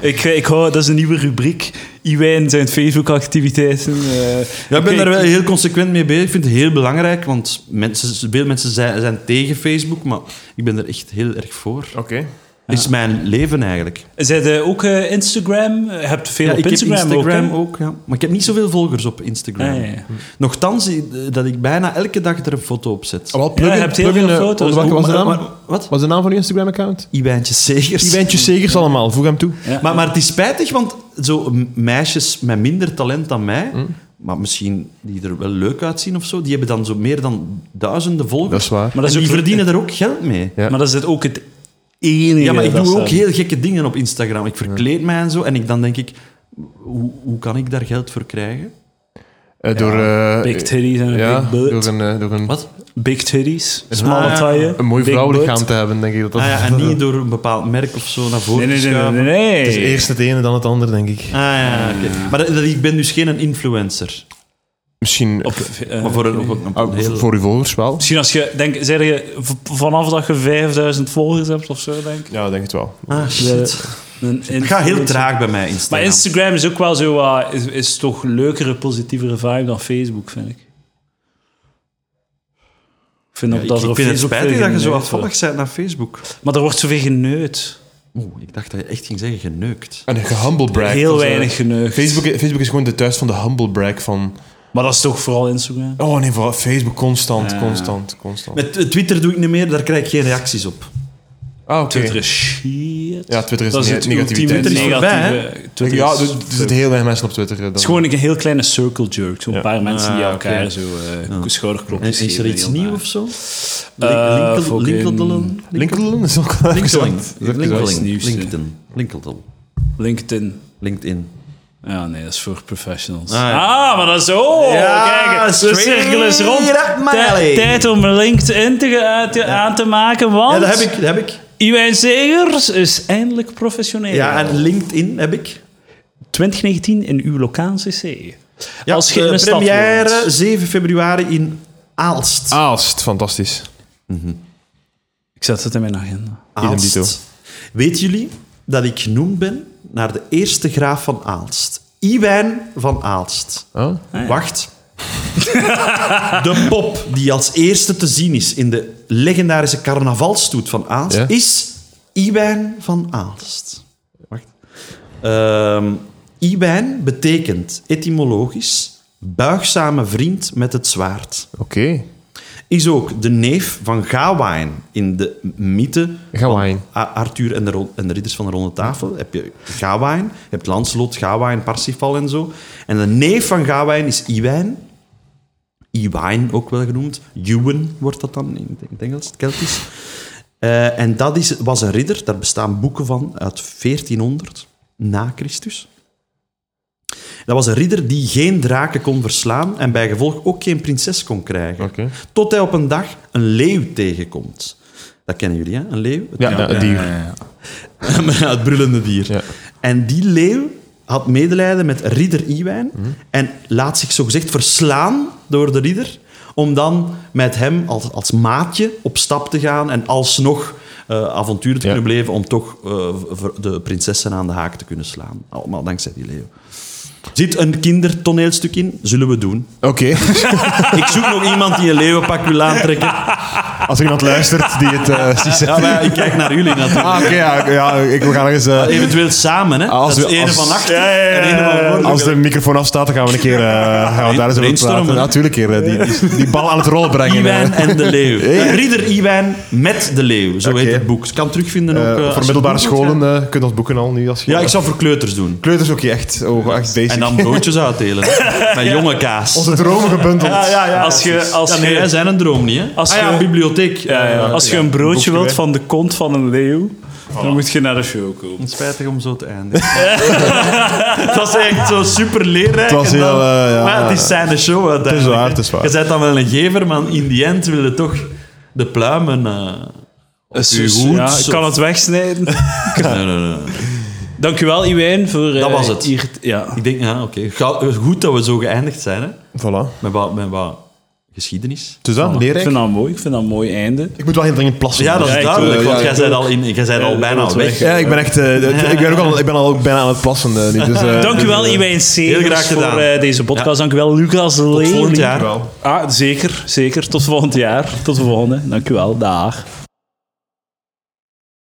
Speaker 1: Ik, eh, ik hou, dat is een nieuwe rubriek. Iwijn zijn Facebook-activiteiten. eh.
Speaker 3: ja, ik ben
Speaker 1: Oké,
Speaker 3: daar wel heel consequent mee bezig. Ik vind het heel belangrijk, want mensen, veel mensen zijn, zijn tegen Facebook, maar ik ben er echt heel erg voor.
Speaker 2: Oké.
Speaker 3: Het is mijn leven eigenlijk.
Speaker 1: Zij de ook eh, Instagram? Je hebt veel
Speaker 3: Ja,
Speaker 1: op
Speaker 3: ik heb
Speaker 1: Instagram,
Speaker 3: Instagram ook,
Speaker 1: ook.
Speaker 3: ja. maar ik heb niet zoveel volgers op Instagram.
Speaker 1: Ah, ja, ja.
Speaker 3: Nochtans, eh, dat ik bijna elke dag er een foto op zet.
Speaker 2: Wel,
Speaker 1: Ja, je hebt heel veel
Speaker 2: eh,
Speaker 1: foto's.
Speaker 2: Wat was de
Speaker 3: Oh, Maar-
Speaker 2: naam?
Speaker 3: maar- wat?
Speaker 2: Wat is de naam van je Instagram-account?
Speaker 3: Iwijntje Segers.
Speaker 2: Iwijntje Segers allemaal, voeg hem toe.
Speaker 1: Ja.
Speaker 3: Maar, maar het is spijtig, want zo m- meisjes met minder talent dan mij,
Speaker 2: Hm.
Speaker 3: maar misschien die er wel leuk uitzien of zo, die hebben dan zo meer dan duizenden volgers.
Speaker 2: Dat is waar.
Speaker 1: Maar dat is
Speaker 3: en die
Speaker 1: ook-
Speaker 3: verdienen daar ook geld mee.
Speaker 2: Ja.
Speaker 1: Maar dat is het ook het enige.
Speaker 3: Ja, maar ik
Speaker 1: dat
Speaker 3: doe
Speaker 1: ze
Speaker 3: ook
Speaker 1: hebben.
Speaker 3: heel gekke dingen op Instagram. Ik verkleed mij en zo, en ik, dan denk ik, hoe, hoe kan ik daar geld voor krijgen?
Speaker 2: Eh, door, eh,
Speaker 1: Big titties en
Speaker 2: ja,
Speaker 1: een big butt.
Speaker 2: door een, eh, door een,
Speaker 3: Wat?
Speaker 1: Big titties, smalle
Speaker 3: Ah, ja.
Speaker 1: taille.
Speaker 2: een mooi
Speaker 1: big
Speaker 2: vrouwenlichaam
Speaker 1: butt.
Speaker 2: te hebben, denk ik. Dat dat,
Speaker 3: Ah ja, en niet door een bepaald merk of zo naar
Speaker 1: Nee,
Speaker 3: voren
Speaker 1: nee,
Speaker 3: te
Speaker 1: nee, nee.
Speaker 3: schuiven.
Speaker 1: nee.
Speaker 2: Het is eerst het ene, dan het ander, denk ik.
Speaker 3: Ah ja, oké. Maar dat, dat- ik ben dus geen influencer.
Speaker 2: Misschien
Speaker 1: Op, eh,
Speaker 3: Maar voor een, op een, op een
Speaker 2: ah,
Speaker 3: heel...
Speaker 2: voor uw volgers wel.
Speaker 1: Misschien als je, denk, zeg je, v- vanaf dat je 5000 volgers hebt of zo, denk ik.
Speaker 2: Ja, ik denk het wel.
Speaker 3: Ah, shit.
Speaker 1: Een
Speaker 3: Het gaat heel
Speaker 1: influencer.
Speaker 3: traag bij mij, Instagram.
Speaker 1: Maar Instagram is ook wel zo, eh, is, is toch leukere, positievere vibe dan Facebook, vind ik. Ik vind ook
Speaker 3: ik,
Speaker 1: dat
Speaker 3: ik
Speaker 1: er op
Speaker 3: vind het
Speaker 1: Facebook
Speaker 3: spijtig
Speaker 1: veel
Speaker 3: dat je zo
Speaker 1: geneukt
Speaker 3: afvallig
Speaker 1: wordt.
Speaker 3: bent naar Facebook.
Speaker 1: Maar er wordt zoveel geneukt.
Speaker 3: Oeh, ik dacht dat je echt ging zeggen geneukt.
Speaker 2: En een humble brag.
Speaker 1: Heel
Speaker 2: Dat is, eh,
Speaker 1: weinig geneukt.
Speaker 2: Facebook, Facebook is gewoon de thuis van de humble brag van...
Speaker 1: Maar dat is toch vooral Instagram?
Speaker 2: Oh nee, vooral Facebook
Speaker 1: Ah.
Speaker 2: constant, constant, constant.
Speaker 3: Met eh, Twitter doe ik niet meer, daar krijg ik geen reacties op.
Speaker 2: ah, oké.
Speaker 1: Twitter is shit.
Speaker 2: Ja, Twitter is
Speaker 1: dat
Speaker 2: ne-
Speaker 1: het
Speaker 2: negativiteit.
Speaker 1: ultieme
Speaker 3: Twitter is voorbij, hè?
Speaker 1: negatieve- Twitter
Speaker 2: Ja,
Speaker 1: is-
Speaker 2: er er zitten heel weinig mensen op Twitter. eh, Dan.
Speaker 1: Het is gewoon een heel kleine circle jerk. Zo'n paar mensen die
Speaker 3: Ah,
Speaker 1: elkaar
Speaker 3: oké.
Speaker 1: zo eh schouderklopjes
Speaker 3: Is,
Speaker 1: geven.
Speaker 3: er iets
Speaker 1: heel
Speaker 3: nieuws
Speaker 1: naar.
Speaker 3: of zo?
Speaker 1: Eh,
Speaker 3: Linkel-
Speaker 1: fucking-
Speaker 3: Linkeldelen?
Speaker 2: Linkedin is ook wel
Speaker 3: Linkeldelen.
Speaker 2: interessant. Dat is ook
Speaker 1: Linkeldelen.
Speaker 2: interessant.
Speaker 1: iets nieuws, eh.
Speaker 3: Linkeldelen. LinkedIn. Linkeldelen.
Speaker 1: LinkedIn.
Speaker 3: LinkedIn.
Speaker 1: Ja, nee, dat is voor professionals. Ah,
Speaker 3: Ah, ja.
Speaker 1: maar dat is... Oh,
Speaker 3: Ja,
Speaker 1: kijk, de
Speaker 3: straight
Speaker 1: cirkel is rond.
Speaker 3: up my
Speaker 1: Tij-
Speaker 3: alley.
Speaker 1: tijd om LinkedIn te, ge- uit- aan te maken, want...
Speaker 3: Ja, dat heb ik. Dat heb ik.
Speaker 1: Iwijn Zegers is eindelijk professioneel.
Speaker 3: Ja, en LinkedIn heb ik.
Speaker 1: 2019 in uw lokaal CC.
Speaker 3: Ja,
Speaker 1: Als je in
Speaker 3: eh,
Speaker 1: een stad woont. Ah,
Speaker 3: première 7 februari in Aalst.
Speaker 2: Aalst, Ah, fantastisch.
Speaker 1: Ik zet het in mijn agenda.
Speaker 3: Aalst.
Speaker 2: Idem dito.
Speaker 3: Weet jullie dat ik genoemd ben naar de eerste graaf van Aalst? Iwijn van Aalst.
Speaker 2: Oh?
Speaker 3: Wacht. de pop die als eerste te zien is in de legendarische carnavalstoet van Aalst
Speaker 2: Ja.
Speaker 3: is Iwijn van Aalst. Wacht. Ehm Iwijn betekent etymologisch buigzame vriend met het zwaard.
Speaker 2: Oké.
Speaker 3: Is ook de neef van Gawain in de mythe
Speaker 2: Gawain.
Speaker 3: A- Arthur en de, ro- en de ridders van de ronde tafel. Heb je Gawain, je hebt Lancelot, Gawain, Parsifal en zo. En de neef van Gawain is Iwijn. Iwijn ook wel genoemd. Ewan wordt dat dan in het Engels, het Keltisch. Eh, en dat is, was een ridder, daar bestaan boeken van uit 1400 na Christus. Dat was een ridder die geen draken kon verslaan en bij gevolg ook geen prinses kon krijgen.
Speaker 2: Oké.
Speaker 3: Tot hij op een dag een leeuw tegenkomt. Dat kennen jullie, hè? Een leeuw? Het-
Speaker 2: Ja, ja, nou, die.
Speaker 3: maar ja, het brullende dier.
Speaker 2: Ja.
Speaker 3: En die leeuw had medelijden met ridder Iwijn
Speaker 2: Mhm.
Speaker 3: en laat zich zogezegd verslaan door de ridder om dan met hem als, als maatje op stap te gaan en alsnog eh avontuur te
Speaker 2: Ja.
Speaker 3: kunnen beleven om toch eh, voor de prinsessen aan de haak te kunnen slaan. Allemaal dankzij die leeuw. Zit een kindertoneelstuk in? Zullen we doen.
Speaker 2: Oké.
Speaker 3: Ik zoek nog iemand die een leeuwenpak wil aantrekken.
Speaker 2: Als er iemand luistert die het eh, ziet
Speaker 3: Ja,
Speaker 2: zitten.
Speaker 3: maar ja, ik kijk naar jullie natuurlijk.
Speaker 2: Ah, oké, ja, ja, ik we gaan er eens... eh,
Speaker 3: Eventueel samen, hè?
Speaker 2: Als
Speaker 3: dat is
Speaker 2: we-
Speaker 3: ene
Speaker 2: als-
Speaker 3: van achter
Speaker 1: Ja, ja, ja,
Speaker 3: en ene van voor.
Speaker 2: eh, als de microfoon afstaat, dan gaan we een keer eh, gaan we daar eens over
Speaker 3: brainstormen.
Speaker 2: praten. Natuurlijk, keer eh, die, die, die bal aan het rollen brengen. eh.
Speaker 3: Iwijn en de leeuw. Eh, Ridder Iwijn met de leeuw, zo
Speaker 2: Oké.
Speaker 3: heet het boek. Je kan terugvinden ook...
Speaker 2: Eh,
Speaker 3: eh, als
Speaker 2: voor
Speaker 3: je
Speaker 2: middelbare
Speaker 3: boek wilt gaan.
Speaker 2: scholen eh kunnen ons boeken al nu. Als je,
Speaker 3: Ja, ik zou voor kleuters doen.
Speaker 2: Kleuters ook echt, oh, echt basic.
Speaker 3: En dan broodjes uitdelen. Met jonge kaas.
Speaker 2: Onze dromen gebundeld.
Speaker 1: Als je, als
Speaker 3: Ja, nee, wij
Speaker 1: je,
Speaker 3: zijn een droom niet, hè?
Speaker 1: Als
Speaker 3: ah ja,
Speaker 1: je-
Speaker 3: bibliotheek. eh,
Speaker 1: ja, ja, als je een broodje
Speaker 2: boekje
Speaker 1: wilt
Speaker 2: weg.
Speaker 1: van de kont van een leeuw, dan moet je naar de show komen.
Speaker 3: Spijtig om zo te eindigen. Het was echt zo super leerrijk.
Speaker 2: Het was
Speaker 3: en dan-
Speaker 2: heel, eh, ja.
Speaker 3: maar het is zijn show uiteindelijk.
Speaker 2: waar, het is waar.
Speaker 3: Je bent dan wel een gever, maar in die end wil je toch de pluimen... eh, uw hoed,
Speaker 1: ja, ik
Speaker 3: of-
Speaker 1: kan het wegsnijden.
Speaker 3: nee, nee, nee.
Speaker 1: Dankjewel, Iwijn, voor... eh,
Speaker 3: Dat was het.
Speaker 1: hier- ja.
Speaker 3: Ik denk, ja, oké. Ga- Goed dat we zo geëindigd zijn, hè?
Speaker 2: Voilà.
Speaker 3: Met wat, met wat geschiedenis.
Speaker 2: Dus dat,
Speaker 1: Ik
Speaker 2: leerrijk.
Speaker 1: vind dat mooi. Ik vind dat een mooi einde.
Speaker 2: Ik moet wel heel dringend plassen.
Speaker 3: Ja, dat is
Speaker 1: Ja, ik
Speaker 3: duidelijk,
Speaker 2: wil-
Speaker 3: want
Speaker 2: ja,
Speaker 3: jij
Speaker 2: ik
Speaker 3: bent al, in, jij bent al
Speaker 1: Ja,
Speaker 3: bijna
Speaker 1: dat
Speaker 3: weg.
Speaker 1: weg.
Speaker 2: Ja, ik ben echt... eh, ik, ben ook al, ik ben al bijna aan het plassen eh, nu. Dus, eh,
Speaker 1: Dankjewel, Iwijn
Speaker 3: Heel
Speaker 1: Segers,
Speaker 3: graag
Speaker 1: voor
Speaker 3: gedaan.
Speaker 1: eh, deze podcast. Dankjewel, Lucas Lely.
Speaker 3: volgend jaar.
Speaker 2: Dankjewel.
Speaker 1: Ah, zeker, zeker. Tot volgend jaar. Tot de volgende. Dankjewel. Dag.